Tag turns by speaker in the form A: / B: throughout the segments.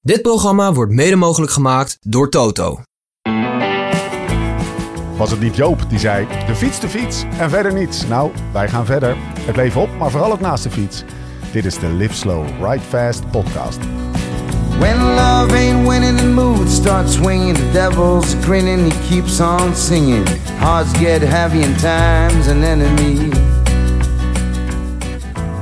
A: Dit programma wordt mede mogelijk gemaakt door Toto.
B: Was het niet Joop die zei: de fiets, de fiets en verder niets? Nou, wij gaan verder. Het leven op, maar vooral ook naast de fiets. Dit is de Live Slow, Ride Fast podcast.
C: When love ain't winning, the mood starts swinging. The devil's grinning, he keeps on singing. Hearts get heavy, and time's an enemy.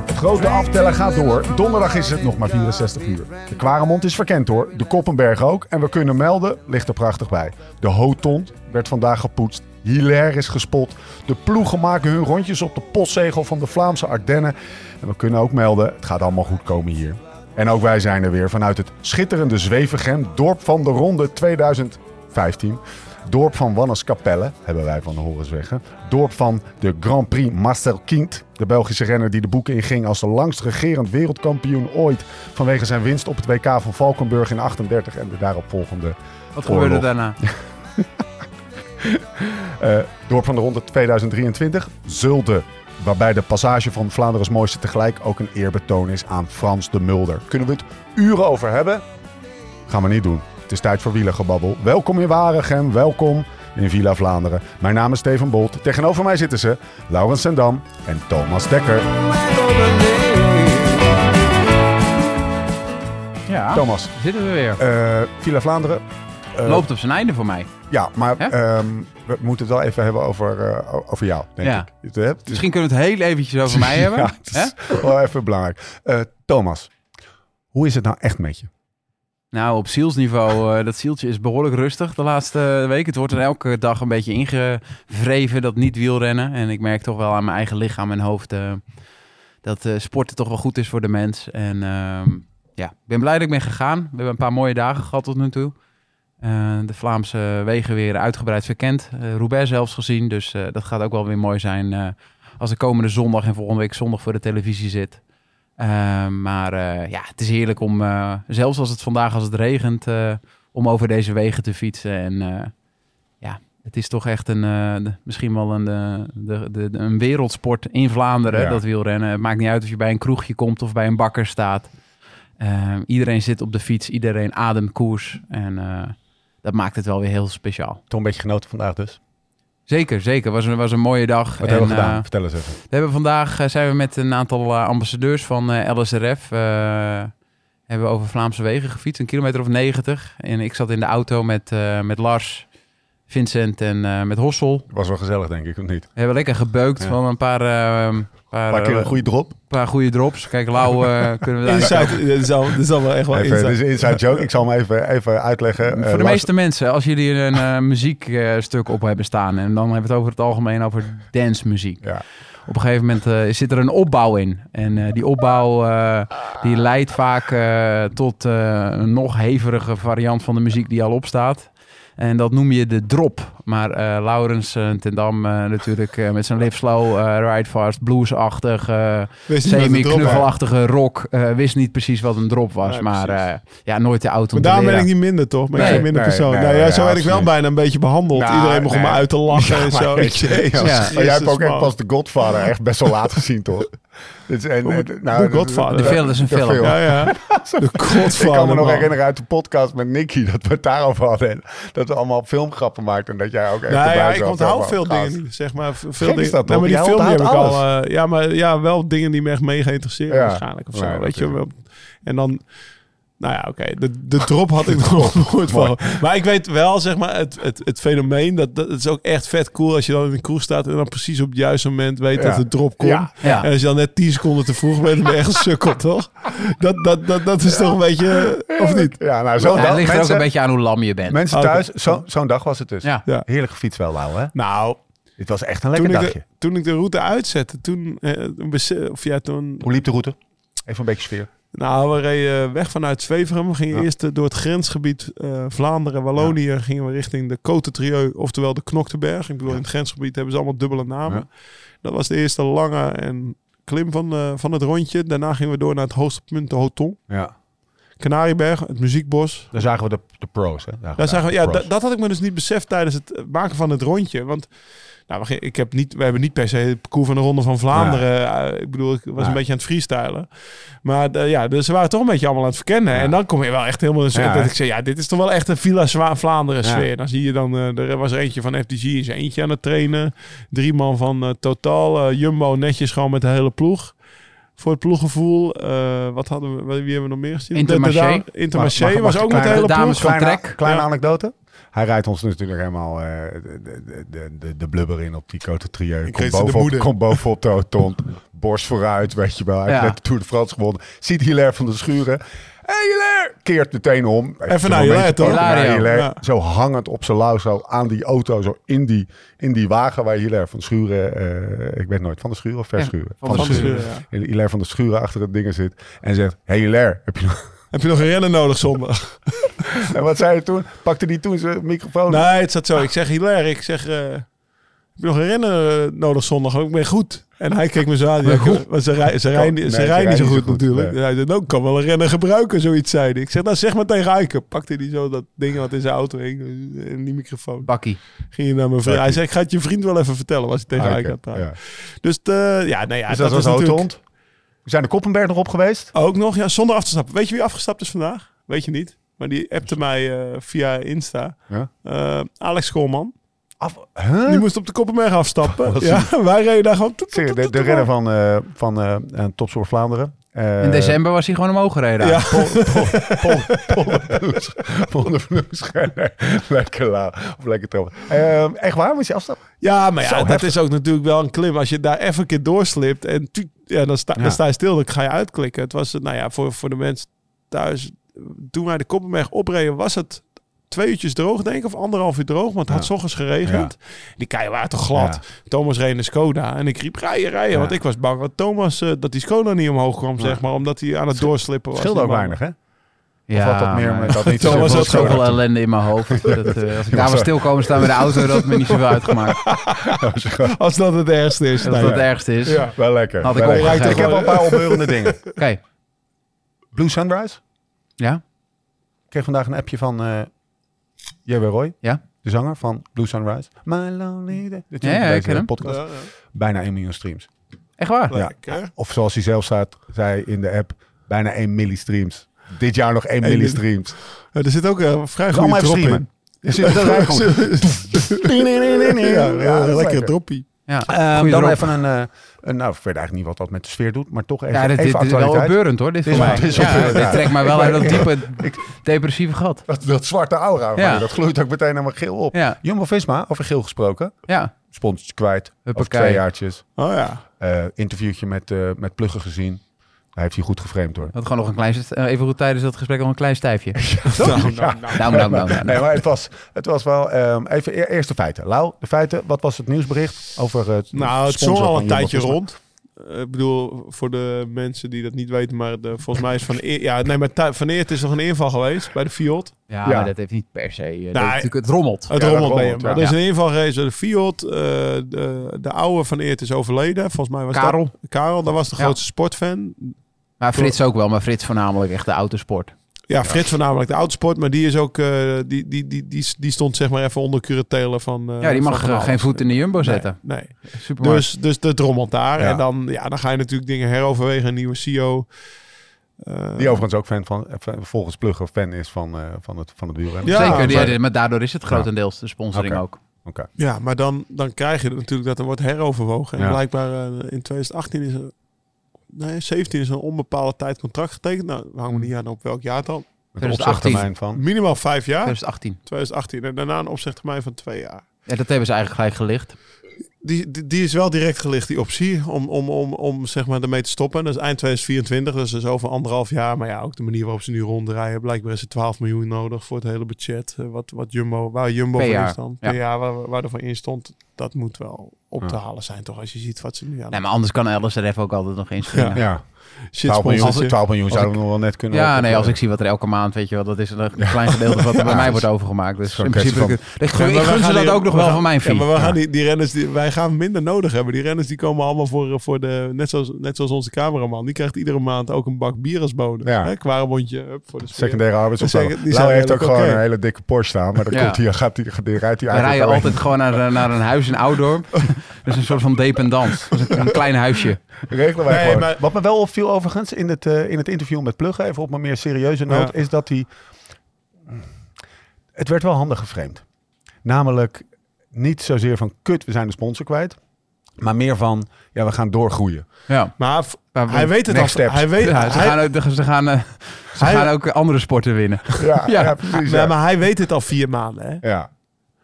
B: Het grote aftellen gaat door. Donderdag is het nog maar 64 uur. De Kwaremond is verkend hoor, de Koppenberg ook. En we kunnen melden, ligt er prachtig bij. De Hoton werd vandaag gepoetst. Hilaire is gespot. De ploegen maken hun rondjes op de postzegel van de Vlaamse Ardennen. En we kunnen ook melden, het gaat allemaal goed komen hier. En ook wij zijn er weer vanuit het schitterende Zwevegem, dorp van de Ronde 2015. Dorp van Wannes-Capelle, hebben wij van de horen zeggen. Dorp van de Grand Prix Marcel Kind. De Belgische renner die de boeken inging als de langst regerend wereldkampioen ooit. Vanwege zijn winst op het WK van Valkenburg in 38 en de daaropvolgende
D: Wat
B: Oorlog.
D: gebeurde daarna?
B: eh, dorp van de Ronde 2023. Zulde, waarbij de passage van Vlaanderen's Mooiste tegelijk ook een eerbetoon is aan Frans de Mulder. Kunnen we het uren over hebben? Gaan we niet doen. Het is tijd voor wielergebabbel. Welkom in Waregem, welkom in Villa Vlaanderen. Mijn naam is Steven Bolt. Tegenover mij zitten ze Laurens Sendam en Thomas Dekker.
D: Ja.
B: Thomas,
D: Zitten we weer.
B: eh, Villa Vlaanderen. eh,
D: Loopt op zijn einde voor mij.
B: Ja, maar
D: Hè?
B: ehm, we moeten het wel even hebben over, eh, o- over jou, denk
D: Ja.
B: ik. Het, eh, het is-
D: Misschien kunnen we het heel eventjes over mij hebben.
B: Ja, het
D: Hè?
B: is wel even belangrijk. Eh, Thomas, hoe is het nou echt met je?
D: Nou, op zielsniveau, eh, dat zieltje is behoorlijk rustig de laatste week. Het wordt er elke dag een beetje ingevreven, dat niet wielrennen. En ik merk toch wel aan mijn eigen lichaam en hoofd eh, dat eh, sporten toch wel goed is voor de mens. En ehm, ja, ik ben blij dat ik ben gegaan. We hebben een paar mooie dagen gehad tot nu toe. Eh, de Vlaamse wegen weer uitgebreid verkend. Eh Roubaix zelfs gezien, dus eh, dat gaat ook wel weer mooi zijn eh, als de komende zondag en volgende week zondag voor de televisie zit. Eh, maar eh, ja, het is heerlijk om, eh, zelfs als het vandaag als het regent, eh, om over deze wegen te fietsen. En eh, ja, het is toch echt een, eh, de- misschien wel een, eh, de, de, de- een wereldsport in Vlaanderen,
B: Ja.
D: dat wielrennen. Het maakt niet uit of je bij een kroegje komt of bij een bakker staat. Eh, iedereen zit op de fiets, iedereen ademt koers. En eh, dat maakt het wel weer heel speciaal.
B: Toch een beetje genoten vandaag dus.
D: Zeker, zeker. Was een, was een mooie dag.
B: Wat hebben we
D: En,
B: gedaan?
D: eh,
B: Vertel eens even.
D: we hebben vandaag eh, zijn we met een aantal eh, ambassadeurs van eh, LSRF. eh, hebben we over Vlaamse wegen gefietst, een kilometer of 90. En ik zat in de auto met, eh, met Lars, Vincent en eh, met Hossel.
B: Was wel gezellig, denk ik, of niet?
D: We hebben lekker gebeukt
B: Ja.
D: van een paar, eh, paar,
B: Een paar keer
D: eh,
B: een goede drop.
D: paar goede drops. Kijk, Lau eh, kunnen we daar...
E: Inside, dat is al, dat is al wel echt wel
B: Even, dit is
E: inside.
B: een inside joke. Ik zal hem even, even uitleggen. Eh,
D: Voor de
B: luister-
D: meeste mensen, als jullie een eh, muziekstuk op hebben staan... en dan hebben we het over het algemeen over dancemuziek.
B: Ja.
D: Op een gegeven moment eh, zit er een opbouw in. En eh, die opbouw eh, die leidt vaak eh, tot eh, een nog heveriger variant van de muziek die al opstaat. En dat noem je de drop. Maar eh Laurens eh, ten Dam eh, natuurlijk eh, met zijn live slow, eh, ride fast, bluesachtig, eh
E: Wees niet met de drop, hè.
D: semi-knuffelachtige rock. eh, wist niet precies wat een drop was.
E: Nee,
D: maar
E: precies.
D: eh, ja, nooit de auto.
E: Maar
D: om te
E: daarom ben
D: leren.
E: ik niet minder, toch? Ben ik
D: Nee,
E: geen minder
B: nee,
E: persoon?
B: nee,
E: nou ja,
B: nee,
E: zo werd ik wel
B: absoluut.
E: bijna een beetje behandeld.
B: Nou,
E: Iedereen begon
B: nee.
E: me uit te lachen en
B: Ja,
E: zo.
B: maar
E: Jezus,
B: Ja.
D: Ja.
B: Maar jij hebt ook echt
E: man.
B: pas de Godfather echt best wel laat gezien, toch? Dit is, en,
E: Hoe-
B: eh, nou,
E: de
B: dat-
E: Godfather?
D: De
B: dat-
D: film is een
B: de
D: film.
E: Ja, ja. De
B: Ik kan me nog
E: godvader, man.
B: herinneren uit de podcast met Nicky dat we het daarover hadden. En dat we allemaal filmgrappen maakten en dat jij ook echt
E: Nou
B: erbij
E: ja,
B: zat.
E: ik onthoud
B: Maar,
E: veel
B: gast.
E: dingen niet, zeg maar. v-
B: Gek
E: Veel
B: is
E: dingen.
B: dat,
E: nou, maar
B: toch?
E: die
B: Jij
E: film die heb ik
B: onthoudt
E: al... eh, ja, maar ja, wel dingen die me echt mee geïnteresseerd
B: Ja.
E: waarschijnlijk of zo.
B: Nee,
E: weet je wel.
B: natuurlijk.
E: En dan... Nou ja, oké. De, de drop had ik nog nooit van. Maar ik weet wel, zeg maar, het, het, het fenomeen... Dat, dat het is ook echt vet cool als je dan in de kroeg staat... en dan precies op het juiste moment weet
B: Ja.
E: dat de drop komt.
B: Ja.
D: Ja.
E: En als je dan net 10 seconden te vroeg bent, dan ben je echt een sukkel, toch? Dat, dat, dat, dat is toch een beetje... eh, Of niet?
B: Ja, nou, zo'n
D: Ja,
B: dag.
D: het ligt er ook
B: mensen,
D: een beetje aan hoe lam je bent.
B: mensen
E: Oké.
B: thuis, zo- zo'n dag was het dus.
D: Ja.
E: Ja.
B: Heerlijke fiets wel, Lau, hè?
E: Nou,
B: Dit was echt een
E: toen
B: lekker
E: ik,
B: dagje.
E: de, toen ik de route uitzette, toen... eh, bese- of ja, toen...
B: Hoe liep de route? Even een beetje sfeer.
E: Nou, we reden weg vanuit Zweveren. We gingen
B: Ja.
E: eerst eh, door het grensgebied eh, Vlaanderen, Wallonië. Gingen we richting de Côte Trieu, oftewel de Knokteberg. Ik bedoel, in het grensgebied hebben ze allemaal dubbele namen. Dat was de eerste lange en klim van, eh, van het rondje. Daarna gingen we door naar het hoogste punt, de Hoton.
B: Ja.
E: Canarieberg, het muziekbos.
B: Daar zagen we de, de pros. Hè?
E: Daar zagen we, ja,
B: de pros.
E: da- dat had ik me dus niet beseft tijdens het eh, maken van het rondje. Want nou, we, ge- ik heb niet, we hebben niet per se het parcours van de Ronde van Vlaanderen. eh, ik bedoel, ik was
B: Ja.
E: een beetje aan het freestylen. Maar eh, ja, dus ze waren toch een beetje allemaal aan het verkennen.
B: Ja.
E: En dan kom je wel echt helemaal in zo'n...
B: Ja,
E: dat
B: hè?
E: ik zei, ja, dit is toch wel echt een Villa Zwa- Vlaanderen
B: Ja.
E: sfeer. Dan zie je dan, eh, er was er eentje van FTG in zijn eentje aan het trainen. Drie man van eh, Totaal. eh, Jumbo netjes gewoon met de hele ploeg. Voor het ploeggevoel. eh, wat hadden we, wie hebben we nog meer gezien?
D: Intermarché.
E: De- de- de- Intermarché
B: Wacht, wacht,
E: was ook
B: wacht,
E: met de
B: kleine-
E: hele
D: de
E: ploeg.
D: dames van
B: kleine,
D: Trek.
B: kleine
E: Ja.
B: anekdote. Hij rijdt ons natuurlijk helemaal eh, de, de, de- de, de blubber in op die Cote Trieu.
F: kreeg
B: Komt
F: ze de
B: bovenop,
F: moeder.
B: kom bovenop de auton. Borst vooruit, weet je wel. Hij heeft
D: Ja.
B: net de Tour de France gewonnen. Ziet Hilaire van de Schuren. Hey Hilaire! Keert meteen om. Heeft
E: Even naar
B: een
E: Hilaire,
B: momentje
E: toch?
B: pakken naar
D: Hilario,
B: Hilaire.
E: ja.
B: Zo hangend op zijn lauw, zo aan die auto, zo in die, in die wagen waar Hilaire van de Schuren... eh, ik weet nooit, van de Schuren of verschuren?
D: van de
E: Schuren,
B: Hilaire van de Schuren achter het ding zit en zegt... Hey Hilaire, heb je nog...
E: Heb je nog een renner nodig zondag?
B: En wat zei hij toen? Pakte hij toen zijn microfoon? Ah,
E: nee, het zat zo. Ik zeg Hilaire, ik zeg... eh, heb je nog een renner eh, nodig zondag? Ik ben goed. En hij keek me zo aan. Ja, want ze rij- ze rijden
B: Nee,
E: niet-
B: ze
E: ze rijden niet zo goed natuurlijk.
B: nee.
E: En Hij zei, nou, ik kan wel een renner gebruiken, zoiets zei hij. Ik zeg, nou zeg maar tegen Eiken. Pakte hij zo dat ding wat in zijn auto hing. eh, En die microfoon.
D: Bakkie.
E: Ging hij naar mijn vriend. Hij zei, ik ga het je vriend wel even vertellen. Was hij tegen
B: Ah, oké,
E: Eiken aan het praten.
B: ja.
E: Dus de, ja, nee, ja,
B: Dus dat,
E: is
B: was de
E: natuurlijk-
B: Hond. We zijn de Koppenberg nog op geweest.
E: Ook nog, ja, zonder af te stappen. Weet je wie afgestapt is vandaag? Weet je niet. Maar die appte mij eh, via Insta.
B: Ja.
E: Eh, Alex Koolman.
B: Huh?
E: Die moest op de Koppenberg afstappen.
B: Wat
E: ja, wij reden daar gewoon... toet,
B: Zie je,
E: toet,
B: Oh, de,
E: toet,
B: de
E: toet,
B: renner van, eh van eh eh, Topsoort Vlaanderen. Eh,
D: In december was hij gewoon omhoog gereden.
E: Ja.
B: Pol- Pol- Pol- Poldervloes. Poldervloes. Lekker la. Of lekker trouwen. Eh, echt waar? Moet je afstappen?
E: Ja, maar ja,
B: Zo
E: dat
B: heftig.
E: is ook natuurlijk wel een klim. Als je daar even een keer doorslipt en tuut, ja, dan, sta,
B: Ja.
E: dan sta je stil, dan ga je uitklikken. Het was, eh, nou ja, voor, voor de mensen thuis, toen wij de Koppenberg opreden, was het twee uurtjes droog, denk ik, of anderhalf uur droog, want het had 's ochtends geregend. Die keien waren toch glad. Thomas reed een Skoda en ik riep rijden, rijden, want ik was bang dat Thomas, eh, dat die Skoda niet omhoog kwam, zeg maar, omdat hij aan het doorslippen
B: Het
E: was.
B: scheelde
E: Die
B: ook
E: man.
B: weinig, hè?
D: Ja,
B: of had dat meer
D: maar-
B: met dat niet
D: Thomas
B: zoveel
D: had
B: schade?
D: zoveel ellende in mijn hoofd. Dat, eh, als ik daar
B: Ja,
D: was
B: zo.
D: stilkomen staan bij de auto, dat had me niet zoveel uitgemaakt.
E: Als dat het ergste is.
D: Dat
E: nou
D: dat het
E: ja.
D: ergste is.
E: Ja.
B: Wel lekker.
D: Had ik
B: wel lekker.
D: opgegeven.
B: Ik heb al een paar opbeurende dingen.
D: Oké,
B: Blue Sunrise.
D: ja.
B: Ik kreeg vandaag een appje van eh J.W. Roy.
D: Ja.
B: De zanger van Blue Sunrise. My Lonely Day. De tune
D: Ja, ja,
B: van
D: ik
B: deze
D: ken hem.
B: podcast.
E: Ja, ja.
B: Bijna 1 miljoen streams.
D: Echt waar?
E: Lekker.
B: Of zoals hij zelf staat, zei in de app, bijna 1 milli streams. Dit jaar nog 1 milli
E: milli.
B: streams.
E: Ja, Er zit ook eh, een vrij
B: Dat is
E: goede
B: allemaal even
E: drop in.
B: streamen. Er zit een rij gewoon.
E: Ja,
B: Ja, dat is
E: lekker
B: lekker.
E: droppie.
D: Ja,
B: Eh,
D: Goeie
B: Dan
D: drop.
B: even een, eh, een, nou ik weet eigenlijk niet wat dat met de sfeer doet, maar toch even,
D: ja dit, dit
B: even
D: is wel
B: actualiteit.
D: opbeurend hoor, dit
B: Dit
D: voor
B: is
D: mij.
B: wel- dit is
D: ja,
B: opbeurend, ja.
D: dit trekt mij wel uit dat diepe,
B: Ik-
D: depressieve gat.
B: dat, dat zwarte aura, van
D: Ja.
B: je, dat gloeit ook meteen helemaal geel op.
D: Ja,
B: Jumbo-Visma, over geel gesproken,
D: ja.
B: sponsortje kwijt, over
D: Huppakee.
B: twee jaartjes.
E: Oh ja.
B: Eh, interviewtje met, eh, met Pluggen gezien. Hij heeft hier goed geframed hoor.
D: Had gewoon nog een klein, st- eh, even goed tijdens dat gesprek nog een klein stijfje.
E: Nou, nou, nou.
D: Nou, nou, nou, nou.
B: Nee, maar het was, het was wel... ehm, even e- eerst de feiten. Lau, de feiten. Wat was het nieuwsbericht over het
E: Nou, het zong
B: sponsor
E: al
B: van
E: een
B: Jumbo
E: tijdje
B: Visma?
E: rond. Eh, Ik bedoel, voor de mensen die dat niet weten, maar de, volgens mij is Van Eer... Ja, nee, maar Thu- Van Eert is nog een inval geweest bij de Fiat.
D: Ja,
B: Ja.
D: maar dat heeft niet per se... eh, dat
E: Nou,
D: natuurlijk, het rommelt.
E: Het
B: Ja, dat
E: rommelt bij hem.
B: rommelt,
E: Maar
B: ja.
E: Er is een inval geweest bij de Fiat. Eh, de, de oude Van Eert is overleden. Volgens mij was
D: Karel.
E: dat... Karel. dat was de
D: Ja.
E: grootste sportfan.
D: Maar Frits ook wel, maar Frits voornamelijk echt de autosport.
E: Ja, Frits voornamelijk de autosport, maar die is ook... eh, die, die, die, die, die stond zeg maar even onder curatelen van... eh,
D: Ja, die
E: van
D: mag
E: Van
D: eh,
E: Alles.
D: geen voet in de jumbo zetten.
E: Nee, nee.
D: Supermarkt.
E: Dus, dus dat rommelt daar.
B: Ja.
E: En dan, ja, dan ga je natuurlijk dingen heroverwegen. Een nieuwe CEO. Eh,
B: Die overigens ook fan van, eh, volgens Pluggen fan is van, eh, van, het, van het wielrennen.
E: Ja,
D: Zeker, ja,
E: maar- Ah.
D: dit- maar daardoor is het grotendeels de sponsoring
B: Oké.
D: ook.
B: Oké.
E: Ja, maar dan, dan krijg je natuurlijk dat er wordt heroverwogen. En
B: Ja.
E: blijkbaar eh, in 2018 is er... Nee, 17 is een onbepaalde tijd contract getekend. Nou, we hangen niet aan op welk jaar dan.
B: Met een opzegtermijn van...
E: Minimaal vijf jaar,
D: 2018.
E: 2018. En daarna een opzegtermijn van twee jaar.
D: Ja, dat hebben ze eigenlijk gelijk gelicht.
E: Die, die, die is wel direct gelicht, die optie, om, om, om, om zeg maar ermee te stoppen. Dat is eind 2024, dus dat is over anderhalf jaar. Maar ja, ook de manier waarop ze nu ronddraaien. Blijkbaar is er 12 miljoen nodig voor het hele budget. eh, Wat, wat Jumbo, waar Jumbo
D: Per
E: voor
D: jaar,
E: in stond.
D: ja.
E: Per jaar, waar, waar er voor in stond. dat moet wel op te halen zijn, toch? Als je ziet wat ze nu aan
D: Nee, maar anders kan Ellis er even ook altijd nog inspringen.
E: Ja.
D: Ja,
B: Ja,
E: Shit
B: 12 miljoen,
E: sponsortje.
B: 12 miljoen zouden we nog wel net kunnen eh, op-
D: nee, als ik zie wat er elke maand, weet je wel, dat is een klein gedeelte wat er bij mij wordt overgemaakt. Dus
B: Zo'n
D: in principe,
B: kwestie
D: ik, ik gun,
E: Ja,
D: ik
E: maar wij
D: gun ze
E: gaan
D: dat
E: die-
D: ook nog
E: we
D: wel
E: gaan-
D: van mijn
E: Ja,
D: vriend.
E: maar we gaan die, die renners, die, wij gaan minder nodig hebben. Die renners die komen allemaal voor, eh, voor de, net zoals, net zoals onze cameraman. Die krijgt iedere maand ook een bak bier als bonus.
B: Ja.
E: Hè, Quarenbondje, hup, voor de sfeer.
B: Secundaire arbeidsopvang.
E: Second- die
B: Lau
E: zijn
B: heeft ook
E: eigenlijk
B: gewoon
E: oké.
B: een hele dikke Porsche staan. Maar dan
D: Ja.
B: komt hij, gaat hij, die rijdt hij
D: We
B: eigenlijk
D: rijden
B: alleen.
D: altijd gewoon naar, eh, naar een huis in Oudorp. dus een soort van dependant. Dus een klein huisje.
B: Regelen wij
E: Nee,
B: gewoon.
E: maar-
B: Wat me wel opviel overigens in het, eh, in het interview met Plugge, even op een meer serieuze noot, is dat hij... Het werd wel handig geframed. Namelijk niet zozeer van kut, we zijn de sponsor kwijt. Maar meer van, ja, we gaan doorgroeien.
D: Ja.
E: Maar v-
D: Maar we-
E: hij weet het
B: Next
E: al.
B: steps.
E: Hij weet,
D: Ja, ze,
E: hij-
D: gaan, ook- ze, gaan, eh, ze
E: Hij-
D: gaan ook andere sporten winnen.
B: Ja, ja.
D: Ja.
B: precies.
E: Nee,
B: Ja.
E: maar hij weet het al vier maanden. Hè?
B: ja.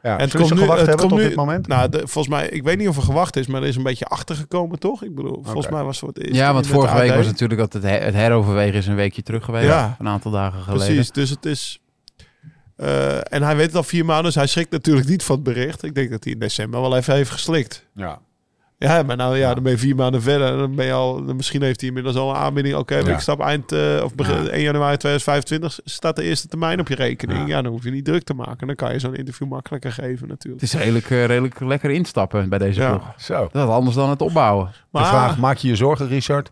B: Ja.
E: En het
B: Zullen
E: komt
B: ze
E: nu,
B: gewacht
E: het
B: hebben
E: komt
B: tot
E: nu,
B: dit moment?
E: Nou, de- volgens mij, ik weet niet of er gewacht is, maar er is een beetje achtergekomen, toch? Ik bedoel, volgens
B: Oké.
E: mij was het voor het eerst
D: Ja,
E: dat
D: want
E: hij met
D: vorige
E: de
D: week
E: AD
D: was natuurlijk dat het, her- het heroverwegen is een weekje terug geweest.
E: Ja.
D: Een aantal dagen geleden.
E: Precies, dus het is... eh, en hij weet het al vier maanden, dus hij schrikt natuurlijk niet van het bericht. Ik denk dat hij in december wel even heeft geslikt.
B: Ja.
E: Ja, maar nou ja, dan ben je vier maanden verder. en Dan ben je al, dan misschien heeft hij inmiddels al een aanbieding. Oké,
B: Ja.
E: ik stap eind eh, of begin, 1 januari 2025 staat de eerste termijn op je rekening. Ja. dan hoef je niet druk te maken. Dan kan je zo'n interview makkelijker geven natuurlijk.
D: Het is redelijk, eh, redelijk lekker instappen bij deze
E: Ja.
D: ploeg.
B: Zo.
D: Dat is anders dan het opbouwen.
B: De vraag,
E: Maar
B: maak je je zorgen, Richard?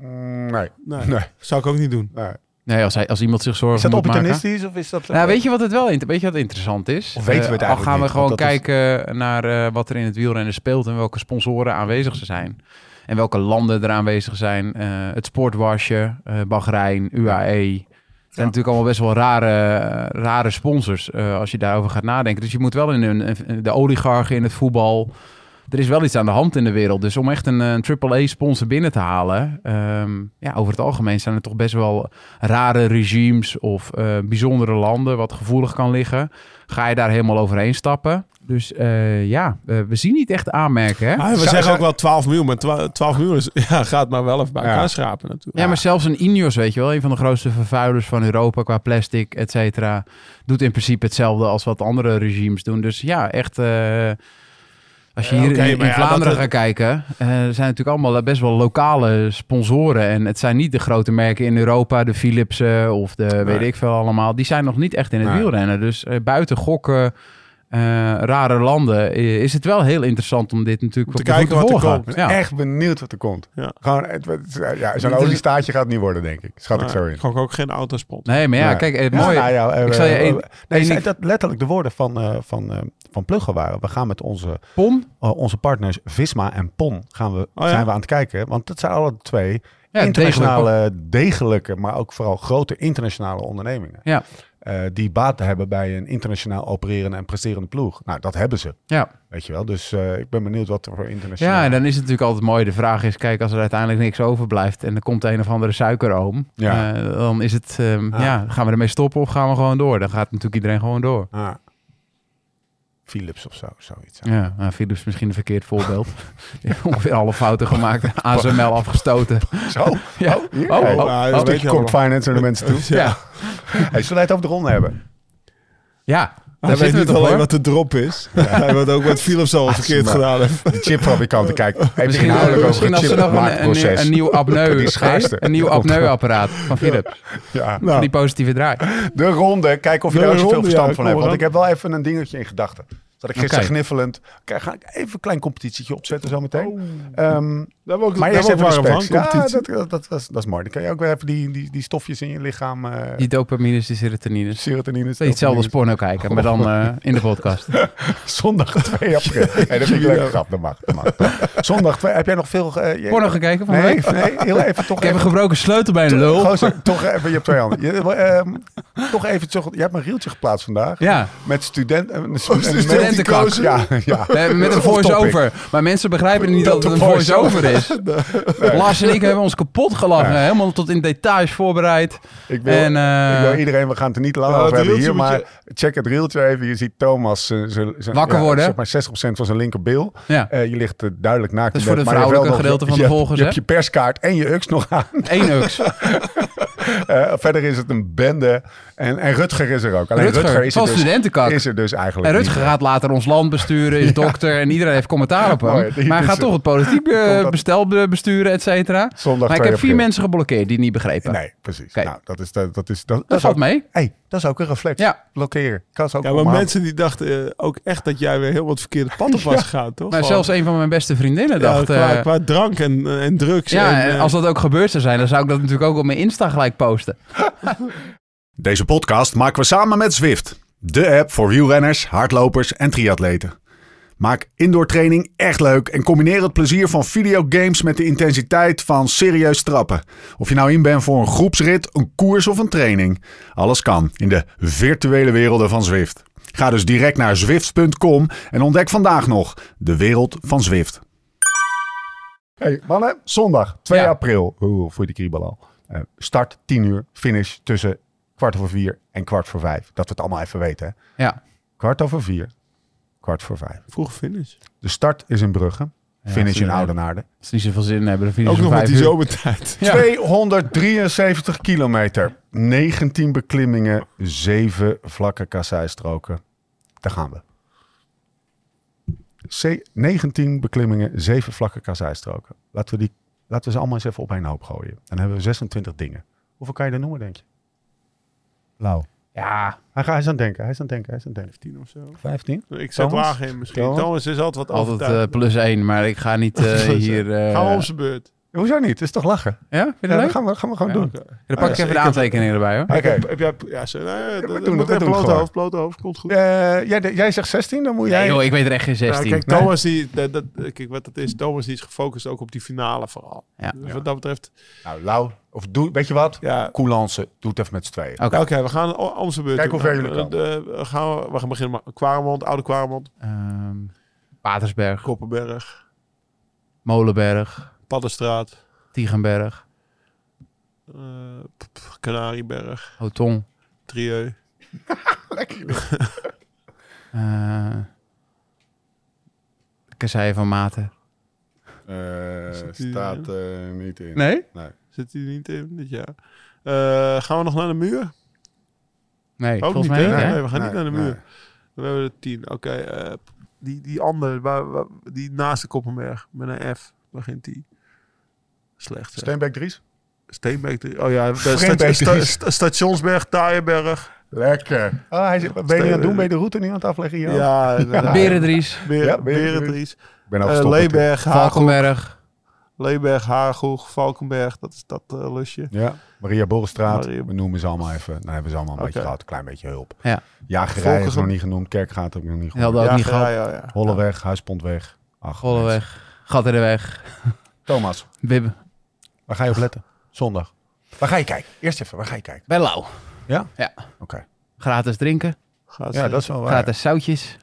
B: Mm, nee.
E: nee,
B: Nee.
E: zou ik ook niet doen.
B: nee.
D: Nee, als, hij, als iemand zich zorgen
B: Is dat
D: moet maken.
B: opportunistisch of is dat...
D: Nou, weet je wat het wel inter- weet je wat interessant is?
B: Of weten we het
D: Eh,
B: eigenlijk
D: Al gaan we
B: niet,
D: gewoon
B: want dat is-
D: kijken naar eh, wat er in het wielrennen speelt en welke sponsoren aanwezig ze zijn. En welke landen er aanwezig zijn. Eh, het sportwasje, eh Bahrein, UAE. Het zijn natuurlijk allemaal best wel rare, eh, rare sponsors eh, als je daarover gaat nadenken. Dus je moet wel in een, een- de oligarchen in het voetbal. Er is wel iets aan de hand in de wereld. Dus om echt een, eh, een AAA-sponsor binnen te halen. ehm, ja, over het algemeen zijn er toch best wel rare regimes of eh, bijzondere landen wat gevoelig kan liggen. Ga je daar helemaal overheen stappen? Dus eh, ja, eh, we zien niet echt aanmerken. Hè?
E: Ah, we
B: Zou-
E: zeggen
B: zou-
E: ook wel 12 miljoen, maar twa- 12 miljoen is, ja, gaat maar wel even bij
B: Ja.
E: elkaar schrapen natuurlijk.
D: Ja, maar zelfs een Ineos, weet je wel, een van de grootste vervuilers van Europa qua plastic, et cetera, doet in principe hetzelfde als wat andere regimes doen. Dus ja, echt, eh, als je
E: Ja,
D: hier
E: oké,
D: in,
E: maar
D: in
E: ja,
D: Vlaanderen
E: dat-
D: gaat kijken, eh, er zijn natuurlijk allemaal best wel lokale sponsoren. En het zijn niet de grote merken in Europa, de Philipsen of de weet ik veel allemaal. Die zijn nog niet echt in het
B: Nee.
D: wielrennen. Dus eh, buiten gokken, eh, rare landen, eh, is het wel heel interessant om dit natuurlijk
E: te
D: op de voet
E: kijken wat er
D: volgen.
B: Ik ben
D: Ja.
B: echt benieuwd wat er komt.
E: Ja.
B: Gewoon, het, het- ja, zo'n oliestaatje gaat het niet worden, denk ik. Schat ik zo in.
E: ik gok ook geen autospot.
D: Nee, maar ja,
B: Nee.
D: kijk, het
B: Ja,
D: mooie...
B: nou ja, eh,
D: ik zal je
B: eh,
D: één-
B: nee,
D: één
B: zei
D: ding-
B: dat letterlijk de woorden van, eh, van, eh, van Pluggen waren. We gaan met onze,
D: Pom?
B: eh, onze partners Visma en PON gaan we,
D: Oh
E: ja.
B: zijn we aan het kijken. Want dat zijn alle twee internationale, degelijke, maar ook vooral grote internationale ondernemingen.
D: Ja.
B: Eh, die baat hebben bij een internationaal opererende en presterende ploeg. Nou, dat hebben ze,
D: Ja.
B: weet je wel. Dus eh, ik ben benieuwd wat er voor internationaal...
D: ja, en dan is het natuurlijk altijd mooi. De vraag is, kijk, als er uiteindelijk niks overblijft en er komt een of andere suikeroom,
B: Ja.
D: eh, dan is het, ehm,
B: Ah.
D: ja, gaan we ermee stoppen of gaan we gewoon door? Dan gaat natuurlijk iedereen gewoon door.
B: Ah. Philips of zo, zoiets.
D: Ja, nou, Philips is misschien een verkeerd voorbeeld. Die heeft Ongeveer alle fouten gemaakt, ASML afgestoten.
B: Zo,
D: Ja.
B: hier.
D: Oh,
B: Hey,
D: oh,
B: een
E: nou, dat weet
D: oh.
B: stukje
E: je
B: komt
E: allemaal.
B: finance naar de mensen toe.
D: Ja,
B: Hey, zullen wij het over de ronde hebben?
D: ja.
E: Hij
D: daar
E: weet
D: zitten we
E: niet
D: toch
E: alleen
D: hoor.
E: wat de drop is. Hij weet ook wat Philips al verkeerd
B: maar.
E: gedaan heeft.
B: De chipfabrikanten, kijk. Even
D: Misschien,
B: inhoudelijk over
D: misschien
B: het
D: als ze nog een, een, nieuw-
B: chipmaakproces.
D: een nieuw
B: Die Nou.
D: apneu,
B: schaarste.
D: een nieuw Nou.
B: Komt er.
D: apneuapparaat van Philips.
B: Ja.
D: Van die positieve draai.
B: De ronde, kijk of je
E: De
B: daar ook zoveel
E: ronde,
B: verstand
E: ja,
B: van
E: kom
B: hebt. Want
E: maar
B: ik heb wel even een dingetje in gedachten. Dat ik gisteren
D: Oké.
B: gniffelend... Kijk, ga ik even een klein competitietje opzetten zo
D: Oh.
E: Oh.
B: meteen. Ehm,
E: Daar hebben we ook,
B: maar
E: daar
B: eerst
E: hebben
B: even
E: we
B: de
E: ook warm
B: specs.
E: van.
B: Ja,
E: Competitie.
B: dat, dat, dat, dat is- dat is mooi. Dan kan je ook weer even die, die, die stofjes in je lichaam... eh
D: Die dopamines, die serotonines.
B: Serotonine.
D: Dat is hetzelfde als
B: dopamine.
D: porno kijken, maar dan eh, in de podcast.
B: Zondag 2 april. Hey, dat vind ik leuk. Grap, dat mag. Dat mag. Zondag 2... Heb jij nog veel... eh, je-
D: Porno gekeken van de
B: Nee,
D: week?
B: nee, heel even toch
D: Ik heb een
B: even...
D: gebroken sleutel bij een lul.
B: Gozer, toch even, je hebt twee handen. Je, ehm, toch even, terug- je hebt een rieltje geplaatst vandaag.
D: Ja, Oh,
B: Met student, eh, met
D: studentenkak.
B: Ja, ja.
D: eh, met een
B: Off topic.
D: voice-over. Maar mensen begrijpen niet dat,
B: Dat
D: het
B: de
D: een voice-over
B: voice-over
D: is. Lars en ik hebben ons kapot gelachen. Helemaal tot in details voorbereid.
B: Ik wil,
D: En, eh,
B: ik wil iedereen, we gaan het er niet lang
E: Nou,
B: over
E: het
B: hebben hier,
E: reeltje
B: maar
E: moet
B: check het reeltje even. Je ziet Thomas eh, zijn- zijn-
D: Wakker
B: ja,
D: worden.
B: Zeg maar 60% van zijn linkerbil.
D: Ja.
B: Eh, je ligt eh, duidelijk naakt.
D: Dat is
B: in
D: voor
B: bed,
D: de
B: maar je hebt wel
D: vrouwelijke gedeelte van
B: je
D: de
B: hebt-
D: volgers,
B: Je hebt je perskaart en je ux nog aan.
D: Eén ux.
B: Eh, verder is het een bende. En, en Rutger is er ook. Alleen Rutger,
D: Rutger,
B: is, er
D: van
B: dus,
D: studentenkak.
B: is er dus eigenlijk
D: En Rutger
B: niet.
D: gaat later ons land besturen, is dokter en iedereen heeft commentaar op hem.
B: Mooi, die-
D: maar hij
B: die
D: gaat
B: is-
D: toch het politiek eh,
B: Komt dat-
D: bestel be- besturen, et cetera.
B: Zondag
D: Maar ik
B: 2
D: heb vier
B: april.
D: mensen geblokkeerd die het niet begrepen.
B: Nee, precies.
D: Kijk.
B: Nou, dat is... Dat, dat, is, dat,
D: Dat
B: is
D: valt
B: ook-
D: mee.
B: hey, dat is ook een reflex.
D: Ja.
B: Blokkeren. Kan ze ook
E: Ja, maar
B: omarmen.
E: mensen die dachten eh, ook echt dat jij weer heel wat verkeerde pad op was gegaan, toch?
D: Maar
E: Gewoon,
D: zelfs een van mijn beste vriendinnen
E: ja,
D: dacht...
E: qua,
D: eh,
E: qua drank en, eh, en drugs.
D: ja,
E: en,
D: en
E: eh,
D: als dat ook gebeurd zou zijn, dan zou ik dat natuurlijk ook op mijn Insta gelijk posten.
F: Deze podcast maken we samen met Zwift. De app voor wielrenners, hardlopers en triatleten. Maak indoor training echt leuk en combineer het plezier van videogames met de intensiteit van serieus trappen. Of je nou in bent voor een groepsrit, een koers of een training. Alles kan in de virtuele werelden van Zwift. Ga dus direct naar zwift.com en ontdek vandaag nog de wereld van Zwift.
B: Hey, mannen, zondag 2
D: Ja.
B: april. Hoe voor de kriebel al. Eh, start 10 uur, finish tussen kwart over vier en kwart voor vijf. Dat we het allemaal even weten. Hè?
D: Ja.
B: Kwart over vier, kwart voor vijf.
E: vroeg finish.
B: De start is in Brugge, finish in
D: tuurlijk.
B: Oudenaarde.
D: Als ze niet zoveel zin in hebben, dan vinden
E: Ook
D: ze
E: nog
D: vijf
E: met die
D: uur.
E: zomertijd.
D: Ja.
B: 273 kilometer, 19 beklimmingen, 7 vlakke kasseistroken. Daar gaan we. C 19 beklimmingen, 7 vlakke kasseistroken. Laten we, die, laten we ze allemaal eens even op een hoop gooien. Dan hebben we 26 dingen. Hoeveel kan je er noemen, denk je? Lau.
D: Ja,
B: Hij, gaat- hij is aan het denken, hij is aan het denken, hij is aan het denken.
E: 10 of zo.
B: 15?
E: Ik zet
B: Thomas?
E: laag in misschien.
B: Thomas?
E: Thomas, is altijd wat
D: altijd eh,
E: overtuigd.
D: plus één, maar ik ga niet eh, hier... eh,
E: Gaan we om zijn beurt.
B: Hoezo niet? Het is toch lachen?
D: Ja, vind je
B: Ja,
D: dat
B: dat
D: leuk?
B: gaan we, gaan we gewoon
D: Ja,
B: doen.
D: Dan pak ik even de aantekeningen erbij, hoor.
B: Oké.
E: Heb jij... Ja, zo, nou, ja, dat-
B: doen
E: dat
B: het, we doen
E: moet even
B: het
E: blote
B: gewoon.
E: hoofd, blote hoofd. Komt goed.
B: Eh, jij, jij zegt 16, dan moet jij...
D: Nee, joh, ik weet er echt geen 16.
E: Ja, Nou, kijk,
B: Nee.
E: Thomas, die, dat, dat- kijk, wat dat is, Thomas die is gefocust ook op die finale vooral.
D: Ja.
E: Dus wat dat betreft,
B: Nou, Lau, of doe, weet je wat?
E: ja. Nou,
B: Coulance, doe het even met z'n tweeën.
D: Oké.
E: Oké, we gaan o- om zijn beurt.
B: Kijk
E: doen.
B: hoe ver jullie
E: Eh, eh, gaan we, we gaan beginnen met Kwaremond, Oude Kwaremond,
D: Ehm, Patersberg,
E: Koppenberg,
D: Molenberg,
E: Paddenstraat,
D: Tiegenberg,
E: eh, p- p- Canarieberg,
D: Hotong.
E: Trieu,
D: eh Kasseien van Maten.
E: die-
B: staat eh, niet in.
D: Nee?
E: zit hij niet in dit jaar? Eh, gaan we nog naar de muur?
D: Nee,
E: ook
D: volgens
E: niet,
D: mij
E: hè?
D: niet, hè?
E: Nee, we gaan niet
B: Nee,
E: naar de
B: nee.
E: muur. Dan hebben we er tien. Oké, eh, die, die andere, waar, waar- die naast de Koppenberg, met een F, begint die. Slecht, zeg.
B: Steenbeek Dries.
E: Steenbeek. drie- Oh ja, de
B: Steenbeek
E: sta- sta-
B: drie.
E: sta- Stationsberg, Taaienberg.
B: Lekker. Ah, hij zit, ben je niet aan het doen? Ben je de route niet aan het afleggen hier? Ik
E: Ja, ja.
D: Berendries,
B: Ja,
E: Beren,
B: Berendries. Nou,
E: Berendries.
B: ben al
E: Eh,
B: gestopt natuurlijk.
E: Leeberg, Haaghoek.
D: Valkenberg,
E: Leeberg, Haaghoek, Valkenberg. Dat is dat eh, lusje.
B: Ja, Maria Borrestraat.
E: Maria-
B: We noemen ze allemaal even. Nou hebben ze allemaal een beetje
E: Oké.
B: gehad. Een klein beetje hulp.
D: Ja.
B: Jagerij is
E: Volgeren-
B: nog niet genoemd. Kerkgaat heb ik nog niet genoemd.
D: Helder ook niet
E: ja,
D: gehad.
E: ja, ja.
B: Holleweg, Huispondweg. Ach, mensen.
D: Golleweg, Gat in de Weg,
B: Thomas,
D: Bib,
B: waar ga je op letten? Zondag. Waar ga je kijken? Eerst even, waar ga je kijken?
D: bij Lau.
B: Ja?
D: Ja.
B: Oké.
D: Gratis drinken,
E: Gaat
B: Ja,
E: ze-
B: dat is wel waar.
D: gratis zoutjes,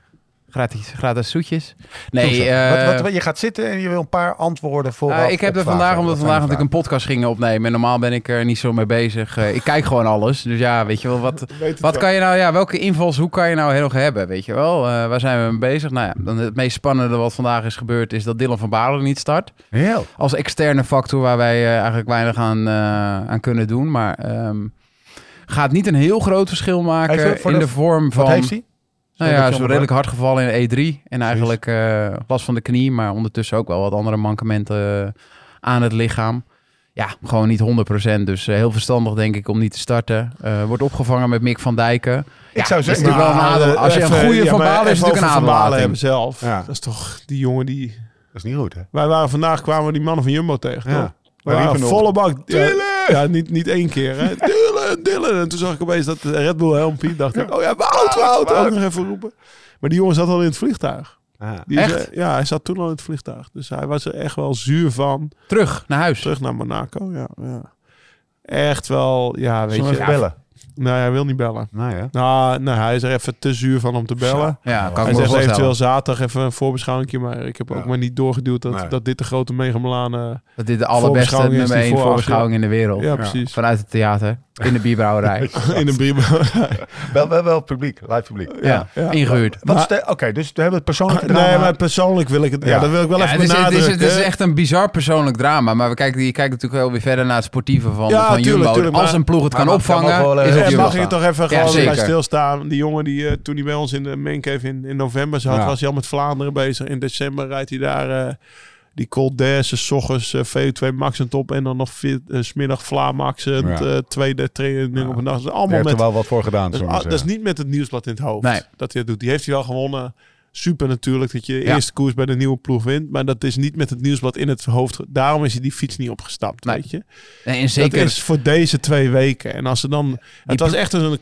D: gratis, gratis zoetjes. Nee,
B: Hoezo?
D: eh,
B: Wat- wat- wat- je gaat zitten en je wil een paar antwoorden voor.
D: Eh, ik heb er vandaag, omdat we vandaag natuurlijk een podcast gingen opnemen. En normaal ben ik er niet zo mee bezig. Eh, ik kijk gewoon alles. Dus ja, weet je wel, wat, wat kan je nou, ja, welke invalshoek kan je nou heel erg hebben? Weet je wel, Eh, waar zijn we mee bezig? Nou ja, dan het meest spannende wat vandaag is gebeurd is dat Dylan van Baarle niet start.
B: Heel.
D: Als externe factor waar wij eh, eigenlijk weinig aan, eh, aan kunnen doen. Maar ehm, gaat niet een heel groot verschil maken
B: Even voor
D: in
B: de-
D: de vorm van...
B: Wat heeft hij?
D: Nou
B: Zodat
D: ja,
B: je
D: zo
B: onderbrak-
D: redelijk hard gevallen in de E3. En eigenlijk eh last van de knie, maar ondertussen ook wel wat andere mankementen eh, aan het lichaam. Ja, gewoon niet 100%. Dus eh, heel verstandig denk ik om niet te starten. Eh, wordt opgevangen met Mick van Dijken.
B: Ik zou
D: is
B: zeggen-
D: natuurlijk wel een
E: Maar,
D: adem-
E: eh,
D: Als je een
E: even-
D: goede
E: ja,
D: Van
E: maar
D: Baarle is
E: even
D: natuurlijk een
E: over Van Baarle
D: aanlating.
E: hebben zelf.
B: Ja.
E: Dat is toch die jongen die...
B: Dat is niet goed, hè?
E: Wij waren vandaag, kwamen we die mannen van Jumbo tegen,
B: Ja.
E: toch? We
B: Wij
E: waren
B: riepen nog.
E: volle bak... Ja, ja, niet, niet één keer, hè. Dylan, Dylan. En toen zag ik opeens dat de Red Bull helmpje. dacht ik, oh ja, Wout, Wout. Ook nog even roepen. Maar die jongen zat al in het vliegtuig.
B: Ah,
E: Die is,
D: Echt?
E: eh, ja, hij zat toen al in het vliegtuig. Dus hij was er echt wel zuur van.
D: Terug naar huis.
E: Terug naar Monaco, ja. ja. Echt wel, ja, weet
B: Zullen we
E: je.
B: even bellen?
E: Nee, hij wil niet bellen.
F: Nou ja.
E: Nou, nou, hij is er even te zuur van om te bellen.
D: Ja, kan
E: Hij
D: ik me
E: zegt eventueel
D: voorstellen.
E: zaterdag even een voorbeschouwing, maar ik heb ook
F: Ja.
E: maar niet doorgeduwd dat,
F: Nee.
E: dat dit de grote megamelaan... eh,
D: Dat dit de allerbeste
E: voorbeschouwing is
D: nummer
E: die
D: 1
E: voor
D: voorbeschouwing in de wereld.
E: ja, precies.
D: Vanuit het theater. In de bierbrouwerij.
E: In een brief.
B: Wel, wel, wel publiek, live publiek.
D: ja.
E: ja.
D: Ingehuurd.
B: Wat
E: Maar-
B: is de- Oké, dus we hebben het persoonlijke drama.
E: Nee, maar persoonlijk wil ik het... Ja,
B: Ja.
E: dat wil ik wel
D: Ja,
E: even
D: het, is, het, is,
E: benadrukken.
D: het is echt een bizar persoonlijk drama. Maar we kijken, je kijkt natuurlijk wel weer verder naar het sportieve van,
E: Ja,
D: van
E: tuurlijk,
D: Jumbo.
E: tuurlijk,
D: Als
E: maar-
D: een ploeg het
A: maar
D: kan
A: mag- mag
D: opvangen,
A: wel, eh,
D: is
A: Ja,
D: het
E: Ja,
D: Jumbo.
E: mag ik toch even
D: Ja,
E: gewoon weer bij
D: zeker.
E: stilstaan? Die jongen die eh, toen hij bij ons in de Mancave in, in november zat,
D: Ja.
E: was hij al met Vlaanderen bezig. In december rijdt hij daar eh, die Cold Dash, s ochtends eh, VO2 maxend op en dan nog vi- eh, 's smiddag Vla maxend,
F: Ja.
E: eh, tweede training op een dag. Dat is
B: Daar
E: allemaal
B: heeft
E: met,
B: er wel wat voor gedaan,
E: dat,
F: zo
E: is,
F: maar
E: ah, dat is
F: zeggen.
E: niet met het nieuwsblad in het hoofd
D: Nee.
E: dat hij het doet. Die heeft hij wel gewonnen. Super natuurlijk dat je de
D: Ja.
E: eerste koers bij de nieuwe ploeg wint. Maar dat is niet met het nieuwsblad in het hoofd. ge- Daarom is hij die fiets niet opgestapt,
D: Nee.
E: weet je.
D: Nee, en zeker,
E: Dat is voor deze twee weken. En als ze dan... Het was echt een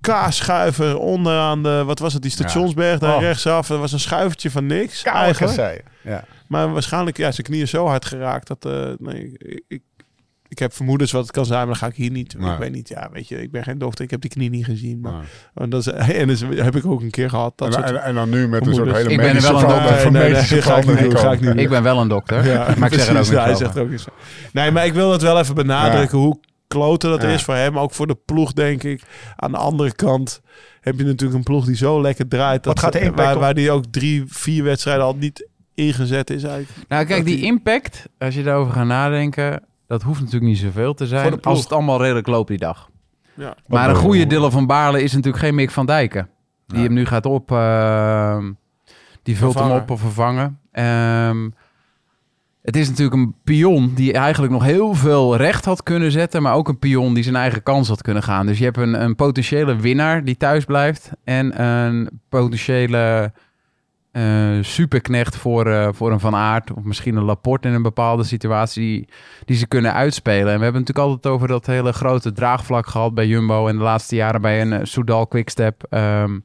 E: kaasschuiver onderaan de... Wat was het? Die stationsberg daar
B: Oh.
E: rechtsaf. Er was een schuivertje van niks
B: Eigenlijk.
E: eigenlijk.
B: zei je. Ja.
E: Maar waarschijnlijk ja, zijn knieën zo hard geraakt dat... eh, nee, ik, ik, ik heb vermoedens wat het kan zijn, maar dan ga ik hier niet.
F: Nee.
E: Ik weet niet, ja, weet je, ik ben geen dokter. Ik heb die knie niet gezien. Maar,
F: Nee.
E: maar dat is, en dat is- heb ik ook een keer gehad. Dat
F: En,
E: soort,
F: en, en dan nu met een
E: Vermoedens.
F: soort hele
D: Ik ben er
F: medische
D: wel een
F: verandering-
D: dokter.
F: van
E: Nee, nee,
F: medische
E: nee, ga ik niet
F: verandering
E: doen, ga ik
F: komen.
E: niet doen.
D: ik ben wel een dokter. maar ik zeg er ook
E: Precies,
D: niet
E: nou,
D: zoveel
E: hij zegt ook iets. Nee, maar ik wil dat wel even benadrukken hoe kloten dat
F: Ja.
E: is voor hem. Ook voor de ploeg, denk ik. Aan de andere kant heb je natuurlijk een ploeg die zo lekker draait. Dat
B: Wat gaat de impact
E: waar,
B: op-
E: waar die ook drie, vier wedstrijden al niet ingezet is eigenlijk.
D: Nou, kijk, die impact, als je daarover gaat nadenken, dat hoeft natuurlijk niet zoveel te
E: Voor de
D: zijn.
E: ploeg.
D: Als het allemaal redelijk loopt die dag.
E: Ja.
D: Maar een
B: bedoel
D: goede
B: je?
D: Dylan van Baarle is natuurlijk geen Mick van Dijken. Die hem nu gaat op. ehm, die vult
E: Vervangen.
D: hem op of vervangen. Ehm, het is natuurlijk een pion die eigenlijk nog heel veel recht had kunnen zetten. Maar ook een pion die zijn eigen kans had kunnen gaan. Dus je hebt een, een potentiële winnaar die thuis blijft. En een potentiële eh, superknecht voor, eh, voor een Van Aert. Of misschien een Laporte in een bepaalde situatie die ze kunnen uitspelen. En we hebben het natuurlijk altijd over dat hele grote draagvlak gehad bij Jumbo. En de laatste jaren bij een eh, Soudal Quickstep. Ehm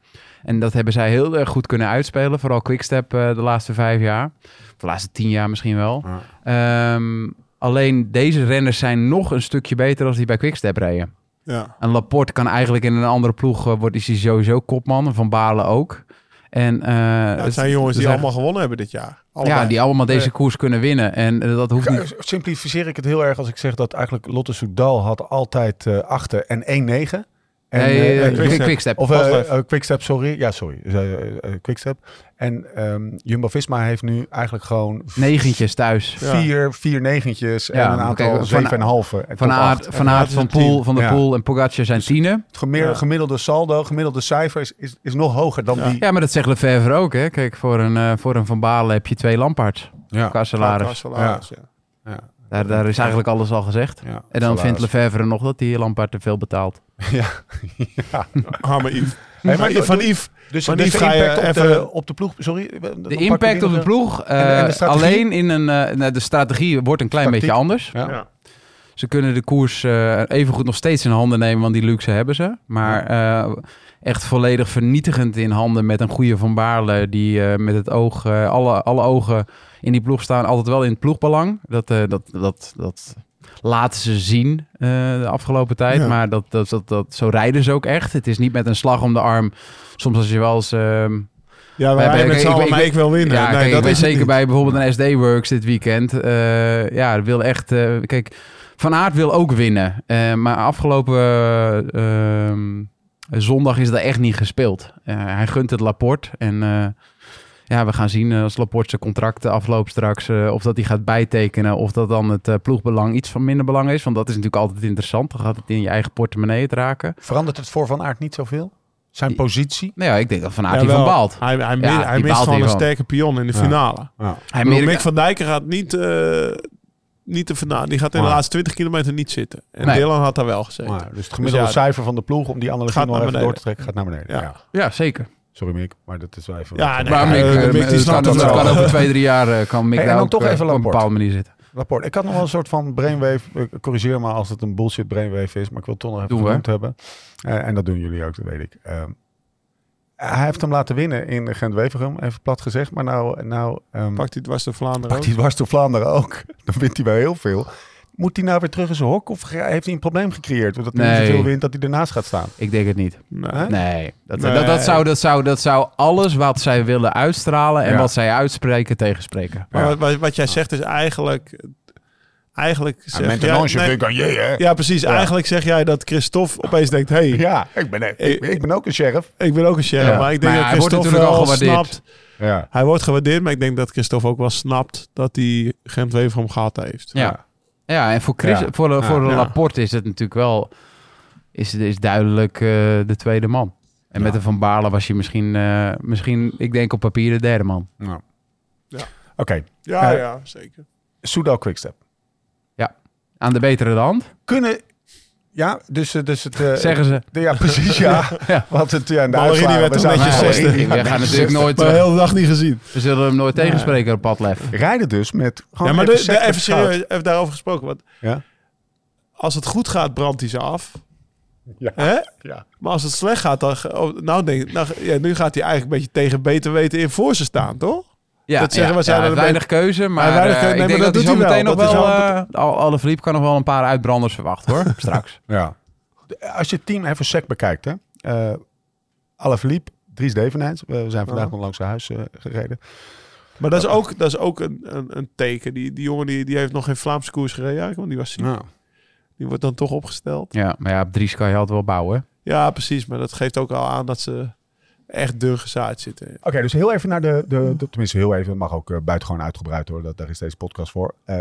D: en dat hebben zij heel erg goed kunnen uitspelen. Vooral Quickstep eh de laatste vijf jaar. Of de laatste tien jaar misschien wel. Ehm, alleen deze renners zijn nog een stukje beter als die bij Quickstep reden.
E: Ja.
D: En Laporte kan eigenlijk in een andere ploeg... eh, wordt, is hij sowieso kopman. Van Balen ook. En, eh,
E: het zijn jongens die
D: zijn-
E: allemaal gewonnen hebben dit jaar. Allebei.
D: Ja, die allemaal deze koers kunnen winnen. En eh, dat hoeft niet...
B: Simplificeer ik het heel erg als ik zeg dat eigenlijk Lotte Soudal had altijd eh achter en 1-9. En,
D: Nee,
B: eh,
D: eh,
B: en Quickstep.
D: Quickstep.
B: Of
E: Wacht
B: eh,
E: even.
B: eh, Quickstep, sorry. Ja, sorry. Dus, eh, eh, Quickstep. En ehm, Jumbo-Visma heeft nu eigenlijk gewoon
D: Negentjes thuis.
E: Ja.
B: vier, vier negentjes en
D: Ja,
B: een
D: maar
B: aantal
D: kijk, Van-
B: zeven en een halve. en
D: Van
B: tot
D: Aert,
B: acht.
D: van, Aert,
E: is
D: van,
E: een tien.
D: Poel, van der
B: Ja.
D: Poel en Pogacar zijn tienen.
B: Het gemiddel-
E: Ja.
B: gemiddelde saldo, gemiddelde cijfer is, is, is nog hoger dan die.
D: Ja, maar dat zegt Lefevre ook. Hè? Kijk, voor een, eh, voor een Van Balen heb je twee Lamparts
F: Ja.
D: qua salaris.
E: Ja, salaris, ja.
D: Daar, daar is eigenlijk alles al gezegd.
F: Ja.
D: En dan vindt Lefevre nog dat die Lampard te veel betaalt.
E: Ah, maar Yves.
B: Hey,
E: Maar
B: maar-
E: Yves- van Yves.
B: Dus,
E: Maar
B: dus
E: die
B: de
E: ga je
B: impact op, de,
E: even-
B: op de ploeg, sorry. eh, dan pak
D: De
B: ik
D: impact
B: die
D: op de
B: nog-
D: ploeg,
B: en de
D: eh,
B: strategie?
D: alleen in een... eh, nou, de strategie wordt een klein
B: Tactiek.
D: beetje anders.
B: Ja.
E: Ja.
D: Ze kunnen de koers even evengoed nog steeds in handen nemen, want die luxe hebben ze. Maar eh, echt volledig vernietigend in handen met een goede Van Baarle... die eh, met het oog, eh, alle, alle ogen in die ploeg staan, altijd wel in het ploegbelang. Dat, eh, dat, dat, dat laten ze zien eh, de afgelopen tijd.
E: Ja.
D: Maar dat, dat, dat, dat, zo rijden ze ook echt. Het is niet met een slag om de arm. Soms als je wel eens... ehm, Wij-
E: Ja, wij
D: wij-
E: met
D: ik-
E: z'n
D: ik-
E: allen,
D: ik-
E: maar ik wil winnen.
D: ja,
E: Nee,
D: kijk,
E: Nou, dat
D: ik ben
E: is het
D: zeker
E: niet.
D: bij bijvoorbeeld een SD Works dit weekend. eh, ja, wil echt. eh, kijk, Van Aert wil ook winnen. Eh, maar afgelopen eh, ehm, zondag is dat echt niet gespeeld. Eh, hij gunt het Laporte. En eh, ja, we gaan zien eh, als Laporte zijn contract afloopt straks. eh, of dat hij gaat bijtekenen. Of dat dan het eh, ploegbelang iets van minder belang is. Want dat is natuurlijk altijd interessant. Dan gaat het in je eigen portemonnee het raken.
B: Verandert het voor Van Aert niet zoveel? Zijn
D: Die-
B: positie?
D: Nou ja, ik denk dat Van Aert
E: Jawel.
D: hiervan baalt.
E: Hij, hij, mi-
D: Ja, die
E: hij mist
D: baalt
E: gewoon een
D: hiervan.
E: sterke pion in de
F: Ja.
E: finale.
D: Hij
E: Ik bedoel,
D: merkt-
E: Mick van Dijken gaat niet, eh, niet te vandaan. Die gaat in de
F: Maar-
E: laatste 20 kilometer niet zitten. En
D: Nee.
E: Dylan had daar wel gezeten.
F: Maar,
B: Dus het gemiddelde
E: Dus ja,
B: cijfer van de ploeg, om die analogie
E: gaat
B: nog
E: naar
B: even door
E: beneden.
B: te trekken, gaat naar beneden. Ja.
E: Ja.
D: Ja, zeker.
F: sorry Mick, maar dat is wel even...
E: Ja, nee.
D: Maar
E: Ja,
D: Mick,
E: eh,
D: eh,
E: Mick, die
D: het
E: snapt
D: kan,
E: het
D: het
E: wel.
D: kan over twee, drie jaar eh, kan Mick
B: Hey, en
D: daar
B: dan
D: ook
B: toch
D: eh,
B: even
D: op een
B: Laporte.
D: bepaalde manier zitten.
B: Laporte. Ik had nog wel een soort van brainwave. eh, Corrigeer me als het een bullshit brainwave is, maar ik wil het toch nog even
D: Doen we.
B: genoemd hebben. Eh, en dat doen jullie ook, dat weet ik. Ehm, hij heeft hem laten winnen in Gent-Wevergem, even plat gezegd. Maar nou, nou ehm,
E: Pakt hij dwars de Vlaanderen
B: pakt hij dwars door Vlaanderen ook. Dan wint hij wel heel veel. Moet hij nou weer terug in zijn hok? Of ge- heeft hij een probleem gecreëerd? Doordat hij
D: Nee.
B: zoveel wint dat hij ernaast gaat staan.
D: Ik denk het niet.
E: Nee.
D: Nee. Dat,
E: Nee.
D: Dat, dat, zou, dat, zou, dat zou alles wat zij willen uitstralen en
B: Ja.
D: wat zij uitspreken tegenspreken.
E: Maar wat, wat, wat jij zegt is eigenlijk... Eigenlijk
B: Ja,
E: zeg jij...
B: Mentenange
E: nee,
B: vind ik aan je, hè?
E: ja, precies. Eigenlijk zeg jij dat Christophe opeens denkt... hey,
B: Ja, ik ben, ik, ik ben ook een sheriff.
E: ik ben ook een sheriff.
D: Ja.
E: Maar ik denk
D: Maar
E: dat
D: hij wordt
E: Christophe
D: natuurlijk al
E: wel
D: gewaardeerd.
E: snapt...
B: Ja.
E: Hij wordt gewaardeerd, maar ik denk dat Christophe ook wel snapt... dat hij Gent Wever hem gehad heeft.
D: Ja. Ja, en voor, Chris,
B: Ja.
D: voor, de- voor de
E: Ja.
D: Laporte is het natuurlijk wel... Is, is duidelijk eh, de tweede man. En met de Van Baarle was hij misschien, eh, misschien, ik denk op papier, de derde man.
B: Oké,
E: Ja,
B: Eh,
E: ja, zeker.
B: Soudal Quickstep.
D: Aan de betere hand,
B: Kunnen... Ja, dus, eh, dus het... eh,
D: zeggen ze.
B: de- ja, precies, ja.
D: Ja.
B: Want het, ja, in de
E: Ballerini
B: uitslagen,
E: werd
B: we
E: toch
B: zaten
E: netjes
B: al in-
E: zesde.
B: ja,
D: We gaan
B: netjes
D: natuurlijk nooit...
E: Maar de hele dag niet gezien.
D: We zullen hem nooit tegenspreken op Padlef.
B: rijden dus met gewoon
E: ja, maar
B: even,
E: de, de,
B: seks met
E: even,
B: goud.
E: serieus, even daarover gesproken. Want
B: Ja.
E: als het goed gaat, brandt hij ze af.
B: Ja.
E: Hè?
B: Ja.
E: Maar als het slecht gaat, dan, ge- oh, nou denk, nou, ge- ja, nu gaat hij eigenlijk een beetje tegen beter weten in voor ze staan, toch?
D: Ja,
E: Dat zeggen we, zijn
D: hij
E: er
D: heeft weinig keuze, maar,
E: Hij weinig
D: eh,
E: keuze, nee,
D: ik denk
E: maar
D: dat,
E: dat
D: hij
E: doet
D: zo
E: hij
D: meteen nog
E: wel.
D: wel...
E: Dat is
D: eh, Al alle Verliep kan nog wel een paar uitbranders verwachten, hoor. Straks.
B: Ja. De- Als je het team even sec bekijkt, hè. Eh Alaphilippe, Dries Devenijns. We we zijn vandaag
E: Oh.
B: nog langs zijn huis eh, gereden.
E: Maar dat is ook, dat is ook een, een, een teken. Die, die jongen die, die heeft nog geen Vlaamse koers gereden, eigenlijk, want die was ziek.
B: Nou.
E: Die wordt dan toch opgesteld.
D: Ja, maar ja, op Dries kan je altijd wel bouwen.
E: Ja, precies. Maar dat geeft ook al aan dat ze echt dun gezaaid zitten.
B: Oké, dus heel even naar de, de, de- Tenminste, heel even. Het mag ook eh, buitengewoon uitgebreid worden. Dat, daar is deze podcast voor. Eh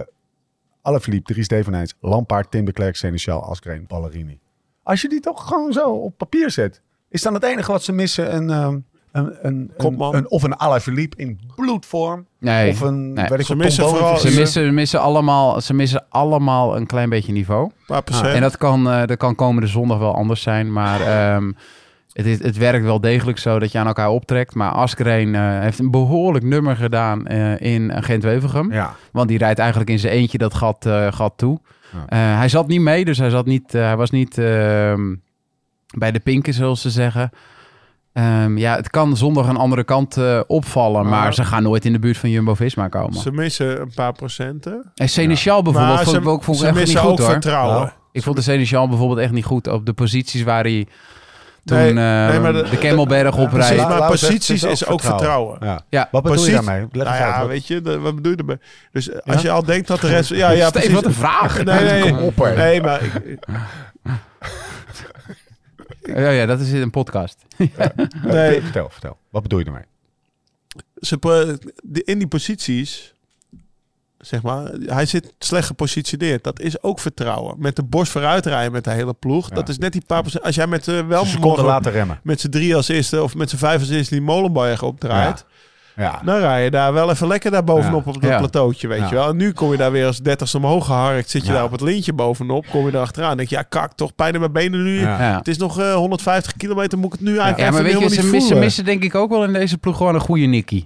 B: Alaphilippe, Dries Devenijns, Lampaard, Tim de Klerk, Seneschal, Askreen, Ballerini. Als je die toch gewoon zo op papier zet. Is dan het enige wat ze missen een... ehm, een, een,
E: Kopman.
B: een, een- of een Alaphilippe in bloedvorm.
D: Nee,
B: of een,
D: nee.
B: weet ik
E: Ze
B: wat,
E: missen
B: Tom Bonne
E: vooral-
B: figuur.
D: Ze missen, missen allemaal, ze missen allemaal een klein beetje niveau.
E: Een
B: Ah.
E: paar procent.
D: En dat kan, eh, dat kan komende zondag wel anders zijn. Maar ehm, het, is, het werkt wel degelijk zo dat je aan elkaar optrekt. Maar Askreen eh, heeft een behoorlijk nummer gedaan eh, in Gent-Wevergem.
B: Ja,
D: Want die rijdt eigenlijk in zijn eentje dat gat, eh, gat toe. Eh, hij zat niet mee, dus hij, zat niet, eh, hij was niet ehm, bij de pinken, zoals ze zeggen. Ehm, ja, het kan zondag een andere kant eh, opvallen, maar
E: Maar-
D: ze gaan nooit in de buurt van Jumbo-Visma komen.
E: Ze missen een paar procenten.
D: En Seneschal bijvoorbeeld
E: Maar
D: vond ik
E: ze,
D: ook, vond ik
E: ze
D: echt niet
E: missen
D: goed
E: ook
D: hoor.
E: vertrouwen.
B: Nou,
D: Ik vond de Seneschal bijvoorbeeld echt niet goed op de posities waar hij toen
E: Nee,
D: ehm,
E: nee, maar
D: de,
E: de-
D: Kemmelberg
E: Precies,
D: oprijdt.
B: Lau-
E: maar
B: Lau zegt,
E: posities
B: het
E: is ook vertrouwen.
B: Ja.
D: Ja,
B: Wat bedoel
E: Precies.
B: je daarmee? Leg
E: Nou
B: eens uit,
E: ja,
B: wat-
E: weet je, de- wat bedoel je ermee? Dus als je al denkt dat de rest... Ja,
D: ja
E: ja,
D: Steve,
E: precies.
D: wat een vraag.
E: Nee, nee,
B: Kom op, hè.
E: nee, maar ik-
D: Ja, ja, dat is in een podcast.
E: nee,
B: Vertel, vertel. Wat bedoel je daarmee?
E: ze, pro- de- in die posities, zeg maar, hij zit slecht gepositioneerd. Dat is ook vertrouwen. Met de borst vooruit rijden met de hele ploeg, dat is net die paar procent. Als jij met eh, wel
B: Een seconde
E: morgen
B: laten remmen.
E: met z'n drie als eerste of met z'n vijf als eerste die molenberg opdraait,
D: Nou,
B: Ja.
E: dan rij je daar wel even lekker daar bovenop op dat
D: Ja.
E: plateautje, weet
B: Ja.
E: je wel. En nu kom je daar weer als dertigste omhoog geharkt, zit je
B: Ja.
E: daar op het lintje bovenop, kom je daar achteraan. Denk je, ja kak, toch pijn in mijn benen nu.
B: Ja.
D: Ja.
E: Het is nog eh, 150 kilometer, moet ik het nu eigenlijk
D: Ja, maar
E: even
D: weet je,
E: helemaal
D: ze
E: niet
D: missen,
E: voelen.
D: missen denk ik ook wel in deze ploeg gewoon een goede Nicky.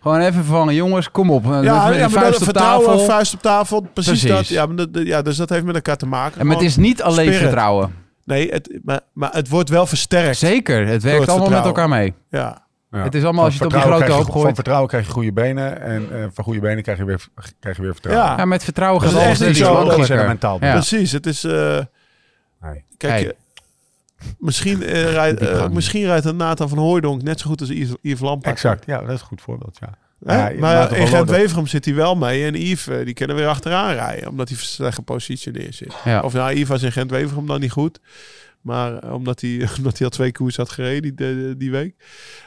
D: Gewoon even van, jongens, kom op. Ja,
E: Ja, ja, maar
D: vuist
E: dat
D: op
E: vertrouwen,
D: tafel.
E: vuist op tafel, precies,
D: Precies.
E: dat. Ja, maar dat- ja, dus dat heeft met elkaar te maken.
D: En maar het is niet alleen
E: Spirit.
D: vertrouwen.
E: Nee, het, maar, maar het wordt wel versterkt.
D: Zeker, het
E: het
D: werkt allemaal met
E: vertrouwen.
D: elkaar mee.
E: Ja.
B: Ja.
D: Het is allemaal als je het op die
B: vertrouwen
D: grote
B: krijg je-
D: hoop gooit.
B: Van vertrouwen krijg je goede benen. En eh, van goede benen krijg je weer, krijg je weer vertrouwen.
E: Ja.
D: Ja, met vertrouwen
E: Dat
D: gaat
E: is
D: alles
E: echt
D: net
E: niet
D: iets
E: zo.
B: Dat
D: makkelijker.
B: is mentaal.
D: Ja.
E: precies. Het is... eh,
B: Nee.
E: Kijk,
D: Hey.
E: eh, misschien, eh, rijdt,
D: Die
E: eh,
D: gang.
E: misschien rijdt een Nathan van Hooijdonk net zo goed als Yves, Yves Lampaard.
B: Exact. Ja, dat is een goed voorbeeld. Ja.
E: Hè?
B: Ja, je maakt
E: maar
B: het
E: in
B: wel
E: gent
B: nodig.
E: Wevergem zit hij wel mee. En Yves, eh, die kunnen weer achteraan rijden. Omdat hij slecht gepositioneerd zit.
D: Ja.
E: Of nou, Yves was in gent Wevergem dan niet goed. Maar eh, omdat hij, omdat hij al twee koers had gereden die, de- die week.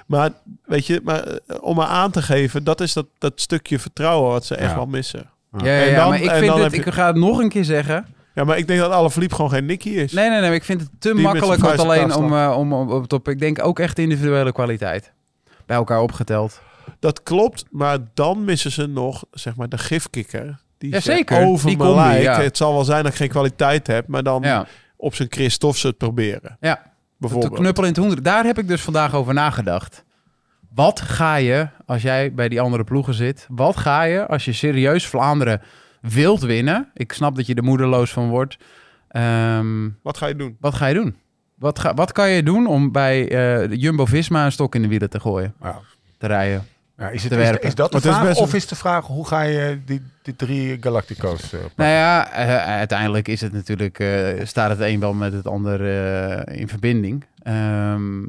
E: Maar weet je, maar, eh, om maar aan te geven, dat is dat, dat stukje vertrouwen wat ze echt
B: Ja.
E: wel missen.
D: Ja, ja,
E: En
D: ja,
E: dan-
D: maar ik,
E: en
D: vind
E: dan
D: het,
E: heb je-
D: ik ga het nog een keer zeggen.
E: Ja, maar ik denk dat Alaphilippe gewoon geen Nicky is.
D: Nee, nee, nee. Ik vind het te
E: met
D: makkelijk
E: zijn
D: om het
E: vuist
D: alleen
E: op
D: om, eh, om, om op het op. Ik denk ook echt individuele kwaliteit. Bij elkaar opgeteld.
E: Dat klopt, maar dan missen ze nog, zeg maar, de gifkikker. Die
D: Ja,
E: ze
D: zeker.
E: over
D: Die
E: me
D: combi,
E: lijkt.
D: ja.
E: Het zal wel zijn dat ik geen kwaliteit heb, maar dan
D: Ja,
E: op zijn Christofse het proberen.
D: ja. Te
E: Bijvoorbeeld.
D: knuppelen in het hoender. Daar heb ik dus vandaag over nagedacht. Wat ga je als jij bij die andere ploegen zit? Wat ga je als je serieus Vlaanderen wilt winnen? Ik snap dat je er moedeloos van wordt. Ehm,
E: Wat ga je doen?
D: wat ga je doen? Wat, ga, wat kan je doen om bij eh, Jumbo-Visma een stok in de wielen te gooien?
B: Ja.
D: Te rijden.
B: Ja, is, het,
D: te
B: is,
D: werpen.
B: is dat de
E: Want het is
B: vraag?
E: best een-
B: of is de vraag hoe ga je die, die drie Galactico's... eh,
D: Nou ja, eh, uiteindelijk is het natuurlijk, eh, staat het een wel met het ander eh, in verbinding. Ehm,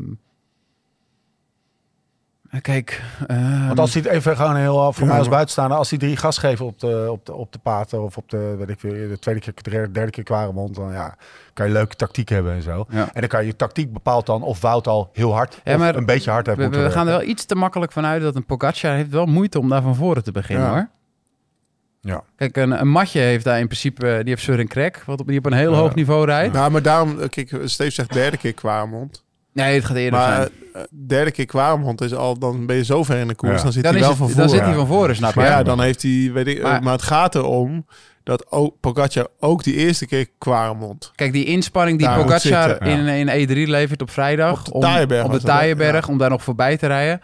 D: kijk, ehm,
B: Want als hij het even gewoon heel voor
F: Ja,
B: mij als
F: maar-
B: buitenstaander, als die drie gas geven op de, op de, op de paten of op de, weet ik veel, de tweede keer, de derde keer kwaremond, dan ja, kan je leuke tactiek hebben en zo.
D: Ja.
B: En dan kan je tactiek bepaalt dan of Wout al heel hard
D: Ja,
B: of
D: maar
B: een beetje hard heeft
D: we,
B: moeten
D: we gaan er
B: werken.
D: wel iets te makkelijk van uit dat een Pogacar heeft wel moeite om daar van voren te beginnen
F: Ja.
D: hoor.
B: Ja.
D: Kijk, een, een matje heeft daar in principe, eh, die heeft Søren Krek, wat op, die op een heel
B: Ja.
D: hoog niveau rijdt.
E: Nou, maar daarom, eh, kijk, Steve zegt derde keer Kwaremond.
D: Nee, het gaat eerder
E: Maar
D: zijn.
E: eh, derde keer Kwaremond is al, dan ben je zo ver in de koers,
B: Ja.
E: dan zit
D: Dan,
E: hij
D: is
E: wel
D: het- dan
E: van voren.
D: zit hij
B: Ja.
D: van voren, snap je?
E: Maar ja,
D: Ja,
E: dan heeft hij, weet ik, eh,
D: Maar-
E: maar, maar het gaat erom dat ook Pogacar ook die eerste keer Kwaremond.
D: Kijk, die inspanning die
E: Daar moet
D: Pogacar
E: zitten,
D: in, in E3 levert op vrijdag...
E: Op de
D: om-
E: Taaienberg
D: op de
E: was dat, hè?
D: Taaienberg, om daar nog voorbij te rijden.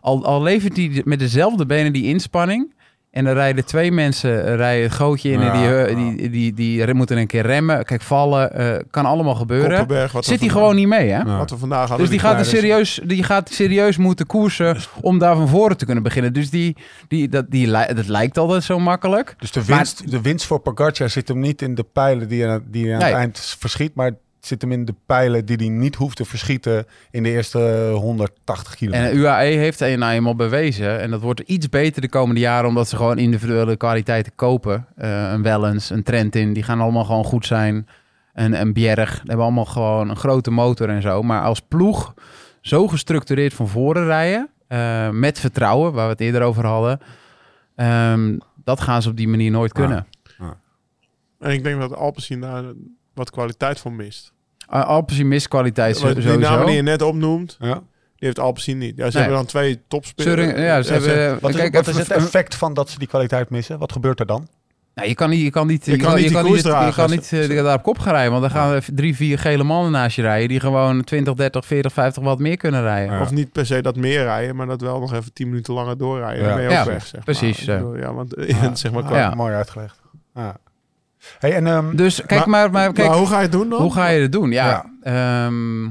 D: Al, al levert hij de- met dezelfde benen die inspanning... en dan rijden twee mensen eh, rijden het gootje in... en
E: Ja,
D: die, eh,
E: ja.
D: die, die, die, re- moeten een keer remmen, kijk, vallen, eh, kan allemaal gebeuren.
E: Koppenberg, wat we
D: Zit hij
E: vandaag-
D: gewoon niet mee, hè?
E: Wat we vandaag hadden.
D: Dus die gaat, er
E: kleine-
D: serieus, die gaat serieus moeten koersen
E: Dus-
D: om daar van voren te kunnen beginnen. Dus die, die, dat, die, li- dat lijkt altijd zo makkelijk.
B: Dus de
D: Maar-
B: winst, de winst voor Pogacar zit hem niet in de pijlen die hij die hij aan
D: Nee.
B: het eind verschiet, maar het zit hem in de pijlen die hij niet hoeft te verschieten in de eerste 180 kilometer.
D: En UAE heeft er nou eenmaal bewezen. En dat wordt iets beter de komende jaren. Omdat ze gewoon individuele kwaliteiten kopen. Eh, een Wellens, een Trentin. Die gaan allemaal gewoon goed zijn. En een Bjerg. Die hebben allemaal gewoon een grote motor en zo. Maar als ploeg zo gestructureerd van voren rijden. eh, met vertrouwen, waar we het eerder over hadden. ehm, dat gaan ze op die manier nooit kunnen.
E: En ik denk dat Alpecin daar wat kwaliteit van mist.
D: Uh, Alpecin mist kwaliteit zo-
E: Want die namen die je
D: sowieso.
E: net opnoemt,
B: Ja.
E: die heeft Alpecin niet. Ja, ze
D: Nee.
E: hebben dan twee
D: Zeuring-
E: topspelers.
D: ja, ze hebben, eh,
B: Wat is,
D: kijk,
B: wat
D: het
B: is het
D: een-
B: effect van dat ze die kwaliteit missen? Wat gebeurt er dan?
D: Nou, je kan niet, je kan niet,
E: Je kan niet die koers
D: je
E: dragen.
D: kan niet eh, daar op kop gaan rijden, want dan gaan er drie, vier gele mannen naast je rijden die gewoon 20, 30, 40, 50 wat meer kunnen rijden.
E: Of niet per se dat meer rijden, maar dat wel nog even tien minuten langer doorrijden.
B: Ja.
E: Dan ben je ook
D: Ja,
E: weg, zeg
D: precies,
E: maar.
D: ja.
E: Ik bedoel, Ja, want eh, zeg maar,
B: Ah,
E: qua-
D: Ja.
B: Mooi uitgelegd. Ja. Hey, en, ehm,
D: Dus kijk maar, maar, kijk,
E: Maar hoe
D: hoe,
E: ga je het doen dan?
D: ga je het doen? Ja. ehm,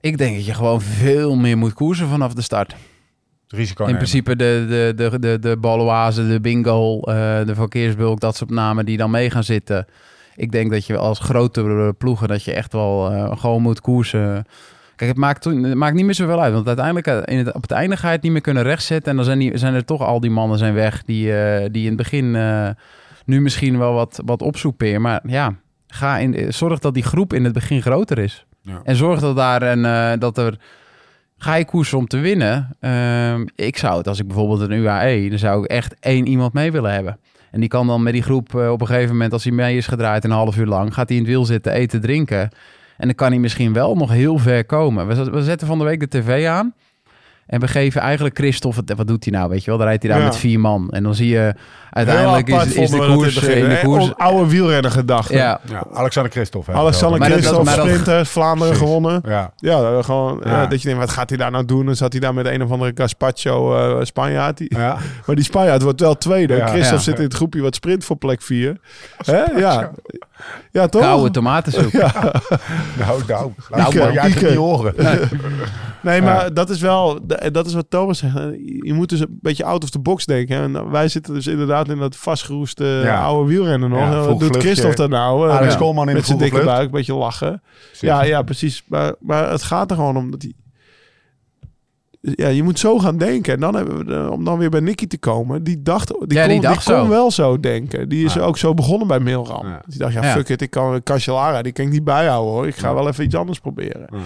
D: ik denk dat je gewoon veel meer moet koersen vanaf de start.
B: het risico
D: In
B: nemen.
D: principe de, de, de, de, de Balloise, de Bingo, eh, de Verkeersbulk, dat soort namen die dan mee gaan zitten. Ik denk dat je als grotere ploegen dat je echt wel eh, gewoon moet koersen. Kijk, het maakt, toen, het maakt niet meer zoveel uit. Want uiteindelijk eh, in het, op het einde ga je het niet meer kunnen rechtzetten. En dan zijn, die, zijn er toch al die mannen zijn weg die, eh, die in het begin eh, nu misschien wel wat, wat opsoeperen. Maar ja, ga in, eh, zorg dat die groep in het begin groter is.
F: Ja.
D: En zorg dat daar een, eh, dat er ga je koersen om te winnen? Ehm, ik zou het, als ik bijvoorbeeld een UAE, dan zou ik echt één iemand mee willen hebben. En die kan dan met die groep eh, op een gegeven moment, als hij mee is gedraaid een half uur lang, gaat hij in het wiel zitten, eten, drinken. En dan kan hij misschien wel nog heel ver komen. We, zet- we zetten van de week de tv aan. En we geven eigenlijk Christophe, wat doet hij nou, weet je wel? Dan rijdt hij daar
E: Ja.
D: met vier man. En dan zie je,
E: Heel
D: uiteindelijk is,
E: apart
D: is de
E: vonden we dat
D: koers... eh,
E: in het begin,
D: in de
E: hè?
D: koers
E: Om Oude wielrenner gedachte.
D: ja,
B: Ja, Alexander Christophe. hè,
E: Alexander
D: Maar dat-
E: Christophe,
D: maar dat-
E: sprinter, Vlaanderen
B: Precies.
E: gewonnen.
B: Ja.
E: Ja, eh, gewoon eh,
B: Ja.
E: dat je denkt, wat gaat hij daar nou doen? Dan zat hij daar met een of andere Gaspacho eh, Spanjaard. Die-
B: Ja.
E: Maar die Spanjaard wordt wel tweede.
B: Ja.
E: Christophe
D: Ja.
E: zit in het groepje wat sprint voor plek 4. Ja. ja, toch?
D: koude tomatensoep.
B: Nou, nou.
E: Ike,
B: Nou, maar jij
E: Ike.
B: kunt niet horen.
E: Nee, maar dat is wel, de- dat is wat Thomas zegt. Je moet dus een beetje out of the box denken. hè. En wij zitten dus inderdaad in dat vastgeroeste eh,
B: Ja.
E: oude wielrennen nog.
B: Ja,
E: En wat
B: vroeg
E: doet
B: vluchtje.
E: Christophe dat nou? Eh,
B: Alex
E: ja.
B: Koolman in de
E: Met zijn
B: vroege
E: dikke
B: vlucht.
E: buik, een beetje lachen. Ja, ja, precies. Maar, maar het gaat er gewoon om dat die. Ja, je moet zo gaan denken. En dan hebben we de- om dan weer bij Nicky te komen. Die dacht, die
D: Ja,
E: kon,
D: die dacht
E: kon
D: zo.
E: wel zo denken. Die is
B: Ja.
E: ook zo begonnen bij Milram.
B: Ja.
E: Die dacht, ja,
D: Ja.
E: fuck it, ik kan Cancellara, die kan ik niet bijhouden hoor. Ik ga
B: Ja.
E: wel even iets anders proberen.
B: Ja.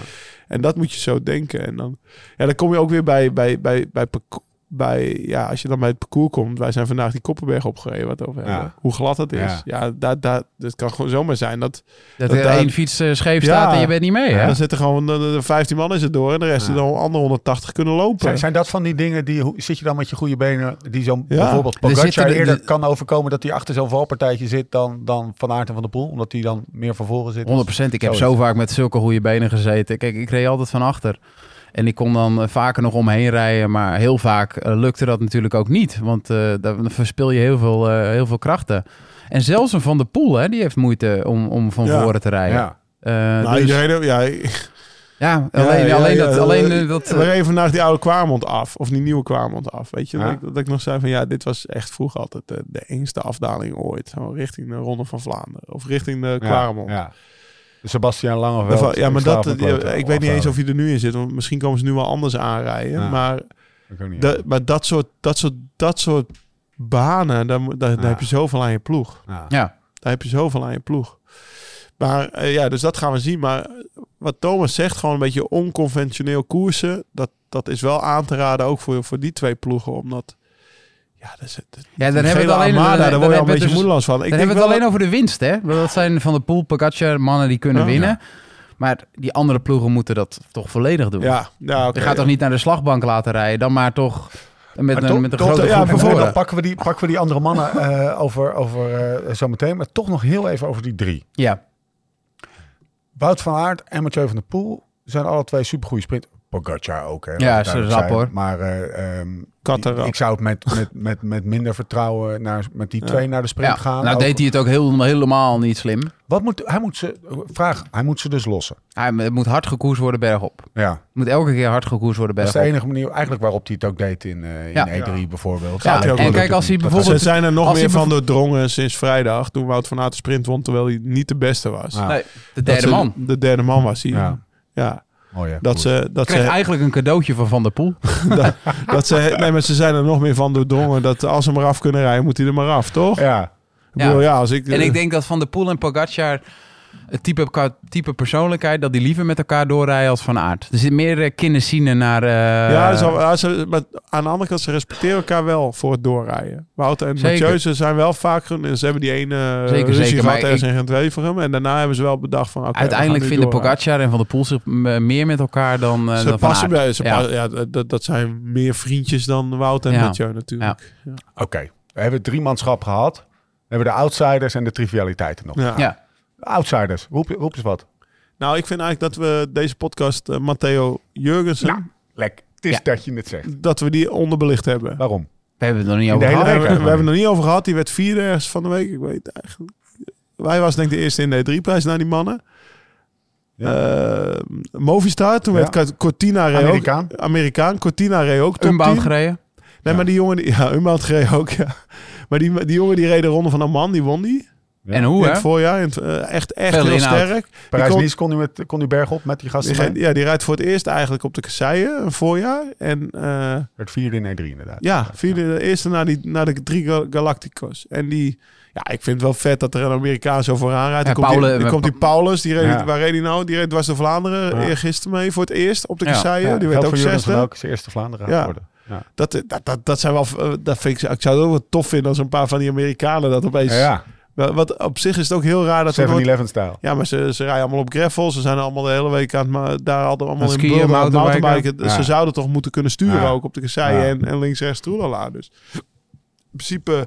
E: En dat moet je zo denken. En dan, ja, dan kom je ook weer bij, bij, bij, bij, parco- bij, ja, als je dan bij het parcours komt. Wij zijn vandaag die Koppenberg opgereden, wat we over
B: Ja.
E: hebben. Hoe glad dat is.
B: Ja.
E: Ja, daar, daar, het kan gewoon zomaar zijn dat
D: Dat
E: Dat
D: er
E: daar-
D: één fiets eh, scheef
E: Ja.
D: staat en je bent niet mee, hè?
E: dan zitten gewoon de, de- de 15 man is het door en de rest
B: Ja.
E: die dan andere 180 kunnen lopen.
B: Zijn, zijn dat van die dingen die hoe- zit je dan met je goede benen die zo
E: Ja.
B: bijvoorbeeld
D: Er zitten
B: Pogacar
D: de-
B: eerder
D: de-
B: kan overkomen dat hij achter zo'n valpartijtje zit dan, dan Van Aert en Van der Poel, omdat hij dan meer van voren zit?
D: 100%. Ik heb
B: Zo
D: zo
B: is
D: vaak met zulke goede benen gezeten. Kijk, ik reed altijd van achter. En ik kon dan eh, vaker nog omheen rijden. Maar heel vaak eh, lukte dat natuurlijk ook niet. Want eh, dan verspil je heel veel, eh, heel veel krachten. En zelfs een Van der Poel, hè, die heeft moeite om, om van
E: Ja.
D: voren te rijden.
B: Ja.
D: Eh,
E: nou,
D: dus-
E: iedereen, ja,
D: Ja, alleen, alleen dat... Alleen, eh, dat
E: we reden vandaag die oude Kwarmond af. Of die nieuwe Kwarmond af. Weet je,
B: Ja.
E: dat, ik, dat ik nog zei van ja, dit was echt vroeg altijd eh, de engste afdaling ooit. Gewoon richting de Ronde van Vlaanderen. Of richting de Kwaremond.
B: Ja. Sebastian
E: Dat
B: Langeveld.
E: wa- ja, maar
B: slaat
E: dat,
B: me
E: eh,
B: kloot.
E: ik weet niet eens of
B: Afhouden.
E: je er nu in zit. Want misschien komen ze nu wel anders aanrijden.
B: Ja.
E: Maar,
B: eh, Ik ook niet.
E: dat- maar dat, soort, dat, soort, dat soort banen, daar, mo- daar, daar
B: Ja.
E: heb je zoveel aan je ploeg.
B: Ja.
D: ja,
E: Daar heb je zoveel aan je ploeg. Maar eh, ja, dus dat gaan we zien. Maar wat Thomas zegt, gewoon een beetje onconventioneel koersen. Dat, dat is wel aan te raden, ook voor, voor die twee ploegen. Omdat, ja, dat is het.
D: ja,
E: die
D: dan hebben we
E: gele
D: het alleen...
E: Armada,
D: dan-
E: daar
D: dan
E: word
D: hebben
E: je al een
D: we
E: beetje
D: het dus-
E: moedeloos van. Ik
D: Dan hebben we
E: wel
D: het alleen over de winst, hè? Want Dat zijn Van de Poel, Pogacar, mannen die kunnen
E: Ja.
D: winnen. Maar die andere ploegen moeten dat toch volledig doen.
E: Ja, ja
D: je gaat toch niet naar de slagbank laten rijden, dan maar toch met
B: Maar
D: een,
B: toch-
D: met een
B: toch-
D: grote
E: ja,
D: groep
E: van
D: naar
B: En dan
D: voren.
B: pakken we die, pakken we die andere mannen eh, over, over eh, zo meteen. Maar toch nog heel even over die drie.
D: Ja,
B: Wout van Aert en Mathieu van der Poel zijn alle twee supergoeie sprint. Pogacar ook, hè. laat
D: Ja,
B: het
D: ze
B: duidelijk
D: rap,
B: zijn.
D: hoor.
B: Maar eh, ehm,
E: Katter
B: ik,
E: ook.
B: ik zou het met, met, met, met minder vertrouwen naar, met die twee naar de sprint
D: ja.
B: gaan.
D: nou
B: Ook-
D: deed hij het ook heel, helemaal niet slim.
B: Wat moet, hij moet ze, vraag, hij moet ze dus lossen.
D: Hij het moet hard gekoers worden bergop.
B: Ja,
D: Het moet elke keer hard gekoers worden
B: dat is de
D: bergop.
B: enige manier eigenlijk waarop hij het ook deed in, eh, in
D: Ja.
B: E3 bijvoorbeeld.
D: Ja,
B: Gaat hij ook
D: en
B: wel
D: kijk,
B: doen.
D: als hij
B: Dat gaat-
D: bijvoorbeeld-
E: Ze zijn er nog
D: Als
E: meer
D: hij
E: van doordrongen sinds vrijdag. Toen Wout van Aert de sprint won, terwijl hij niet de beste was.
B: Ja.
D: Nee, de
E: Dat
D: Ah. derde
E: ze-
D: man.
E: De derde man was hij.
B: Ja.
E: Ja.
B: Mooi, hè.
E: dat ze, dat
D: Kreeg
E: ze
D: eigenlijk een cadeautje van Van der Poel.
E: dat, dat ze, nee, maar ze zijn er nog meer van doordrongen dat als ze maar af kunnen rijden, moet hij er maar af, toch?
B: Ja,
E: Ik bedoel, ja, als ik,
D: En ik denk dat Van der Poel en Pogacar het type, qua type persoonlijkheid dat die liever met elkaar doorrijden als van aard. Er zit meer eh, kinnesine naar. eh,
E: Ja, ze- ja, ze- maar aan de andere kant, ze respecteren elkaar wel voor het doorrijden. Wouter en
D: Zeker.
E: Mathieu, ze zijn wel vaak... groen- Ze hebben die ene eh,
D: Zeker,
E: ruzie
D: zeker,
E: gehad
D: maar
E: ergens
D: ik-
E: in Gent-Weverum. En daarna hebben ze wel bedacht van... oké, we
D: Uiteindelijk
E: gaan nu
D: vinden
E: doorrijden.
D: Pogacar en Van der Poel zich m- meer met elkaar dan, eh,
E: Ze
D: dan Van
E: passen
D: Aert.
E: bij... Ze
D: Ja.
E: passen- ja. dat, dat zijn meer vriendjes dan Wouter en
D: Ja.
E: Mathieu natuurlijk. Ja.
B: oké. We hebben het driemanschap gehad. We hebben de outsiders en de trivialiteiten nog.
D: Ja.
B: Outsiders, roep, roep eens wat.
E: Nou, ik vind eigenlijk dat we deze podcast... eh, Matteo Jurgensen...
B: Nou, lek. Het is
D: Ja.
B: dat je het zegt.
E: dat we die onderbelicht hebben.
B: Waarom?
D: We hebben het nog niet
B: In de
D: over
B: hele
E: We
D: gehad.
B: week
E: hebben, we
B: eigenlijk.
E: hebben het nog niet over gehad. Die werd vierde ergens van de week. Ik weet eigenlijk. Wij was denk ik de eerste in de E3-prijs naar die mannen. Eh, Movistar, toen
B: Ja.
E: werd Kat- Cortina Reo.
B: Amerikaan.
E: Amerikaan. Cortina Reo ook top
D: Unbound
E: 10.
D: gereden.
E: Nee, maar die jongen... die- Ja, Unbound gereden ook, ja. Maar die, die jongen die reed de ronde van Amman, die won die.
B: Ja.
D: En
E: in
D: hoe,
E: het
D: hè?
E: voorjaar. In het, eh, echt echt
D: Veel
E: heel
D: inhoud.
E: sterk. Die kon-
B: Parijs-Nice kon, hij met- kon hij berg op met die gasten.
E: die
B: mee?
E: ge- ja, die rijdt voor het eerst eigenlijk op de kasseien, een voorjaar. En eh,
B: Het vierde in E3 inderdaad.
E: Ja, vierde, de eerste naar, die, naar de drie Gal- Galacticos. En die, ja, ik vind het wel vet dat er een Amerikaan zo vooraan rijdt.
D: Ja,
E: Dan komt,
D: Paule-
E: die, dan komt die Paulus, die reed,
B: Ja.
E: waar reed hij nou? Die reed dwars de Vlaanderen
B: Ja.
E: eh, gisteren mee voor het eerst op de
D: Ja.
E: kasseien.
B: Ja,
E: die
B: geldt
E: werd ook
B: voor Jurgensen
E: zesde.
B: ook zijn eerste Vlaanderen
E: Ja.
B: worden. Ja.
E: Dat, dat, dat, dat zijn wel, eh, dat vind ik, ik zou het ook wel tof vinden als een paar van die Amerikanen dat opeens...
B: Ja,
E: Wel, Wat op zich is het ook heel raar dat... we nooit-
B: 7-Eleven stijl.
E: ja, maar ze, ze rijden allemaal op gravel. Ze zijn allemaal de hele week aan het... Maar daar hadden we allemaal
D: Aan
E: in
D: skiën,
E: beelden aan het
D: mountainbiken.
E: mountainbiken. Dus
B: Ja.
E: Ze zouden toch moeten kunnen sturen
B: Ja.
E: ook op de kasseien
B: Ja.
E: en, en links-rechts troelala. Dus in principe... eh,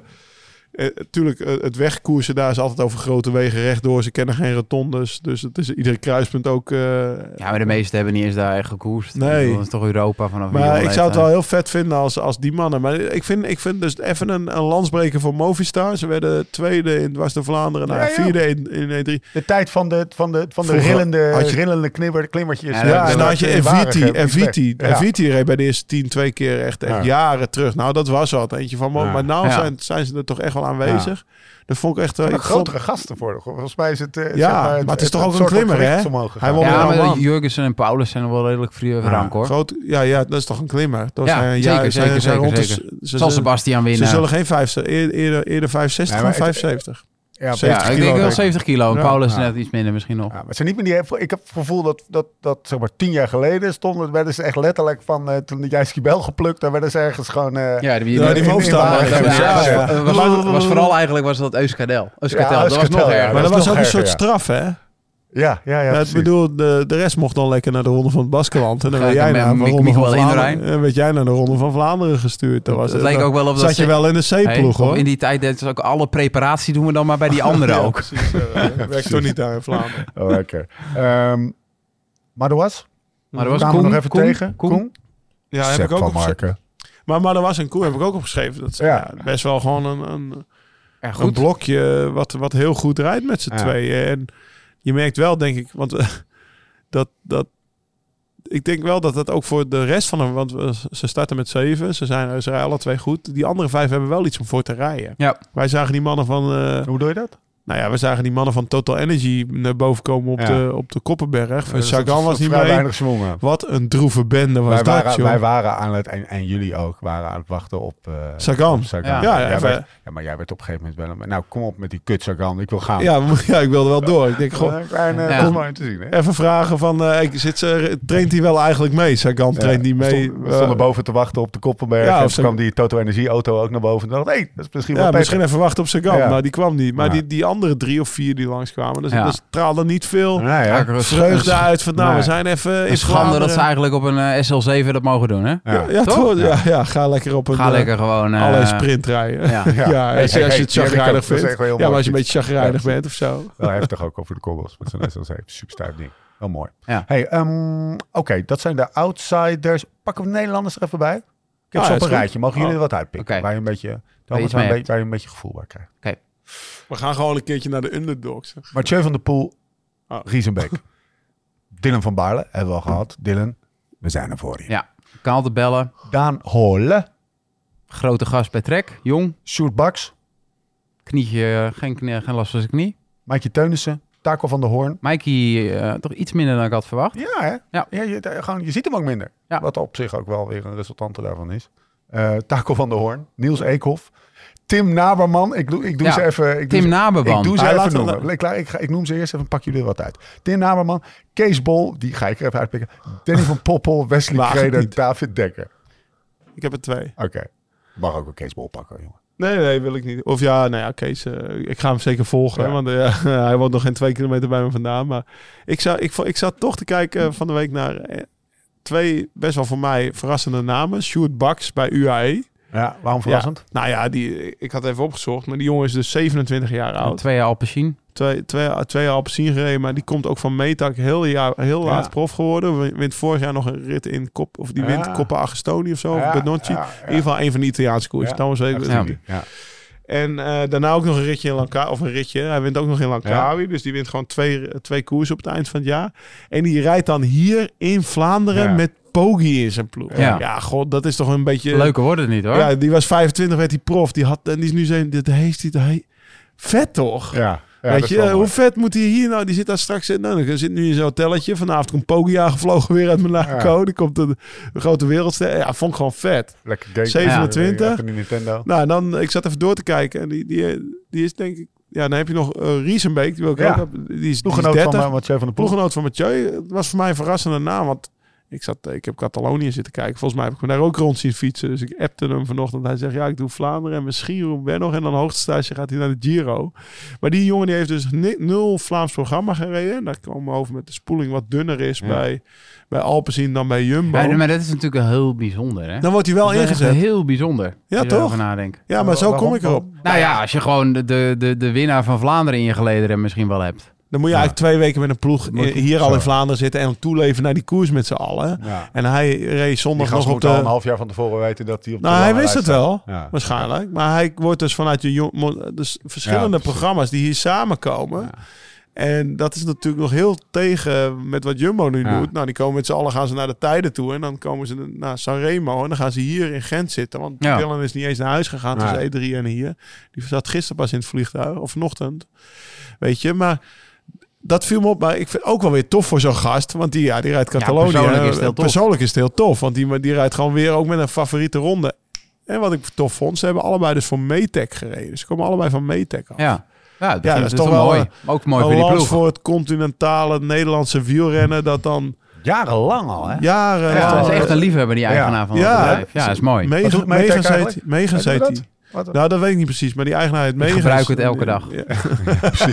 E: Natuurlijk, het wegkoersen daar is altijd over grote wegen rechtdoor. Ze kennen geen rotondes. Dus het is iedere kruispunt ook... eh,
D: Ja, maar de meesten hebben niet eens daar echt gekoerst.
E: Nee.
D: Ik bedoel, Dat is toch Europa
B: Oh,
D: vanaf hier
E: Maar ik
D: leeftijd.
E: zou het wel heel vet vinden als, als die mannen. Maar ik vind, ik vind dus even een, een landsbreker voor Movistar. Ze werden tweede in Dwars de Vlaanderen. Nou,
B: Ja, ja.
E: vierde in, E in E3.
B: De tijd van de, van de, van de
E: Vroeger
B: rillende,
E: had je-
B: rillende knibber, klimmertjes.
D: Ja,
E: Ja, en dan had je Eviti.
B: Waregem,
E: Eviti.
B: Ja.
E: Eviti reed bij de eerste tien twee keer echt, echt
B: Ja.
E: jaren terug. Nou, dat was wat. Eentje van mo-
B: Ja.
E: Maar nou
D: Ja.
E: zijn, zijn ze er toch echt wel aanwezig. Dat vond ik echt... eh,
B: Maar
E: ik vond-
B: grotere gasten voor. de- Volgens mij is het... eh,
E: Ja,
B: zeg maar,
E: maar het is toch ook een
B: soort van
E: klimmer, hè?
B: gewicht is omhoog
E: Hij
B: gegaan.
E: won-
D: Ja,
E: wel
D: maar
E: man.
D: Jurgensen en Paulus zijn wel redelijk vrije rank, hoor.
E: groot, ja, ja, dat is toch een klimmer. Dat
D: Ja,
E: zijn,
D: zeker,
E: zijn-
D: zeker,
E: zijn
D: zeker,
E: rond de-
D: zeker.
E: ze- Ze,
D: Zal Sebastian
E: ze
D: winnen.
E: zullen geen 50, eer- eerder, eerder 65
B: Nee,
E: dan
B: maar het-
E: 75.
B: Ja,
E: Zeven.
D: ja,
E: 70
D: ik
E: kilo,
D: denk wel
E: denk ik.
D: 70 kilo. En
E: Ja.
D: Paulus
B: Ja.
D: net iets minder misschien nog.
B: Ja, maar het zijn niet meer die, ik heb het gevoel dat, dat, dat zeg maar tien jaar geleden stonden, werden ze echt letterlijk van, eh, toen jij Skibel geplukt, daar werden ze ergens gewoon... eh,
D: Ja, die,
E: Ja,
B: die Movistar.
D: Ja, dat was-
B: Ja, ja.
D: dat was- was- was vooral eigenlijk was dat Euskadel. Euskadel, dat was
B: Euskadel,
D: nog
B: ja.
D: erger.
E: Maar
B: dat
E: dat
B: is
E: was
B: nog
E: ook een soort
B: erger,
E: straf, hè?
B: Ja, ja, ja.
E: Ja, ik
B: precies.
E: bedoel, de, de rest mocht dan lekker naar de Ronde van het Baskeland. En dan
D: Ga
E: werd
D: ik
E: jij,
D: met
E: naar de
D: Mick-
E: Ronde
D: Mick
E: van
D: wel
E: Vlaanderen,
D: inrijden?
E: en werd jij naar de Ronde van Vlaanderen gestuurd. Dat, was,
D: Het leek
E: dat-
D: ook wel of dat
E: zat je
D: ze-
E: wel in de
D: Hey,
E: C-ploeg, hoor.
D: In die tijd deden ze ook alle preparatie doen we dan maar bij die andere
E: Ja,
D: ook.
E: precies. eh, werkt toch niet daar in Vlaanderen.
B: Oh, lekker. Ehm, maar er was?
D: Maar dat was
B: Kwamen we
D: Koen,
B: nog even
D: Koen,
B: tegen?
D: Koen.
E: Ja, heb
B: Sepp
E: ik ook
B: van
E: opgeschreven.
B: Marken.
E: Maar, maar er was een koe, heb ik ook opgeschreven. Dat is
B: Ja.
E: ja, best wel gewoon een, een,
D: Ja, goed.
E: een blokje wat, wat heel goed rijdt met z'n
B: Ja.
E: tweeën. En je merkt wel, denk ik, want eh, dat, dat ik denk wel dat dat ook voor de rest van hem, want we- ze starten met zeven, ze zijn, ze rijden alle twee goed. Die andere vijf hebben wel iets om voor te rijden.
D: Ja.
E: Wij zagen die mannen van, eh,
B: Hoe doe je dat?
E: nou ja, we zagen die mannen van Total Energy naar boven komen op,
B: Ja.
E: de, op de Koppenberg.
B: Eh,
E: Sagan
B: dat
E: was niet
B: vrij
E: mee.
B: weinig zwongen.
E: Wat een droeve bende was
B: Wij
E: dat,
B: waren,
E: joh.
B: wij waren aan het, en, en jullie ook, waren aan het wachten op eh,
E: Sagan.
B: op Sagan.
D: Ja.
E: Ja,
B: Jij
E: even-
B: werd- ja, maar jij werd op een gegeven moment wel een... Nou, kom op met die kut Sagan, ik wil gaan.
E: ja, maar- ja, ik wilde wel door. Ik denk, goh,
B: gewoon een kleine
D: Ja.
B: kom maar in te zien. Hè?
E: even vragen van, eh, ik zit ze, traint hij wel eigenlijk mee? Sagan traint niet
B: Ja, we
E: mee.
B: stonden- We stonden
E: Eh,
B: boven te wachten op de Koppelberg.
E: Ja,
B: en
E: of
B: toen
E: ze-
B: kwam die Toto Energie auto ook naar boven. En dacht, hé, hey, dat is misschien
E: Ja,
B: wel
E: misschien even wachten op Sagan,
B: Ja.
E: maar die kwam niet. Maar
B: Ja.
E: die, die andere drie of vier die langskwamen, dus
D: Ja.
E: dat straalde niet veel
B: Nou ja.
D: Akkerig.
E: vreugde uit van, nou,
B: Nee.
E: we zijn even in
D: Een schande dat ze
E: Vlaanderen.
D: eigenlijk op een eh, SL7 dat mogen doen, hè?
E: Ja,
B: Ja.
E: ja,
D: Toch?
E: toch? Ja, ja, ga lekker op een...
D: Ga
E: eh,
D: lekker gewoon... eh,
E: Alle sprint rijden. Ja,
B: Ja.
D: Ja.
B: Hey,
E: als, je-
B: hey,
E: als
B: hey,
E: je het
B: die heb ik ook.
E: chagrijnig
B: Dat is
E: vindt.
B: echt wel heel
E: Ja, maar als je een
B: mooi.
E: beetje chagrijnig
B: Ja.
E: bent of zo.
B: Wel heftig ook over de kobbels met zijn SL7. Super stijf ding. Wel mooi.
D: Ja.
B: Hey, ehm, Oké, dat zijn de outsiders. Pakken we de Nederlanders er even bij? Ik heb
D: Oh,
E: Ah,
B: ze op
E: ja, is
B: een
E: goed.
B: rijtje. Mogen jullie er wat uitpikken?
D: Oké.
B: Waar je een beetje,
D: je iets
B: waar,
D: mee
B: een
D: hebt.
B: beetje, waar je een beetje gevoel bij krijgt.
E: We gaan gewoon een keertje naar de underdogs.
B: Mathieu van der Poel,
E: Oh.
B: Riesenbeek. Dylan van Baarle hebben we al gehad. Dylan, we zijn er voor je.
D: Ja. Kan altijd bellen.
B: Daan Holle,
D: Grote gast bij Trek. Jong.
B: Sjoerd Baks,
D: Knietje, eh, geen, knie, geen last van zijn knie.
B: Maatje Teunissen, Taco van der Hoorn.
D: Mikey eh, toch iets minder dan ik had verwacht.
B: Ja, hè?
D: Ja.
B: je, eh, gewoon, je ziet hem ook minder.
D: Ja.
B: Wat op zich ook wel weer een resultante daarvan is. Eh Taco van der Hoorn, Niels Eekhoff, Tim Naberman. Ik doe, ik doe
D: Ja,
B: ze even... Ik
D: Tim
B: doe ze, ik
D: Naberman.
B: doe ze
E: Ah,
B: even
E: laten we-
B: noemen. Ik, klaar, ik, ga, ik noem ze eerst even, pak jullie er wat uit. Tim Naberman, Kees Bol, die ga ik er even uitpikken. Danny van Poppel, Wesley
E: Waag het
B: Kreder,
E: niet.
B: David Dekker.
E: Ik heb er twee.
B: Oké, mag ook een Kees Bol pakken, jongen.
E: Nee, nee, wil ik niet. Of ja, nou ja, Kees, eh, ik ga hem zeker volgen. hè,
B: Ja.
E: Want eh, hij woont nog geen twee kilometer bij me vandaan. Maar ik, zou, ik, vo- ik zat toch te kijken eh, van de week naar eh, twee best wel voor mij verrassende namen. Sjoerd Baks bij UAE.
B: Ja, waarom verrassend?
E: Nou ja, die, ik had even opgezocht. Maar die jongen is dus 27 jaar
D: Ja,
E: oud.
D: Twee jaar Alpecin.
E: Twee, twee, twee jaar Alpecin gereden. Maar die komt ook van Metak heel, jaar, heel
B: Ja.
E: laat prof geworden. Win- Wint vorig jaar nog een rit in Kop. Of die wint
B: Ja.
E: Coppa Agostoni of zo.
B: Ja,
E: of Benocchi.
B: ja,
E: In ieder geval een van de Italiaanse koers. Nou,
B: Ja.
E: Thomas Weber.
D: Ja.
B: Ja.
E: En eh, daarna ook nog een ritje in Lankawi. Of een ritje. Hij wint ook nog in Lankawi. Dus die wint gewoon twee, twee koersen op het eind van het jaar. En die rijdt dan hier in Vlaanderen
B: Ja.
E: met Poggi in zijn ploeg.
D: Ja.
E: Ja, god, dat is toch een beetje...
D: Leuker wordt het niet hoor.
E: Ja, die was 25, werd die prof. Die had, en die is nu zijn... Dit heeft hij... hij- Vet toch?
B: Ja, ja, dat
E: Weet
B: is
E: je,
B: wel
E: eh,
B: mooi.
E: hoe vet moet hij hier nou? Die zit daar straks in. Nou, dan zit nu in zo'n telletje. Vanavond komt Poggi aangevlogen weer uit Monaco. Die komt de, de grote wereldster. Ja, vond ik gewoon vet.
B: Lekker game.
E: 27.
B: Ja, van die Nintendo.
E: Nou, en dan, ik zat even door te kijken. En die, die, die is denk ik... Ja, dan heb je nog eh, Riesenbeek. Die wil ik
B: Ja.
E: ook hebben. Die is, die is
B: Ploeggenoot
E: 30.
B: van eh, Mathieu van der Poel.
E: Ploeggenoot van Mathieu. Het was voor mij een verrassende naam. Want ik, zat, eh, ik heb Catalonië zitten kijken. Volgens mij heb ik me daar ook rond zien fietsen. Dus ik appte hem vanochtend. Hij zegt, ja, ik doe Vlaanderen en misschien Roubaix nog. En dan hoogtestage gaat hij naar de Giro. Maar die jongen die heeft dus ni- nul Vlaams programma gereden. En daar kwam we over met de spoeling wat dunner is bij, bij Alpecin dan bij Jumbo.
D: Ja, maar dat is natuurlijk heel bijzonder hè.
E: dan wordt hij Nou, wel
D: Dat is echt
E: ingezet.
D: Heel bijzonder.
E: Ja,
D: als je erover
E: toch?
D: nadenkt.
E: Ja, maar zo kom ik erop.
D: Nou ja, als je gewoon de, de, de, de winnaar van Vlaanderen in je gelederen misschien wel hebt.
E: Dan moet je eigenlijk twee weken met een ploeg
B: Moet-
E: hier
B: zo.
E: al in Vlaanderen zitten en hem toeleven naar die koers met z'n allen.
B: Ja.
E: En hij reed
B: Die
E: zondag
B: gast
E: nog op
B: moet
E: de...
B: al een half jaar van tevoren weten dat hij op de
E: Nou, hij
B: lange
E: wist
B: lijst
E: het wel,
B: staat. Ja.
E: waarschijnlijk. Maar hij wordt dus vanuit de jong, mo- dus
B: Ja,
E: verschillende
B: precies.
E: programma's die hier samenkomen. En dat is natuurlijk nog heel tegen met wat Jumbo nu
B: Ja.
E: doet. Nou, die komen met z'n allen gaan ze naar de tijden toe. En dan komen ze naar Sanremo. En dan gaan ze hier in Gent zitten. Want
D: Ja.
E: Dylan is niet eens naar huis gegaan
B: Nee.
E: tussen E3 en hier. Die zat gisteren pas in het vliegtuig. Of vanochtend. Weet je, maar... Dat viel me op, maar ik vind het ook wel weer tof voor zo'n gast. Want die, ja, die rijdt Catalonië.
D: persoonlijk is het heel tof.
E: Persoonlijk is het heel tof. Want die, die rijdt gewoon weer ook met een favoriete ronde. En wat ik tof vond, ze hebben allebei dus voor Metec gereden. Ze komen allebei van Metec af.
D: Ja, ja, dat,
E: Ja,
D: is,
E: dat is
D: toch
E: toch wel
D: mooi.
E: een-
D: Maar ook mooi voor die
E: Balans
D: ploeg.
E: voor het continentale Nederlandse wielrennen dat dan
B: Jarenlang al, hè?
E: jaren
D: Ja, dat
E: lang-
D: is echt een liefhebber, die eigenaar van het
E: Ja.
D: bedrijf. Ja, dat is mooi.
E: Megen-
B: Wat doet Metec
E: Megens
B: eigenlijk?
E: heet- Megens
B: Weet je
E: heet
B: dat?
E: die.
B: Wat-
E: Nou, dat weet ik niet precies, maar die eigenaar heet Megens.
D: gebruik het elke dag.
E: Ja.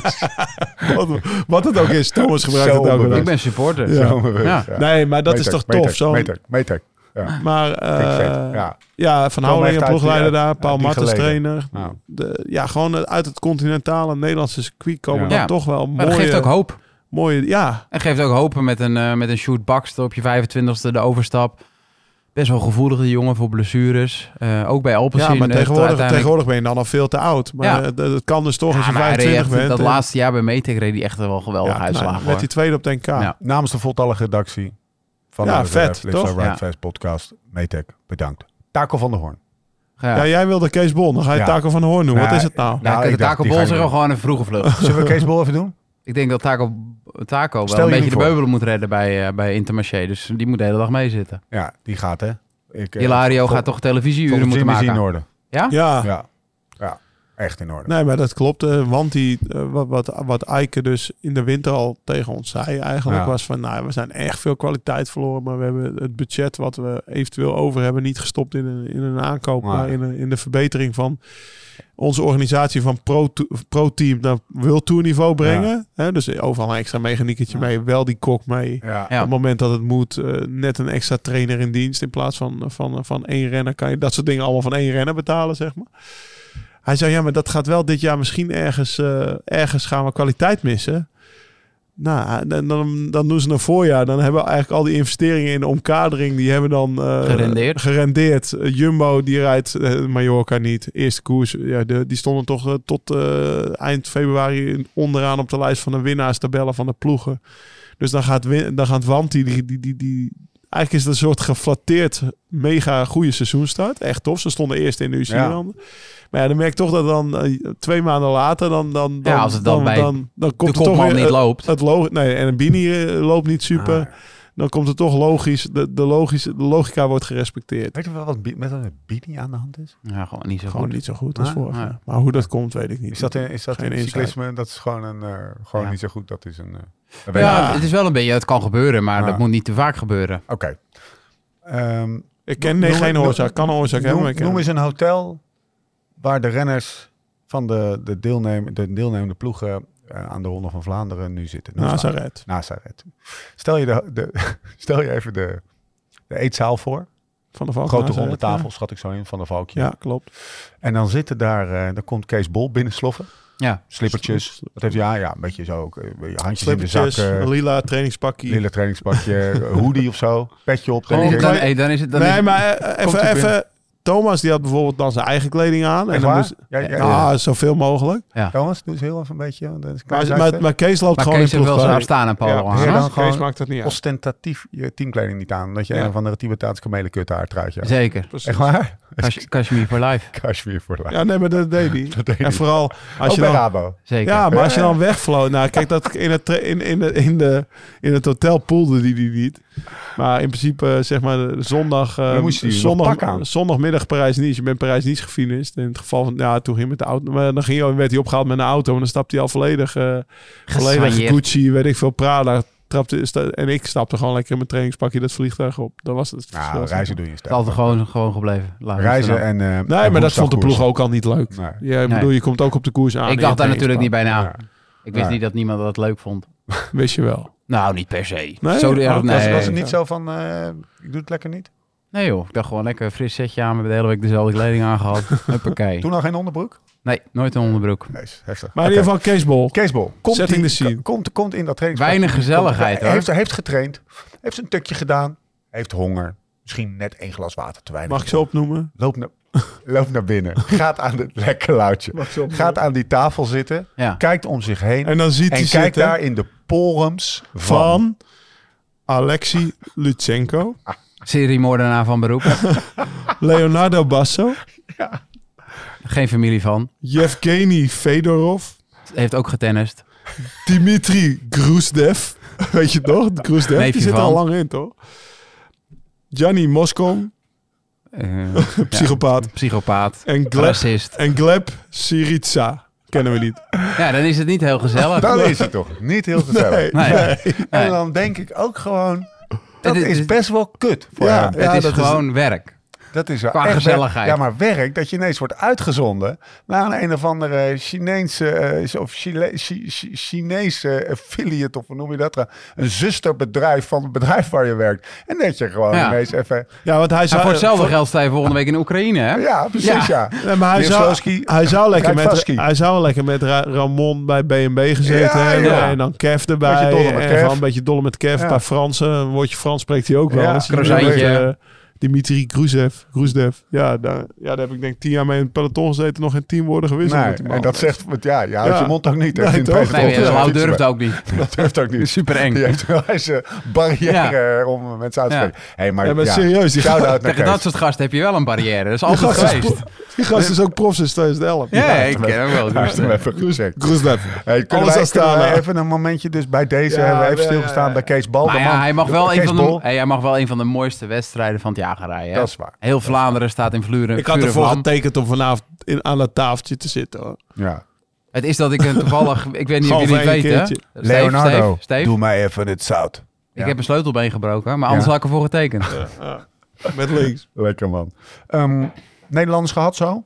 E: wat, wat het ook is, Thomas gebruikt
B: Zo
E: het elke dag.
D: Ik ben supporter.
E: Ja.
B: Zo bewust,
D: Ja.
E: Nee, maar dat is
B: Maytag,
E: toch
B: Maytag,
E: tof. Zo'n
B: Maytag, Maytag. Ja.
E: Maar
B: Vind ik vet.
E: eh, ja.
B: Ja. Kom echt
E: Van Houwelingen
B: uit die- eh,
E: ploegleider daar,
B: uit
E: Paul
B: die
E: Martens
B: geleden.
E: trainer.
B: Nou.
E: De, ja, gewoon uit het continentale Nederlandse circuit komen
B: Ja.
E: dan
D: Ja.
E: toch wel mooie...
D: Maar dat geeft ook hoop.
E: mooie ja,
D: En geeft ook hoop met een, eh met een shoot Baxter op je 25e, de overstap. Best wel gevoelige jongen voor blessures. Eh, ook bij Alpecin.
E: ja, maar
D: eh,
E: tegenwoordig,
D: uiteindelijk-
E: tegenwoordig ben je dan al veel te oud. Maar
D: Ja.
E: eh, dat, dat kan dus toch als je
D: Ja, maar hij reed
E: 25
D: echt-
E: bent.
D: dat
E: en-
D: laatste jaar bij Metec reed hij echt wel geweldig
E: nou,
D: uitslagen.
E: Met die tweede op de NK.
D: Ja.
B: Namens de voltallige redactie, Van
E: Ja,
B: de
E: vet,
B: Lift Our
E: toch?
B: Right
D: Ja.
B: Fast podcast. Metec, bedankt. Taco van der Hoorn.
D: Ja.
E: Ja, jij wilde Kees Bol. Dan ga je
B: Ja.
E: Taco van de Hoorn noemen.
B: Nee,
E: Wat is het nou?
B: nee.
D: Nou,
B: ik
D: de
B: dacht,
D: Taco
B: die
D: Bol
B: gaan
D: is
B: we
D: wel gewoon een vroege vlucht.
B: Zullen we Kees Bol even doen?
D: ik denk dat Taco, Taco wel
B: Stel
D: een
B: je
D: beetje de
B: voor.
D: beubelen moet redden bij, eh, bij Intermarché. Dus die moet de hele dag meezitten.
B: Ja, die gaat hè. Ik, eh,
D: Hilario
B: vol-
D: gaat toch televisieuren
B: volgens
D: moeten
B: Jim is
D: maken.
B: die in orde.
D: Ja?
E: Ja.
B: Ja. ja, echt in orde.
E: Nee, maar dat klopt. eh, want die, eh, wat, wat, wat Eike dus in de winter al tegen ons zei eigenlijk
B: Ja.
E: was van... Nou, we zijn echt veel kwaliteit verloren. Maar we hebben het budget wat we eventueel over hebben niet gestopt in een, in een aankoop.
B: Maar-
E: Maar in, een- in de verbetering van onze organisatie van pro- pro-team naar World Tour niveau brengen. Hè, dus overal een extra mechanieketje mee. Wel die kok mee.
B: Ja.
D: Ja.
E: Op het moment dat het moet, eh, net een extra trainer in dienst. In plaats van, van, van één renner kan je dat soort dingen allemaal van één renner betalen, zeg maar. Hij zei, ja, maar dat gaat wel dit jaar misschien ergens, eh, ergens gaan we kwaliteit missen. Nou, dan, dan, dan doen ze een voorjaar. Dan hebben we eigenlijk al die investeringen in de omkadering, die hebben dan... eh,
D: Gerendeerd.
E: Gerendeerd. Eh, Jumbo, die rijdt eh, Mallorca niet. Eerste koers, ja, de, die stonden toch eh, tot eh, eind februari onderaan op de lijst van de winnaarstabellen van de ploegen. Dus dan gaat, Win- dan gaat Wanti, die, die, die, die, eigenlijk is het een soort geflatteerd mega goede seizoenstart. Echt tof, ze stonden eerst in de UCI
B: Ja.
E: landen. Maar ja, dan merk ik toch dat dan eh, twee maanden later, dan, dan, dan,
D: Ja, als het dan bij
E: dan
D: De
E: komt het toch
D: kopman
E: weer,
D: niet
E: het-
D: loopt.
E: Het lo- nee, en een Bini eh, loopt niet super.
B: Ah.
E: Dan komt het toch logisch, de, de, logische, de logica wordt gerespecteerd.
B: Weet je wel wat bi- met een bini aan de hand is?
D: Ja, gewoon niet zo
E: Gewoon
D: goed.
E: niet zo goed als
B: Ah,
E: vorig
D: ah.
E: jaar. Maar hoe dat komt, weet ik niet.
B: Is dat in, is dat
E: Geen
B: in
E: insight.
B: cyclisme? Dat is gewoon, een, eh, gewoon
D: Ja.
B: niet zo goed. Dat is een... eh, dat weet ik
D: Ja, het is wel een beetje, het kan gebeuren, maar
B: Ja.
D: dat moet niet te vaak gebeuren.
B: niet. Oké. Ehm,
E: Ik ken nee,
B: Noem-
E: geen
B: noem-
E: oorzaak. Kan een oorzaak hebben, maar
B: noem,
E: ik ken
B: noem
E: hem.
B: eens een hotel waar de renners van de, de, deelnem, de deelnemende ploegen eh, aan de Ronde van Vlaanderen nu zitten. Noem eens een-
E: Nazareth.
B: Nazareth. Stel je, de, de, stel je even de, de eetzaal voor.
E: Van de Valk
B: Grote ronde
E: Nazareth, ja.
B: tafel, schat ik zo in, van de valkje.
E: Ja, klopt.
B: En dan zitten daar, eh, dan komt Kees Bol binnensloffen.
D: Ja.
B: Slippertjes. Wat heeft, ja, ja, een beetje zo. ook, eh, handjes in de zak.
E: Slippertjes, een
B: eh,
E: lila trainingspakkie.
B: Lille trainingspakje, hoodie of zo. Petje op.
D: Dan
E: Gewoon
D: is
B: denk
D: het,
B: ik.
D: dan,
E: klein-
D: hey, dan is het, dan is
E: nee,
D: het-
E: maar eh,
D: Komt
E: even,
D: ie binnen.
E: even. Thomas die had bijvoorbeeld dan zijn eigen kleding aan.
B: Echt
E: En dan
B: waar?
E: moest,
B: Ja, ja, ja.
E: ah, zoveel mogelijk.
B: Thomas, doe eens heel even een beetje. want dat is een klein
E: Maar,
B: zijste.
E: maar, maar Kees loopt
D: maar
E: gewoon
D: Kees
E: in
D: heeft wel zijn
E: ploeg.
D: afstaan en
B: Ja,
D: Paul
B: precies.
D: aan.
B: dan gewoon-
E: maakt dat niet uit.
B: ostentatief je teamkleding niet aan. Dat je
E: Ja.
B: een van de Tibetaanse kamelenkut haar truitje had.
D: Zeker.
E: Precies.
B: Echt waar?
D: Kash- Kashmir for life.
B: Kashmir voor laat.
E: Ja, nee, maar dat deed hij.
B: Dat deed
E: En
B: hij.
E: vooral als
B: Ook
E: je
B: bij
E: dan...
B: Rabo.
D: Zeker.
E: Ja, maar als je dan wegvloot... Nou, kijk, dat in het, tra- in, in, de- in, de, in het hotel poelde die die niet. Maar in principe, eh, zeg maar, eh, zondag... eh,
B: Dan moest hij nog
E: zondag
B: pak aan.
E: zondagmiddag Parijs-Nice. Je bent Parijs-Nice gefinist. In het geval van... Ja, toen ging hij met de auto... Maar dan ging hij, werd hij opgehaald met een auto. En dan stapte hij al volledig... eh, Volledig
D: Gesoigneerd.
E: Gucci, weet ik veel, Prada. Trapte, sta- en ik stapte gewoon lekker in mijn trainingspakje dat vliegtuig op. Dat was het.
B: Nou,
E: dat was
B: reizen
E: het.
B: doe je
D: Het is altijd
B: sterk.
D: gewoon, gewoon gebleven. Laat
B: Reizen
D: het
B: en...
D: dan.
B: eh,
E: Nee,
B: en
E: maar dat vond de ploeg
B: woensdagkoersen.
E: ook al niet leuk.
B: Nee.
E: Ja, ik
D: Nee.
E: bedoel, je komt ook op de koers aan.
D: ik dacht daar natuurlijk niet bij na.
B: Ja.
D: Ik wist
B: Ja.
D: niet dat niemand dat leuk vond.
E: bij. Wist je wel.
D: Nou, niet per se.
E: Nee?
D: zo
E: Oh,
D: erg,
E: dat
D: nee.
B: Was, was het
E: Nee.
B: niet zo van, eh, ik doe het lekker niet?
D: nee joh, ik dacht gewoon lekker een fris setje aan. We hebben de hele week dezelfde kleding aangehad. Huppakee.
B: Toen al geen onderbroek?
D: Nee, nooit een onderbroek.
B: Nee, is heftig.
E: Maar in
B: Oké.
E: ieder geval, Keesbol.
B: Keesbol.
E: Setting
B: die-
E: the scene.
B: Komt, komt in dat trainingspak.
D: Weinig gezelligheid
B: Hij
D: hoor.
B: heeft, hij heeft getraind. Heeft zijn tukje gedaan. Heeft honger. Misschien net één glas water te weinig.
E: Mag ik ze opnoemen?
B: Loop naar, loop naar binnen. Gaat aan het lekker loutje.
E: Mag ik ze opnoemen?
B: Gaat aan die tafel zitten.
D: Ja.
B: Kijkt om zich heen.
E: En dan ziet hij
B: En kijkt
E: zitten
B: daar in de porums van.
E: van Alexei Lutsenko,
D: Seriemoordenaar van beroep.
E: Leonardo Basso,
D: Geen familie van.
E: Yevgeny Fedorov,
D: Heeft ook getennist.
E: Dimitri Groesdev. Weet je toch? Groesdev,
D: Neefje
E: die zit er
D: van.
E: al lang in, toch? Gianni Moscom,
D: Eh,
E: psychopaat.
D: ja, psychopaat.
E: En Gleb,
D: Racist.
E: en Gleb Siritsa. Kennen we niet.
D: Ja, dan is het niet heel gezellig.
E: Nou,
B: Dat is het toch? Niet heel gezellig.
E: Nee.
D: Nee.
B: En dan denk ik ook gewoon... Dat
D: Het is-
B: is best wel kut voor
E: Ja,
B: hem.
D: het is
E: dat is-
D: gewoon werk.
B: Dat is wel
D: Qua
B: echt werk.
D: gezelligheid.
B: Ja, maar werk dat je ineens wordt uitgezonden naar een een of andere Chinese eh, of Chile, Chi- Chi- Chinese affiliate of hoe noem je dat? nou? Een zusterbedrijf van het bedrijf waar je werkt. En dat je gewoon
D: Ja.
B: ineens even.
E: Ja, want hij zou...
D: Maar voor hetzelfde
E: voor-
D: geld sta je volgende week in Oekraïne, hè?
B: Ja, precies ja.
E: Nee, maar hij zou,
B: Wisselowski,
E: hij zou lekker met,
B: Krijtvaski.
E: hij zou lekker met Ra- Ramon bij B&B gezeten
B: Ja,
E: hebben.
B: ja.
E: En dan Kev
B: Beetje
E: erbij.
B: dolle met
E: en
B: Kev.
E: gewoon een beetje dolle met Kev.
B: Ja.
E: Een paar Fransen. Een woordje Frans spreekt hij ook wel.
B: Ja,
E: Dan zie je
D: croissantje.
E: dat, eh, Dimitri Gruzev. Gruzev. Ja, daar, ja, daar heb ik denk ik tien jaar mee in het peloton gezeten. Nog geen tien woorden gewisseld
B: Nee,
E: met die man.
B: en dat zegt, want ja, je houdt
E: Ja.
B: je mond ook niet.
E: Nee,
B: echt in het
E: toch?
B: peloton.
D: Nee,
B: Ja,
D: eh, Lau
B: fietsen
D: durft
B: we.
D: ook niet.
B: Dat durft ook niet.
D: Super eng.
B: Die heeft wel eens een barrière om mensen uit te
D: Ja.
B: spreken. Hey, maar,
E: Ja, maar
B: ja,
E: serieus, die
B: Shout-out naar
D: Tegen
B: Kees.
D: dat soort gasten heb je wel een barrière. Dat is
E: Die
D: altijd
E: gast is
D: geweest.
E: pro- Die gast is ook prof sinds 2011.
D: Ja, ik ken hem wel. dus, eh.
B: Laten we
D: Roestig.
B: even gecheckt.
E: Gruzev.
B: Hey, kunnen
E: Alles
B: wij,
E: aan
B: kunnen
E: Stana.
B: wij even een momentje dus bij deze
E: Ja,
B: hebben we even
E: ja, ja,
B: stilgestaan
E: ja.
B: bij Kees Bal.
D: Maar
B: de
D: Nou ja,
B: man-
D: hij, mag wel
B: Kees
D: een van
B: Bol.
D: de, hey, hij mag wel een van de mooiste wedstrijden van het jaar gaan rijden. hè?
B: Dat is waar.
D: Heel Vlaanderen staat in vluren.
E: Ik had
D: vuur en
E: ervoor
D: vlam.
E: getekend om vanavond in, aan dat tafeltje te zitten. Hoor.
B: Ja.
D: Het is dat ik een toevallig... Ik weet niet of
E: Gewoon
D: jullie het
E: voor één
D: weten. hè?
E: keertje.
D: Steve,
B: Leonardo,
D: Steve, Steve,
B: doe mij even het zout. Ja.
D: Ik heb een sleutelbeen gebroken, maar anders
B: Ja.
D: had ik ervoor getekend.
E: Met links.
B: Lekker man. Ehm, Nederlanders gehad zo?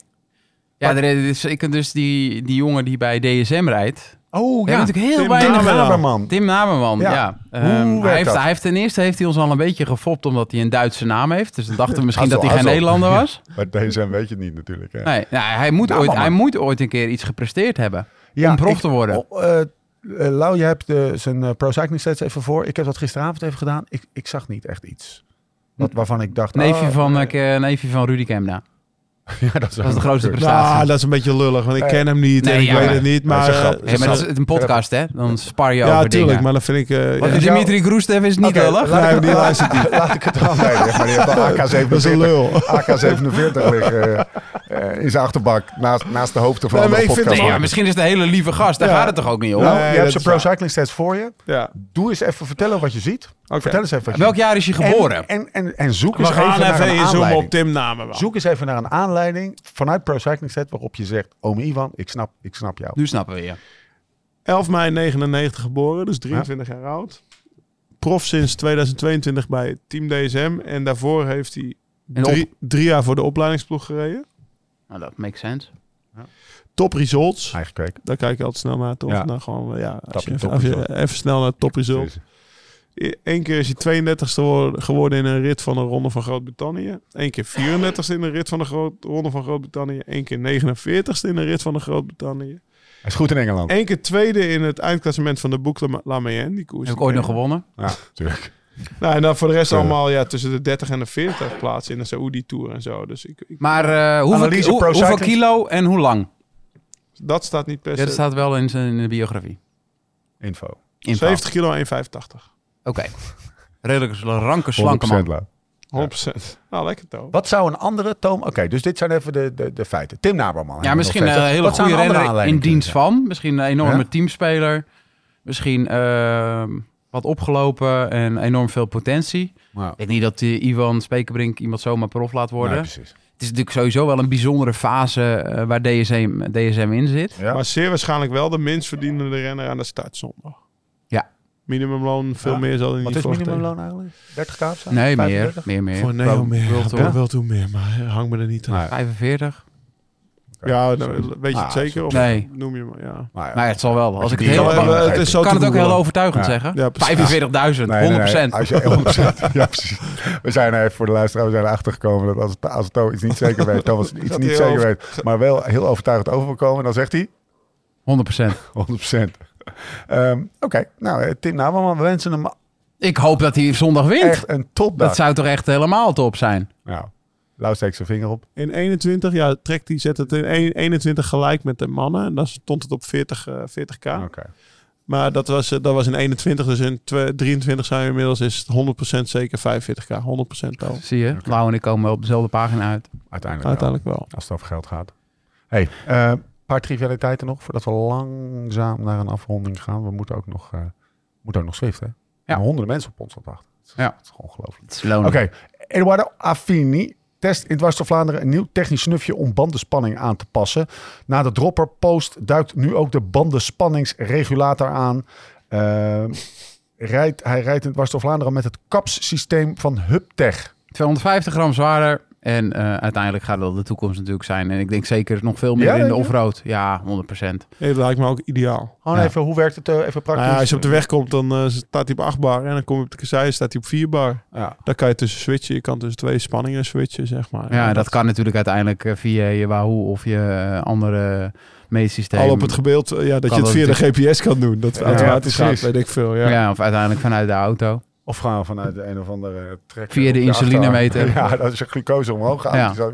D: Ja, er is, ik, dus die, die jongen die bij DSM rijdt.
B: Oh
D: We hebben natuurlijk heel
E: Tim
D: weinig...
E: Haberman.
B: Haberman.
D: Tim Naberman,
B: Ja.
D: ja.
B: Hoe
D: Ehm,
B: werkt
D: hij, heeft,
B: dat?
D: hij heeft ten eerste heeft hij ons al een beetje gefopt omdat hij een Duitse naam heeft. Dus dan dachten we misschien
B: Hazel,
D: dat hij geen
B: Hazel.
D: Nederlander was.
B: Maar deze weet je het niet natuurlijk. Hè?
D: Nee, nou, hij, moet ooit,
B: Naberman.
D: hij moet ooit een keer iets gepresteerd hebben. om prof te worden.
B: Oh, eh, eh, Lau, je hebt eh, zijn eh, Pro Cycling Stats even voor. Ik heb dat gisteravond even gedaan. Ik, ik zag niet echt iets. Wat, waarvan ik dacht...
D: Hm. Neefje,
B: oh,
D: van, eh, neefje van Rudy Kemna.
B: ja, dat is
D: Dat is de grootste prestatie.
E: Nou, dat is een beetje lullig, want ik ken hem niet
D: Nee,
E: en ik
D: ja,
E: weet
D: maar-
E: het niet.
B: dat is
E: Maar,
B: een grap.
E: eh,
D: Hey, maar dat is een podcast, hè? Dan spar je
E: ja,
D: over
E: tuurlijk,
D: dingen.
E: maar dan vind ik... eh,
B: Wat
E: ja,
B: is-
D: Dimitri Groestev is niet
B: Oké, laat
D: lullig.
B: ik
E: Nee,
B: het-
E: die luistert
B: laat, laat ik het dan bij liggen. Maar die heeft een AK-47.
E: Dat is een lul.
B: AK-47 liggen eh, eh, in zijn achterbak. Naast, naast de hoofden van
E: Nee, maar
B: de
E: ik vind-
B: podcast.
D: Nee, maar misschien is het een hele lieve gast. Daar
E: Ja.
D: gaat het toch ook niet om?
B: Nou,
E: Nee,
B: je
E: dat
B: hebt
E: is
B: zijn Pro
E: waar.
B: Cycling Stats voor je.
E: Ja.
B: Doe eens even vertellen wat je ziet. Vertel eens even wat je
D: Welk jaar is hij
B: En-
D: geboren?
B: En, en, en, zoek
E: We
B: eens even,
E: gaan
B: naar
E: even
B: een
E: inzoomen
B: aanleiding.
E: op Tim Namen.
B: Zoek eens even naar een aanleiding vanuit Pro Cycling Set waarop je zegt: Oom Ivan, ik snap, ik snap jou.
D: Nu snappen we je.
E: 11 mei 99 geboren, dus 23 jaar oud. Prof sinds 2022 bij Team DSM. En daarvoor heeft hij
D: En
E: drie, drie jaar voor de opleidingsploeg gereden.
D: Nou, dat makes sense.
E: Top results.
B: Eigen kweek.
E: Daar kijk ik altijd snel naar, toch?
B: Ja.
E: Nou, gewoon, eh, ja, als
B: Tapje
E: je even,
B: top result.
E: als je even snel naar top result. Eén keer is hij 32ste wo- geworden in een rit van de Ronde van Groot-Brittannië. Eén keer 34ste in een rit van de Groot- Ronde van Groot-Brittannië. Eén keer 49ste in een rit van de Groot-Brittannië.
B: Hij is goed in Engeland.
E: Eén keer tweede in het eindklassement van de Boucle La Mayenne. Die koers.
D: Heb ik ooit nog gewonnen?
B: Ja, natuurlijk.
E: Nou, en dan voor de rest
B: Ja.
E: allemaal ja, tussen de 30 en de 40 plaatsen in de Saoedi-tour en zo. Dus ik, ik-
D: Maar eh, hoeveel,
B: Analyse,
D: hoe-
B: pro
D: hoeveel
B: cycling.
D: kilo en hoe lang?
E: dat staat niet per
D: Ja, dat
E: se.
D: staat wel in zijn biografie.
B: Info.
D: Info.
E: 70 kilo, 1,85.
D: Oké. Redelijk ranke, slanke
B: 100%
D: man.
B: Lau.
E: 100%. Nou, lekker toch?
B: Wat zou een andere Toom... Oké, dus dit zijn even de, de, de feiten. Tim Naberman.
D: Ja, misschien een hele
B: Wat zou
D: goede
B: een andere
D: renner in
B: aanleiding kunnen
D: dienst van. Misschien een enorme
B: Ja?
D: teamspeler. Misschien eh, wat opgelopen en enorm veel potentie.
B: zijn? Nou,
D: Ik denk niet dat eh, Ivan Spekerbrink iemand zomaar prof laat worden.
B: nee, precies.
D: Het is natuurlijk sowieso wel een bijzondere fase eh, waar DSM, DSM in zit.
B: Ja.
E: Maar zeer waarschijnlijk wel de minst verdienende renner aan de start zondag.
D: Ja.
E: Minimumloon, veel
B: Ja.
E: meer zal hij
B: Wat
E: niet
B: is
E: verwachten.
B: minimumloon eigenlijk? 30k of zo?
D: Nee, meer.
B: 35?
D: Meer, meer.
E: Voor Neo meer.
D: World
E: Ja,
D: Tour.
E: wel toen meer, maar hang me er niet aan.
B: Nee.
D: 45?
E: Ja, nou, weet je
B: Ah,
E: het zeker? Of
D: Nee.
E: noem je maar, ja. eh,
B: Maar ja.
D: Nou ja, het zal wel. Als ik
B: die
D: het heel...
B: wel
D: Ik
B: hebben-
E: het is zo
D: kan
E: te
D: het ook
E: googlen.
D: heel overtuigend
B: Ja.
D: zeggen.
E: Ja, precies.
D: 45.000, 100%.
B: Als je 100%. ja, precies. We zijn er even voor de luisteraar, we zijn erachter gekomen dat als, als Toon iets niet zeker weet, Thomas iets
E: Dat
B: niet
E: hij
B: zeker
E: over-
B: weet, maar wel heel overtuigend over wil komen, dan zegt hij
D: 100%.
B: 100%. Ehm, Oké, nou eh, Tim Naberman, we wensen hem
D: Ik hoop dat hij zondag wint.
B: echt nou. een topdag.
D: Dat zou toch echt helemaal top zijn?
B: Nou, Lau steekt zijn vinger op.
E: In 21, ja, trekt die zet het in 21 gelijk met de mannen. En dan stond het op 40, eh, 40k.
B: Oké.
E: Maar dat was, eh, dat was in 21, dus in twe- 23 zijn we inmiddels is het 100% zeker 45k. 100% al.
D: Zie je? Lau en ik komen wel op dezelfde pagina uit.
B: Uiteindelijk, wel,
E: Uiteindelijk wel.
B: als het over geld gaat. hey, eh, een paar trivialiteiten nog, voordat we langzaam naar een afronding gaan. We moeten ook nog, eh moeten ook nog Swift, hè? Ja. Honderden mensen op ons op wachten. Dat is-
D: Ja.
B: Dat is gewoon ongelooflijk.
D: Het is lonen.
B: Oké, Eduardo Affini test in Dwars door Vlaanderen een nieuw technisch snufje om bandenspanning aan te passen. Na de dropper post duikt nu ook de bandenspanningsregulator aan. Ehm, rijdt, hij rijdt in Dwars door Vlaanderen met het CAPS-systeem van HubTech.
D: 250 gram zwaarder. En eh, uiteindelijk gaat dat de toekomst natuurlijk zijn. En ik denk zeker nog veel meer
B: Ja,
D: in de
B: denk je?
D: offroad. Ja, 100%.
E: Nee, dat lijkt me ook ideaal.
B: Gewoon
D: Ja.
B: even, hoe werkt het eh, even praktisch?
E: Nou ja, als je op de weg komt, dan eh, staat hij op 8 bar. En dan kom je op de kassei, staat hij op 4 bar.
B: Ja.
E: Dan kan je tussen switchen. Je kan tussen twee spanningen switchen, zeg maar.
D: Ja,
E: En
D: dat kan natuurlijk uiteindelijk eh, via je Wahoo of je eh, andere meetsysteem.
E: Al op het gebeeld, eh, ja, dat
D: Kan
E: je het
D: dat
E: via de GPS kan doen. Dat
B: Ja,
E: automatisch
B: precies.
E: gaat, weet ik veel. Ja.
D: ja. of uiteindelijk vanuit de auto.
B: Of gaan we vanuit de een of andere trek.
D: Via de insulinemeter.
B: Ja, dat is je glucose omhoog gaat.
D: Ja.
B: Dus dat-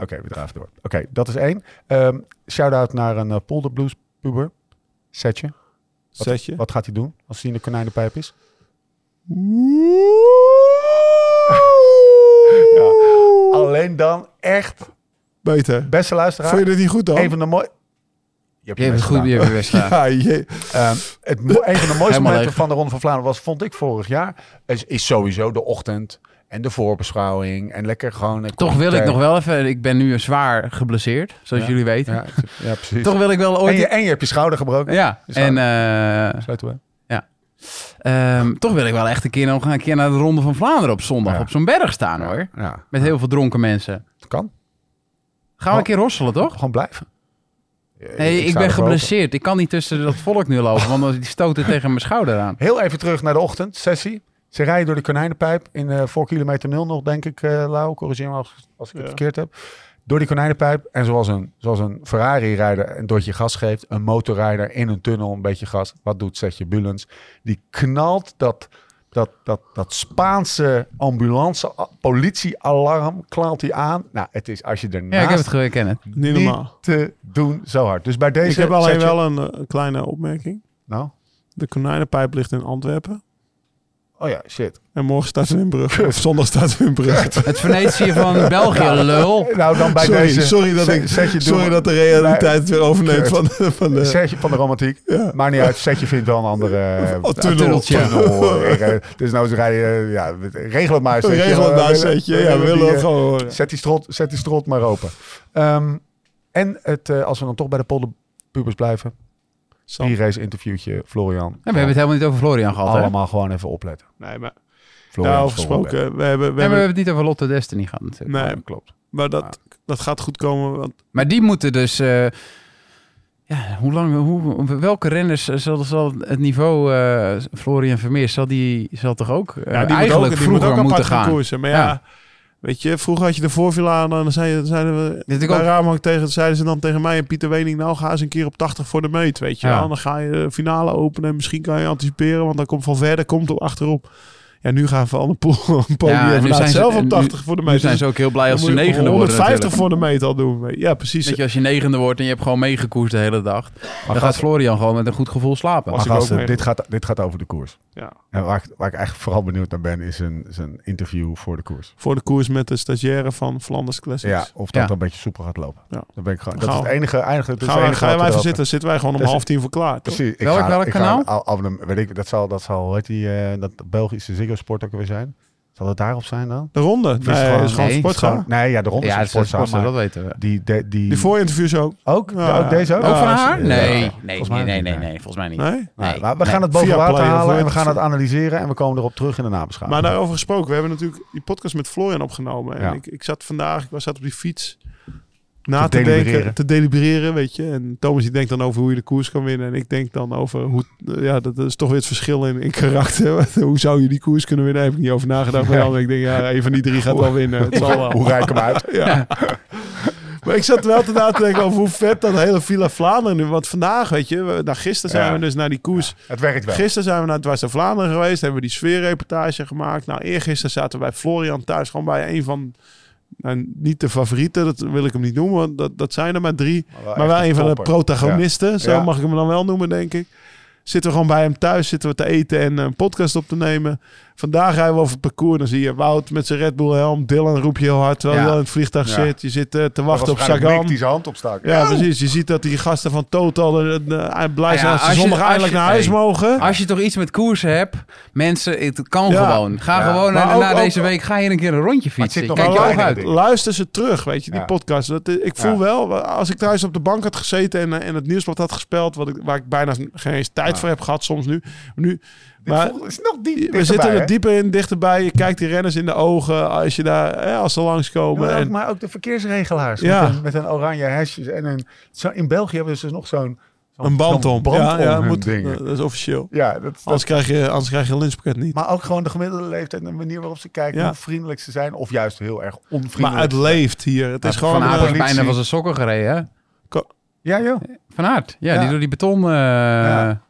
B: Oké, we draven door. Oké, dat is één. Ehm Shout-out naar een polderblues puber. Setje.
E: Setje.
B: Wat gaat hij doen als hij in de konijnenpijp is? Ja, alleen dan echt,
E: Beter.
B: beste luisteraar,
E: Vond je dit niet goed dan?
B: een van de mooie... Je hebt
D: Je hebt het
B: best
D: goed
B: gedaan.
D: je hebt je best gedaan.
E: Ja, je-
B: Ehm, het, mo- een van de mooiste
D: Helemaal
B: momenten
D: leeg.
B: van de Ronde van Vlaanderen was, vond ik vorig jaar, is, is sowieso de ochtend en de voorbeschouwing en lekker gewoon... een
D: Toch wil ik
B: cocktail.
D: nog wel even... Ik ben nu zwaar geblesseerd, zoals jullie weten.
B: Ja, ja, precies.
D: Toch wil ik wel
B: en,
D: ooit...
B: je, en je hebt je schouder gebroken.
D: ja,
B: Is
D: en eh,
B: Sluiten we.
D: ehm, toch wil ik wel echt een keer, nog een keer naar de Ronde van Vlaanderen op zondag
B: Ja.
D: op zo'n berg staan hoor.
B: Ja,
D: Met heel veel dronken mensen.
B: dat kan.
D: Gaan we een keer rosselen, toch?
B: Gewoon blijven.
D: Nee,
B: Ik
D: ik
B: zou
D: ben
B: er
D: geblesseerd. Ik kan niet tussen dat volk nu lopen, want die stoten tegen mijn schouder aan.
B: Heel even terug naar de ochtend, sessie. Ze rijden door de konijnenpijp in eh 4 kilometer 0 nog, denk ik, eh Lau. Corrigeer me als, als ik het
E: Ja.
B: verkeerd heb. Door die konijnenpijp. En zoals een, zoals een Ferrari-rijder een dotje gas geeft, een motorrijder in een tunnel een beetje gas. Wat doet Setje Bulens? Die knalt dat, dat, dat, dat Spaanse ambulance, politiealarm, knalt hij aan. Nou, het is als je ernaast
D: Ja, ik heb het gekend.
E: niet normaal.
B: niet te doen zo hard. Dus bij deze
E: Ik heb alleen
B: Setje-
E: wel een eh, kleine opmerking.
B: Nou?
E: De konijnenpijp ligt in Antwerpen.
B: Oh ja, shit.
E: En morgen staat Wimbrug. Of zondag staat Wimbrug.
D: Het Venetië van België, lul.
B: Nou, dan bij
E: sorry,
B: deze...
E: sorry, dat
B: Se-
E: ik,
B: Setje
E: sorry
B: doen-
E: dat de realiteit het weer overneemt van, van de...
B: Setje van de romantiek.
E: Ja.
B: Maar niet uit. Setje vindt wel een andere eh,
E: Oh, tunnel.
D: tunneltje.
B: tunnel. Eh, Dus nou rijden. eh, Ja, regel het maar.
E: We
B: Setje.
E: regelen het
B: We
E: daar,
B: willen-
E: Setje. Ja, we willen
B: die,
E: het
B: eh,
E: gewoon horen.
B: Zet die strot, zet die strot maar open. Ehm, en het, eh, als we dan toch bij de polderpubers blijven.
E: Sam.
B: Die race interviewtje, Florian.
D: En we hebben het helemaal niet over Florian gehad, hè?
B: Allemaal gewoon even opletten.
E: Nee, maar
B: Florian
E: daarover
B: is gewoon weg.
E: Nou, gesproken. We hebben, we
D: En we
E: hebben,
D: hebben het niet over Lotte Destiny gehad natuurlijk.
E: nee,
B: Klopt.
E: maar dat, dat gaat goed komen. Want
D: Maar die moeten dus... eh, ja, hoe lang, hoe, welke renners eh, zal, zal het niveau eh, Florian Vermeer, zal die zal toch ook eh,
E: ja, die moet
D: eigenlijk
E: ook, die moet
D: vroeger
E: ook apart
D: moeten
E: gaan
D: gaan?
E: koersen. Maar ja,
D: Ja.
E: weet je, vroeger had je de voorvilla en dan zeiden, zeiden we...
D: Dit ik
E: bij
D: ook-
E: Ramak tegen, zeiden ze dan tegen mij en Pieter Wening... Nou, ga eens een keer op 80 voor de meet, weet je
D: Ja.
E: wel. Dan ga je de finale openen en misschien kan je anticiperen... want dan komt Van Verder komt op achterop. Ja, nu gaan Van de Poel een podium.
D: nu
E: Ja,
D: zijn ze-
E: zelf
D: nu-
E: op 80 voor de meet.
D: Nu zijn
E: Dus
D: ze ook heel blij als ze
E: dan moet je
D: negende worden
E: 150
D: natuurlijk.
E: voor de meet al doen. Ja, precies.
D: Dat je als je negende wordt en je hebt gewoon meegekoerst de hele dag, dan
B: gaat-
D: gaat Florian gewoon met een goed gevoel slapen.
E: eh, Was-
B: Maar
E: ik ook
B: gasten,
E: mee.
B: dit gaat, dit gaat over de koers.
E: Ja.
B: En waar ik, waar ik echt vooral benieuwd naar ben, is een, is een interview voor de koers.
E: voor de koers met de stagiaire van Flanders Classics.
B: Ja, of dat
D: Ja.
B: een beetje soepel gaat lopen.
E: Ja.
B: Dan ben ik gewoon, dat
E: Gaan
B: is het
E: we-
B: enige, eigenlijk, dat is het
E: Gaan wij,
B: enige
E: gaan wij
B: wat
E: even
B: we
E: zitten? Zitten wij gewoon om
B: Dus-
E: half tien voor klaar? toch?
B: Precies. Ik
D: Welk- welk
B: ik
D: kanaal?
B: een al- abonnement- weet ik, dat zal, dat zal, weet die, eh, dat Belgische Ziggo Sport ook weer zijn. Zal het daarop zijn dan?
E: De ronde? Nee,
B: is gewoon-
E: is gewoon
D: nee,
E: sportgaan.
B: Gewoon- Nee, ja, de ronde
D: ja,
B: is een
D: sportzaal,
B: sport.
D: dat weten we.
B: Die, de- die,
E: Die voorinterviews ook?
B: ook?
E: Ja.
B: Ja, ook deze ook?
E: Ja,
D: Ook van
E: dat is-
D: haar?
E: ja.
D: Nee,
B: Ja.
D: nee,
B: Volgens
D: nee,
B: mij
D: nee,
B: niet,
D: nee,
B: nee.
D: nee, volgens mij niet.
E: Nee?
B: Nou,
D: Nee,
B: maar we
D: nee.
B: gaan het boven
E: Via
B: water
E: Play of
B: halen en we
E: Word.
B: gaan het analyseren en we komen erop terug in de nabeschouwing.
E: Maar daarover gesproken, we hebben natuurlijk die podcast met Florian opgenomen. En
B: Ja.
E: ik, ik zat vandaag, ik was zat op die fiets na
B: Te
E: te,
B: delibereren.
E: denken, te delibereren, weet je. En Thomas die denkt dan over hoe je de koers kan winnen. En ik denk dan over hoe, eh, ja, dat is toch weer het verschil in, in karakter. hoe zou je die koers kunnen winnen? Daar heb ik niet over nagedacht. Maar dan ik denk, ja, een van die drie gaat wel winnen. Het zal wel.
B: Hoe rijk ik hem uit?
E: Ja. maar ik zat wel te na te denken over hoe vet dat hele Villa Vlaanderen nu. Want vandaag, weet je, we, nou, gisteren zijn
B: Ja.
E: we dus naar die koers.
B: Het werkt wel.
E: Gisteren zijn we naar Dwars door Vlaanderen geweest. Hebben we die sfeerreportage gemaakt. Nou, eergisteren zaten we bij Florian thuis. Gewoon bij een van, nou, niet de favorieten. Dat wil ik hem niet noemen. Want dat, dat zijn er maar drie. Maar
B: echt
E: wel een van de
B: topper.
E: protagonisten. Zo
B: Ja.
E: mag ik hem dan wel noemen, denk ik. Zitten we gewoon bij hem thuis, zitten we te eten en een podcast op te nemen. Vandaag rijden we over het parcours. Dan zie je Wout met zijn Red Bull helm. Dylan roep je heel hard terwijl
D: Ja.
E: je wel in het vliegtuig
B: Ja.
E: zit. Je zit eh, te
B: Dat was
E: wachten op
B: waarschijnlijk
E: Sagan.
B: Mick die zijn hand opstak.
E: Ja, precies. Je ziet dat die gasten van Total eh, eh, blij
D: Ah ja,
E: zijn dat ze
D: als je-
E: zondag
D: als
E: eindelijk
D: je-
E: naar huis
D: hey.
E: mogen.
D: Als je toch iets met koersen hebt, mensen, het kan
E: Ja.
D: gewoon. Ga
B: Ja.
D: gewoon
E: Maar
D: na,
E: ook-
D: na
E: ook-
D: deze week, ga hier een keer een rondje
B: Maar het
D: fietsen.
B: zit nog
D: Kijk je
B: wel
D: oog
B: kleiner,
D: uit.
B: denk ik.
E: Luister ze terug, weet je, die
B: Ja.
E: podcast. Dat, is- ik voel
B: Ja.
E: wel, als ik thuis op de bank had gezeten en, eh, en het nieuwsblad had gespeeld, wat ik, waar ik bijna geen eens tijd voor heb gehad soms nu. nu maar
B: Dit is nog diep
E: we
B: dichterbij,
E: zitten
B: hè?
E: er dieper in, dichterbij. Je kijkt die renners in de ogen als, je daar, hè, als ze langskomen.
B: Maar ook,
E: en,
B: maar ook de verkeersregelaars.
E: Ja.
B: Met, een, met een oranje hesjes. En een, zo, in België hebben ze dus nog zo'n... zo'n-
E: een band
B: zo'n
E: om.
B: band
E: ja,
B: om
E: ja,
B: hun
E: moet, eh,
B: dingen.
E: dat is officieel.
B: ja, dat, dat,
E: Anders krijg, je, anders krijg je een lunchpakket niet.
B: maar ook gewoon de gemiddelde leeftijd en de manier waarop ze kijken.
E: Ja.
B: Hoe vriendelijk ze zijn. Of juist heel erg
E: Maar,
B: onvriendelijk.
E: het leeft hier. Het is gewoon...
D: Van Aert
E: eh,
D: is bijna van zijn sokken gereden, hè?
E: ko-
B: Ja joh.
D: Van Aert, ja,
B: Ja.
D: die door die beton... eh,
B: Ja.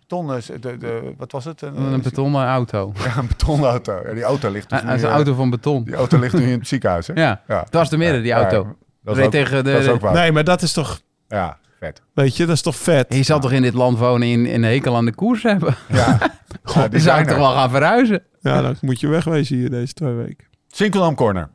B: beton, eh, de, de, wat was het? eh,
D: Dan een betonnen auto.
B: Ja, een betonauto. Ja, die auto ligt dus
D: Ah, Dat is
B: nu,
D: een
B: eh,
D: auto van beton.
B: Die auto ligt nu in het ziekenhuis, hè?
D: Ja,
B: Ja.
D: het was de midden, die
B: Ja,
D: auto.
B: Dat is,
D: Reed
B: ook,
D: tegen de-
B: dat is ook waar.
E: eh, Nee, maar dat is toch,
B: Ja, vet.
E: weet je, dat is toch vet.
D: Je zal toch in dit land wonen en een hekel aan de koers hebben?
B: Ja. Ja,
D: Dan zou ik toch
B: designer.
D: wel gaan verhuizen?
E: Ja, dan moet je wegwezen hier deze twee weken.
B: Sinkeldam Corner.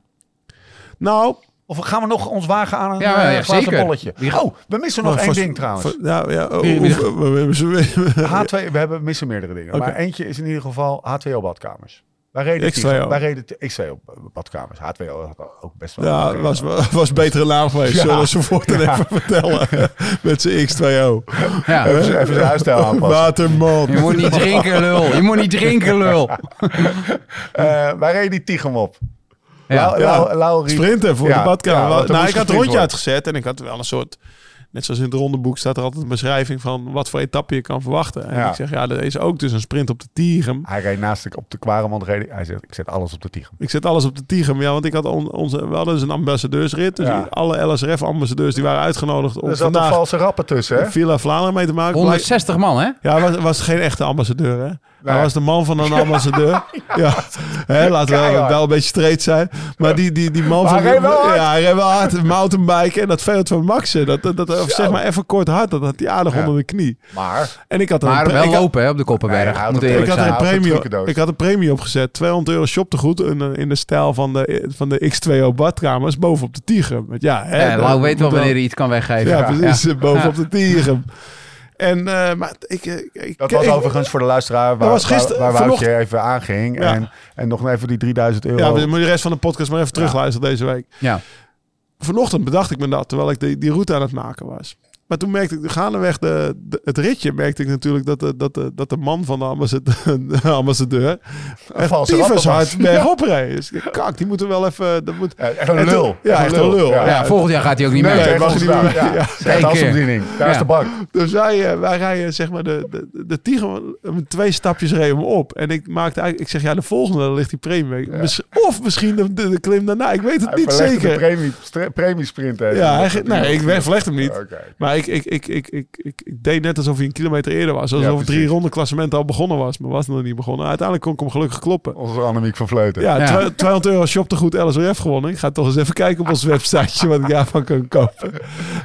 E: Nou,
B: Of gaan we nog ons wagen aan een
D: Ja,
B: ja,
D: ja,
B: glazen
D: zeker.
B: bolletje?
D: Wie gaat-
B: Oh, we missen nog
E: maar
B: één
E: vast-
B: ding trouwens.
E: voor- nou, ja, oh,
D: Wie- wie-
E: oh, we- we hebben ze weer.
B: H2, we hebben, missen meerdere dingen.
E: Oké.
B: Maar eentje is in ieder geval H2O-badkamers. Wij reden
E: X2O.
B: tegen- Wij reden te- X2O-badkamers. H2O had ook best wel...
E: Ja,
B: oké.
E: was, was betere naam geweest.
B: Ja.
E: Zullen we ze voortaan
B: Ja.
E: even vertellen? Met zijn X2O.
D: Ja.
B: Even, Dus even zijn huisstijl aanpassen.
E: Waterman.
D: Je moet niet drinken, lul. Je moet niet drinken, lul.
B: Eh, wij reden die Tigem op.
D: Ja.
B: Lau-
E: eh,
B: Lau- Laurie-
E: Sprinten voor
B: Ja,
E: de badkamer.
B: ja, want er
E: nou,
B: moest
E: ik had
B: gesprint
E: het rondje
B: worden.
E: uitgezet en ik had wel een soort... Net zoals in het rondeboek staat er altijd een beschrijving van wat voor etappe je kan verwachten. En
B: Ja.
E: ik zeg, ja, er is ook dus een sprint op de Tigem.
B: Hij reed naast ik op de Kwaremond. reed hij. Hij zegt, ik zet alles op de Tigem.
E: Ik zet alles op de Tigem, ja, want ik had on- onze, we hadden dus een ambassadeursrit. Dus
B: Ja.
E: die- alle LSRF-ambassadeurs die waren uitgenodigd om
B: Er zat een
E: vandaag
B: valse rappen tussen, hè?
E: Villa Vlaanderen mee te maken. Blijk-
D: 160 man, hè?
E: Ja, hij was, was geen echte ambassadeur, hè?
B: Nee.
E: Hij was de man van een ambassadeur. ja, Hè, laten we
B: Keihard.
E: wel een beetje streed zijn. Maar die, die, die man
B: Maar
E: van...
B: hij reed wel hard.
E: Ja, hij reed wel hard. Mountainbiken en dat veld van Maxen. Dat, dat, dat, of zeg maar even kort hard. Dat had hij aardig
B: Ja.
E: onder de knie.
B: Maar
E: En ik had er
D: Maar
E: een, pre-
D: wel
E: ik had-
D: lopen, hè, op de
B: Nee,
D: Koppenberg.
B: hij had
D: moet
B: het-
E: ik
D: eerlijk
E: had, er
D: zijn.
E: een
B: Hij had een
E: premie,
B: trucendoos.
E: ik had een premie opgezet. 200 euro shoptegoed. In, eh, in de stijl van de, eh, van de X2O badkamers. Bovenop de Tigem. Want Ja, hè,
D: Ja,
E: dat
D: Lau weet wel
E: moet
D: wanneer hij iets kan weggeven.
E: Ja, precies.
D: Ja.
E: eh, Bovenop de Tigem. En, eh, maar ik... eh, ik
B: dat was
E: ik-
B: overigens voor de luisteraar waar,
E: was gister-
B: waar, waar Woutje
E: vanochtend-
B: even aanging.
E: Ja.
B: En, en nog even die 3000 euro.
E: Ja, maar dan moet je de rest van de podcast maar even terugluisteren deze week.
D: Ja.
E: Vanochtend bedacht ik me dat, terwijl ik die, die route aan het maken was. Maar toen merkte ik, gaandeweg de, de- het ritje, merkte ik natuurlijk dat de, dat de, dat de man van de ambassade- ambassadeur...
B: Een valse
E: tyfus
B: rapper was.
E: hard bergop reed. Dus ik dacht, kak, die moeten wel even... Dat moet...
B: Ja, echt Eh, een
E: En toen-
B: lul.
E: Ja, echt een lul.
B: Ja.
D: Ja, volgend jaar gaat hij ook niet
B: Nee,
D: mee.
B: nee,
E: mag
B: was
E: je
B: niet
E: niet
B: meer.
E: meer.
B: Ja, eh,
E: Ja.
B: Zet de asbediening. Daar is
D: Ja.
B: de bank.
E: Dus wij, eh, wij rijden zeg maar de, de, de tiger, met twee stapjes reden we op. En ik maakte eigenlijk, ik zeg ja, de volgende dan ligt die premie. Miss- Of misschien de, de, de klim daarna, ik weet het
B: Hij
E: niet
B: verlegde
E: zeker.
B: De premie, stre- premiesprint. hè.
E: Ja, hij, ge- nee, ik ben- verleg hem niet.
B: Oké.
E: Maar ik, ik, ik, ik, ik, ik, ik deed net alsof hij een kilometer eerder was. Alsof
B: Ja,
E: het drie
B: precies.
E: ronde klassement al begonnen was. Maar was nog niet begonnen. Uiteindelijk kon ik hem gelukkig kloppen.
B: Onze Annemiek van Vleuten.
E: Ja,
D: Ja.
E: twa- 200 euro shoptegoed LSRF gewonnen. Ik ga toch eens even kijken op ons websiteje wat ik daarvan kan kopen.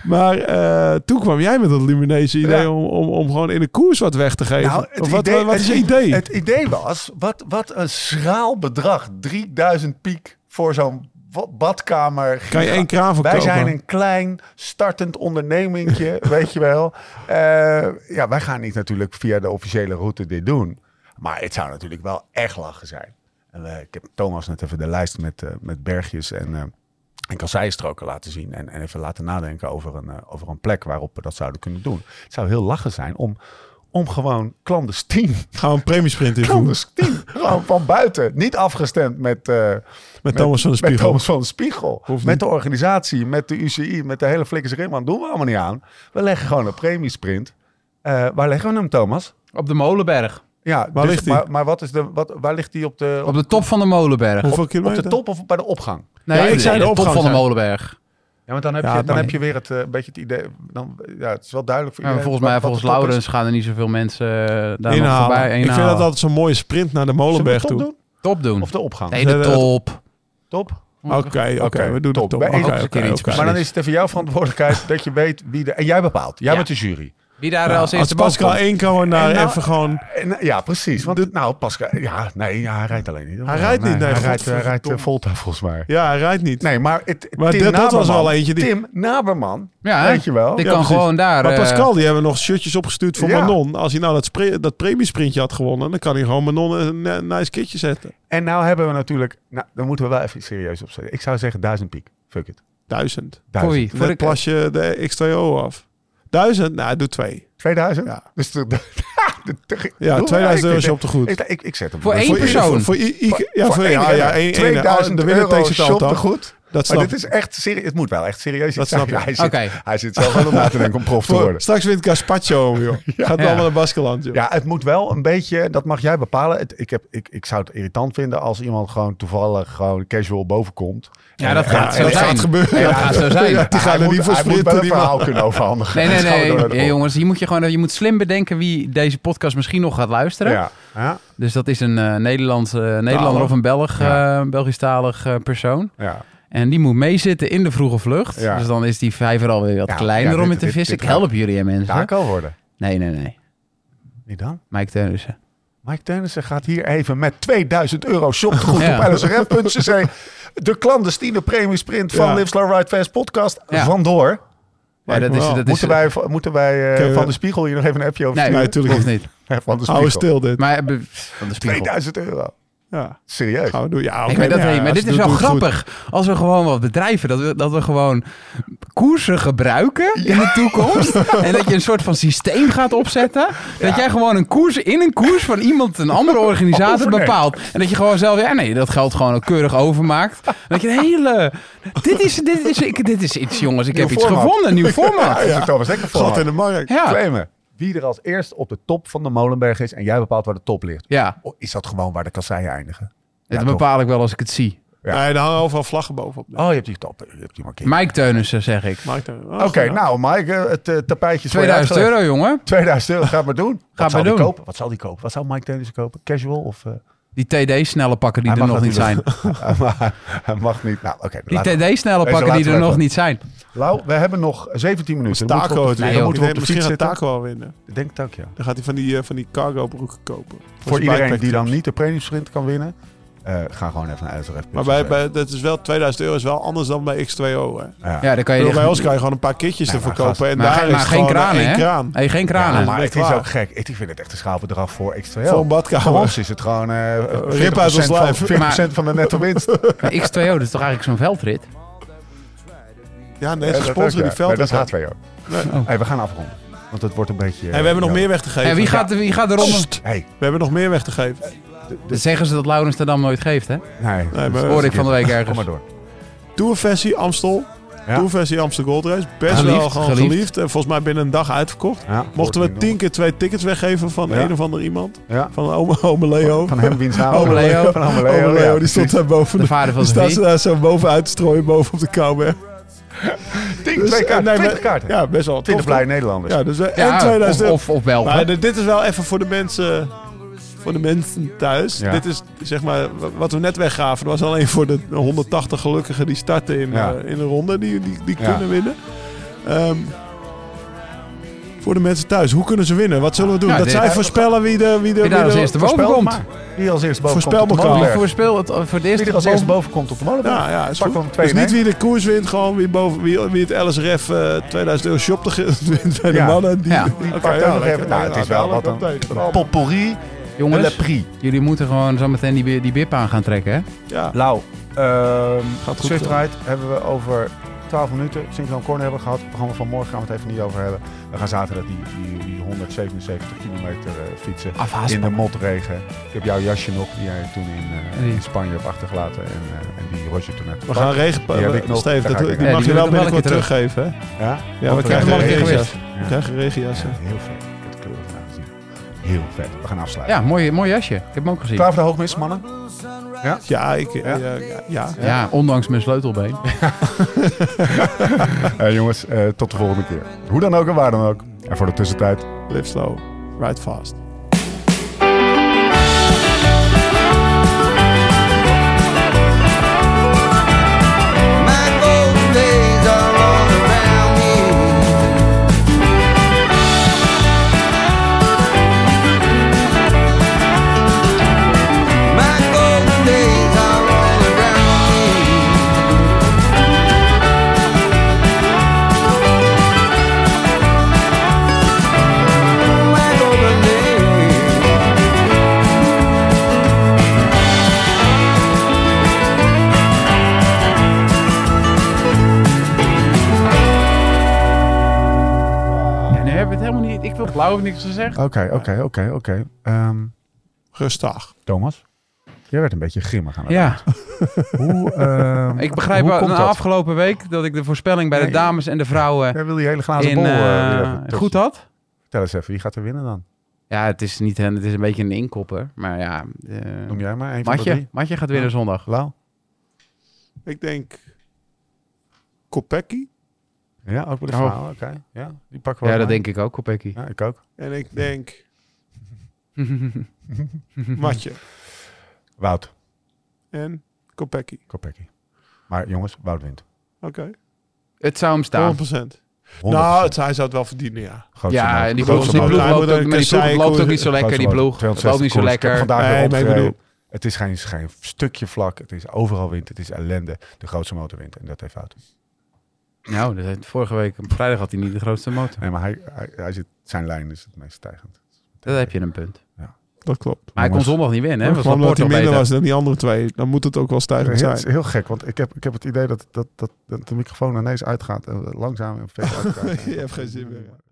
E: Maar eh, toen kwam jij met dat Luminese idee
B: Ja.
E: om, om, om gewoon in de koers wat weg te geven.
B: Nou, het
E: Of wat,
B: idee,
E: wat
B: het
E: is je
B: i-
E: idee?
B: Het idee was, wat, wat een schraal bedrag. 3000 piek voor zo'n wa- badkamer.
E: kan je één kraan voor
B: Wij
E: kopen?
B: zijn een klein startend ondernemingje, weet je wel. Eh, ja, wij gaan niet natuurlijk via de officiële route dit doen. Maar het zou natuurlijk wel echt lachen zijn. En, eh, ik heb Thomas net even de lijst met, eh, met bergjes en, eh en kasseienstroken laten zien. En, en even laten nadenken over een, eh, over een plek waarop we dat zouden kunnen doen. Het zou heel lachen zijn om, om gewoon clandestien
E: Gaan we een premiesprint invoeren
B: clandestien. Gewoon van buiten. Niet afgestemd met, eh,
E: met Thomas van de
B: met
E: Spiegel?
B: Thomas van de Spiegel.
E: Hoeft
B: met
E: niet.
B: de organisatie, met de UCI, met de hele flikkers rimman. Doen we allemaal niet aan. We leggen gewoon een premiesprint. Eh, waar leggen we hem, Thomas?
D: Op de Molenberg.
B: Ja, dus
E: Waar ligt die?
B: maar, maar wat is de, wat, waar ligt hij op de,
D: Op de top van de Molenberg.
E: Hoeveel
B: op, op
E: kilometer?
B: de top of bij de opgang?
D: Nee,
E: Ja, ik
D: nee,
E: zei de
D: de top
E: opgang
D: van de
E: zijn.
D: Molenberg.
B: Ja, want dan heb,
E: Ja,
B: je,
E: het
B: dan
E: mag
B: heb
E: niet.
B: je weer het, eh, beetje het idee... Dan, ja, het is wel duidelijk voor
D: Ja, maar
B: iedereen
D: volgens mij,
B: wat- wat
D: volgens
B: de top is.
D: Laurens gaan er niet zoveel mensen eh, daar nog
E: Inhalen.
D: voorbij.
E: Ik vind
D: inhalen.
E: dat altijd zo'n mooie sprint naar de
B: Zullen we de
E: Molenberg
B: top
E: toe.
B: doen?
D: top doen.
B: Of de opgang?
D: Nee, de
E: Nee,
D: top.
B: Top?
E: Oké, oké,
B: Oké,
E: we doen
B: top.
E: het top.
B: Bij
E: Oké,
B: één
E: oké,
D: keer iets
E: oké.
B: Maar dan is het even jouw verantwoordelijkheid dat je weet wie de... En jij bepaalt. Jij
D: Ja.
B: bent de jury.
D: Wie daar
E: Ja,
D: als
E: als
D: eerste boven
E: Pascal
D: komt.
E: Eenkouwer naar
B: En nou-
E: even gewoon...
B: En, eh, ja, precies. Want nou, Pascal, ja, nee, ja, hij rijdt alleen niet.
E: Hij rijdt niet, nee,
B: hij rijdt, hij
E: godverdomme.
B: rijdt eh, Volta volgens mij.
E: Ja, hij rijdt niet.
B: Nee, maar, het,
E: Maar
B: Tim
E: dat- dat was
B: Naberman-
E: wel eentje die-
B: Tim Naberman,
D: Ja, hè?
B: weet je wel.
D: Die
E: Ja,
D: kan
E: precies.
D: gewoon daar...
E: Maar
D: eh,
E: Pascal, die hebben nog shirtjes opgestuurd voor
B: Ja.
E: Manon. Als hij nou dat, spre- dat premiesprintje had gewonnen, dan kan hij gewoon Manon een eh, nice kitje zetten.
B: En nou hebben we natuurlijk, nou, daar moeten we wel even serieus op zetten. Ik zou zeggen duizend piek. Fuck it.
E: Duizend.
B: Duizend.
D: Oei. Voor
E: Dan
D: de-
E: plas je de X2O af. Duizend? Nou, doe twee.
B: 2000?
E: Ja.
B: Dus de, de- de-
E: Ja,
B: doe-
E: 2000 euro
B: ik-
E: is op de goed.
B: Ik, ik, ik zet hem.
D: Voor
B: wel.
D: één
E: Voor-
D: persoon.
E: Voor, voor, i- i-
B: Voor-
E: ja,
B: voor
E: voor,
B: één
E: ja,
B: renner.
E: ja, één- één-
B: 2000
E: de winnaar
B: euro
E: takes het al,
B: shop
E: toch?
B: goed.
E: Dat
B: Maar
E: snap
B: dit
E: ik.
B: is echt serieus. Het moet wel echt serieus
E: Dat
B: zijn.
E: snap ik.
B: Hij zit,
D: Oké.
B: hij zit zelf wel om na te denken om prof te
E: Voor-
B: worden.
E: Straks wint Gaspacho, joh. Gaat
D: Ja.
E: wel allemaal naar Baskeland, joh.
B: Ja, het moet wel een beetje, dat mag jij bepalen. Het, ik, heb, ik, ik zou het irritant vinden als iemand gewoon toevallig gewoon casual bovenkomt.
D: Ja, dat gaat
E: en
D: zo
E: dat
D: zijn.
E: gaat gebeuren.
D: Ja, dat gaat zo zijn.
E: Ja, die gaan
B: hij
E: er
B: moet,
E: niet voor
B: hij moet wel
E: sprinten.
B: een
E: die
B: verhaal
E: man.
B: kunnen overhandigen.
D: Nee, nee,
B: Dat is gewoon
D: nee.
B: door de
D: Ja,
B: kop.
D: jongens, hier moet je, gewoon, je moet slim bedenken wie deze podcast misschien nog gaat luisteren.
B: Ja. Ja.
D: Dus dat is een eh, Nederlandse, Nederlander
E: Taler.
D: of een Belg, eh, Belgisch-talig eh, persoon.
B: Ja.
D: En die moet meezitten in de vroege vlucht.
B: Ja.
D: Dus dan is die vijver alweer wat
B: Ja,
D: kleiner
B: ja, dit-
D: om in te
B: dit-
D: vissen.
B: dit
D: Ik help jullie, hè, mensen.
B: Taco worden.
D: Nee, nee, nee.
B: Wie dan?
D: Mike Teunissen.
B: Mike Teunissen gaat hier even met 2000 euro shopgoed
D: Ja.
B: op lsrf.cc de clandestine premiesprint van
E: Ja.
B: Live Slow Ride Fast podcast
D: Ja.
B: vandoor.
D: Ja, dat
E: me
D: is,
E: wel.
D: dat is,
B: oh, Moeten wij, moeten wij eh,
E: Oké,
B: Van
E: we-
B: de Spiegel hier nog even een appje over
D: Nee,
E: Nee,
B: sturen?
E: natuurlijk
D: hoeft niet.
B: Van de
E: Hou
B: Spiegel.
E: stil dit.
D: Maar eh, be- van de spiegel.
B: 2000 euro.
E: Ja,
B: Serieus.
E: gaan we doen. Ja, oké, nou
D: Ik weet dat
E: ja,
D: niet, maar
E: als
D: dit
E: je
D: is
E: doet,
D: wel
E: doe het goed.
D: grappig. Als we gewoon wat bedrijven, dat we, dat we gewoon koersen gebruiken in de toekomst. En dat je een soort van systeem gaat opzetten. Dat jij gewoon een koers in een koers van iemand, een andere organisator
B: Overneemt.
D: bepaalt. En dat je gewoon zelf, ja nee, dat geld gewoon ook keurig overmaakt. En Dat je een hele, dit is, dit is, ik, dit is iets jongens, ik
B: Nieuw
D: heb iets
B: format.
D: gevonden, een nieuw format.
B: Ja, dat was lekker
E: Gat in de markt.
D: Ja,
B: Claimen. Wie er als eerst op de top van de Molenberg is en jij bepaalt waar de top ligt.
D: ja,
B: Oh, Is dat gewoon waar de kasseien eindigen?
D: dat
B: toch.
D: bepaal ik wel als ik het zie.
B: Ja.
E: Nee, daar hangen overal vlaggen bovenop.
B: Oh, je hebt die top. Je hebt die markering.
D: Mike Teunissen zeg ik.
E: Maakt er- oh,
B: Oké,
E: goed, ja.
B: nou Mike, eh, het eh, tapijtje is voor je
D: 2000
B: uitgelegd.
D: euro jongen,
B: 2000 euro, ga het maar doen.
D: maar
B: Wat zal die
D: doen.
B: kopen? Wat zal die kopen? Wat zou Mike Tennis kopen? Casual of... eh,
D: die TD-snelle pakken die
B: Hij
D: er
B: mag
D: nog niet
B: dat
D: zijn.
B: niet maar hij mag niet. Nou, oké.
D: Die
B: laat-
D: TD-snelle
B: Deze
D: pakken
B: laten
D: die
B: we
D: er
B: even.
D: nog niet zijn.
B: Lau, we hebben nog 17 minuten. Dan moeten we
E: Taco
B: op
E: het
B: de-
E: weer.
D: Nee,
B: dan
D: joh.
B: moeten we op de
E: misschien
B: fiets
E: gaat
B: zitten.
E: Taco wel winnen.
B: Ik Denk tak, ja.
E: Dan gaat hij van die, eh, van die cargo broeken kopen.
B: Voor
E: zijn
B: iedereen
E: backpack
B: die dan
E: trips.
B: niet de premiumsprint kan winnen, eh, ga gewoon even naar SRF.
E: Maar bij, bij, dat is wel, 2000 euro is wel anders dan bij X2O. Hè.
D: Ja, dan kan je
E: Bedoel, bij
D: echt-
E: ons kan je gewoon een paar kitjes
B: Nee,
E: ervoor
B: maar gast,
E: kopen. En
D: maar
E: daar
D: geen-
E: is
D: maar
E: het
D: geen
E: gewoon eh,
D: kranen,
E: één
D: hè?
E: kraan.
D: Hey, geen kranen.
B: Ja,
E: dat
B: maar
E: is
B: het is
E: klaar.
B: ook gek. Ik vind het echt een schaalbedrag voor X2L.
E: Voor een badkamer.
B: Voor ons is het gewoon eh 40%
E: Rip uit ons
B: van,
E: lijf.
B: 40% van de netto winst.
D: Maar X2O, dat is toch eigenlijk zo'n veldrit?
E: Ja,
B: Ja,
E: net
B: dat is,
E: gesponsord
B: ja.
E: die veld.
B: Nee, Dat gaat twee ook. Hey, we gaan afronden. Want het wordt een beetje...
E: En we hebben nog meer weg te geven.
D: En wie gaat, wie gaat de ronde?
E: Sst,
B: Hey,
E: We hebben nog meer weg te geven.
D: Dat zeggen ze dat Laurens de Dam nooit geeft, hè?
B: nee.
E: Nee, maar-
D: Hoor ik van de week
B: Kom maar
D: ergens.
B: door.
E: Tourversie Amstel.
B: Ja.
E: Tourversie Amstel Gold Race. Best
D: Geliefd,
E: wel gewoon
D: geliefd.
E: geliefd. En volgens mij binnen een dag uitverkocht.
B: Ja,
E: Mochten we
B: wordt
E: tien keer twee tickets weggeven van
B: Ja.
E: een of ander iemand.
B: Ja.
E: Van ome, ome Leo.
B: Van hem wiens
D: Oh,
B: naam?
E: Ome Leo.
B: Van Ome Leo,
E: Ome
B: ja,
E: Leo, die
B: precies.
E: stond daar boven.
D: De vader van
E: die staat
D: Sophie.
E: ze daar zo bovenuit te strooien, boven op de kouwberg.
B: Tien, twee kaarten.
E: eh, nee, maar-
B: 20 kaarten.
E: Ja, best wel. tof,
B: 20
E: toch?
B: blij Nederlanders.
E: Ja, dus we- en
D: Ja,
E: 2000
D: of,
E: euro.
D: of, of Belgen.
E: Maar dit- dit is wel even voor de mensen, voor de mensen thuis.
B: Ja.
E: Dit is zeg maar wat we net weggaven. Dat was alleen voor de 180 gelukkigen die starten in,
B: Ja.
E: eh, in de ronde. Die, die, die
B: Ja.
E: kunnen winnen. Ehm, voor de mensen thuis, hoe kunnen ze winnen? Wat zullen we doen?
D: Ja,
E: dat
D: dit-
E: zij voorspellen wie de... Wie de,
D: Wie daar als eerste boven
B: Voorspel
D: komt.
B: maar. Wie als eerst boven
E: Voorspel
B: komt op de
E: elkaar.
D: Wie
B: Molenberg.
D: voorspel het voor de
B: Wie
D: eerste?
B: er Oh. als eerst
D: boven-
B: boven komt op de Molenberg.
E: Ja, ja, is
B: Pak
E: goed.
B: hem twee
E: dus
B: in
E: niet
B: één.
E: wie de koers wint, gewoon wie, boven, wie, wie het LSRF eh 2000 euro shop te ge- wint bij de
B: Ja.
E: mannen. Die,
D: Ja.
B: Die
E: Oké,
B: pakt ook
E: ja,
B: nog
E: lekker.
B: even. Nou, het is wel
E: Nou,
B: wat een,
E: dat betekent
B: een
E: wel.
B: potpourri de la
D: Jongens,
B: prix.
D: jullie moeten gewoon zo meteen die, bi- die bip aan gaan trekken, hè?
E: Ja.
B: Lau, ehm
E: Gaat goed,
B: Swift
E: hoor.
B: Ride hebben we over 12 minuten. Synchroon Corner hebben we gehad. Het programma van morgen gaan we het even niet over hebben. We gaan zaterdag die, die, die 177 kilometer eh, fietsen.
E: Ah,
D: Afhaast.
B: In de motregen. Ik heb jouw jasje nog die jij toen in, eh,
D: Nee.
B: in Spanje hebt achtergelaten. En, eh, en die Roger toen hebt
E: We gaan
B: gepakt.
E: regenpakken.
B: Die heb ik nog.
E: Steve,
B: Daar
E: dat,
B: ga ik
E: die
B: in.
D: Ja,
E: mag
D: die
E: je
D: wil ik
E: wel
D: nog wel een keer
E: binnenkort teruggeven. hè?
B: Ja?
E: Ja, we
B: Want
E: krijgen
D: nog
E: wel
D: een keer
E: regenjas.
D: geweest.
E: We krijgen regenjassen.
B: Ja, heel vet. Ik heb de kleur vandaag gezien. Heel vet. We gaan afsluiten.
D: Ja, mooi, mooi jasje. Ik heb hem ook gezien.
B: Klaar voor de hoogmis, mannen?
E: Ja, ik...
B: Ja?
E: Ja, ja. ja.
D: Ja, ondanks mijn sleutelbeen.
B: Eh, jongens, eh, tot de volgende keer. Hoe dan ook en waar dan ook. En voor de tussentijd,
E: Live slow, ride fast.
C: My golden days are all around me. My golden days are all around me. My golden days.
D: Ja, nu hebben we het helemaal niet. Ik wil blauw niks gezegd.
B: Oké, oké, oké, oké. Ehm,
E: Rustig.
B: Thomas? Jij werd een beetje grimmig aan het
D: Ja,
B: eind. Hoe, ehm,
D: ik begrijp
B: hoe
D: wel
B: komt
D: na
B: dat?
D: afgelopen week dat ik de voorspelling bij de
B: Nee.
D: dames en de vrouwen
B: Jij wil die hele glazen
D: in,
B: bol eh, weer
D: eh,
B: even
D: goed
B: touchen.
D: had.
B: Vertel eens even, wie gaat er winnen dan?
D: Ja, het is, niet, het is een beetje een inkopper, maar ja. eh,
B: Noem jij maar één van de
D: Matje,
B: drie.
D: Matje gaat winnen zondag.
B: Lau?
E: Ik denk Kopecky.
B: Ja, ook bij de
D: Oh.
B: vrouwen, oké. Ja, die pakken we wel
D: Ja, dat
B: mee.
D: denk ik ook, Kopecky.
B: Ja, ik ook.
E: En ik denk Matje
B: Wout,
E: en Kopecky.
B: Kopecky. Maar jongens, Wout wint.
E: Oké,
D: Het zou hem staan.
E: 100%.
B: 100%.
E: Nou, het, hij zou het wel verdienen, ja.
B: Grootste
D: Ja,
B: man.
D: en die ploeg,
B: Grootste
D: die
B: man.
D: ploeg
E: Hij
D: loopt
E: moet
D: ook,
E: ook
D: maar die
E: een
D: ploeg loopt ook niet zo
E: saai
D: lekker, die
B: Grootste man.
D: ploeg. Het loopt niet zo
B: 260 koers. Ik heb
D: lekker.
B: vandaag
E: Nee,
B: weer
E: maar ik
B: opgeschreven.
E: bedoel-
B: Het is geen, geen stukje vlak. Het is overal wind. Het is ellende. De grootste motor wint. En dat heeft fout.
D: Nou, dat heeft- vorige week, op vrijdag had hij niet de grootste motor.
B: Nee, maar hij, hij, hij zit, zijn lijn is het meest stijgend.
D: Dat heb je een punt.
E: Dat klopt.
D: Maar hij kon zondag niet winnen, hè?
E: Gewoon
D: Want Laporte
E: omdat hij
D: nog
E: minder
D: beter.
E: was dan die andere twee. Dan moet het ook wel
B: Ja,
E: stijgend
B: Het is
E: zijn.
B: heel gek, want ik heb, ik heb het idee dat, dat, dat, dat de microfoon ineens uitgaat. En langzaam en veel uitgaat.
E: Je hebt geen zin meer.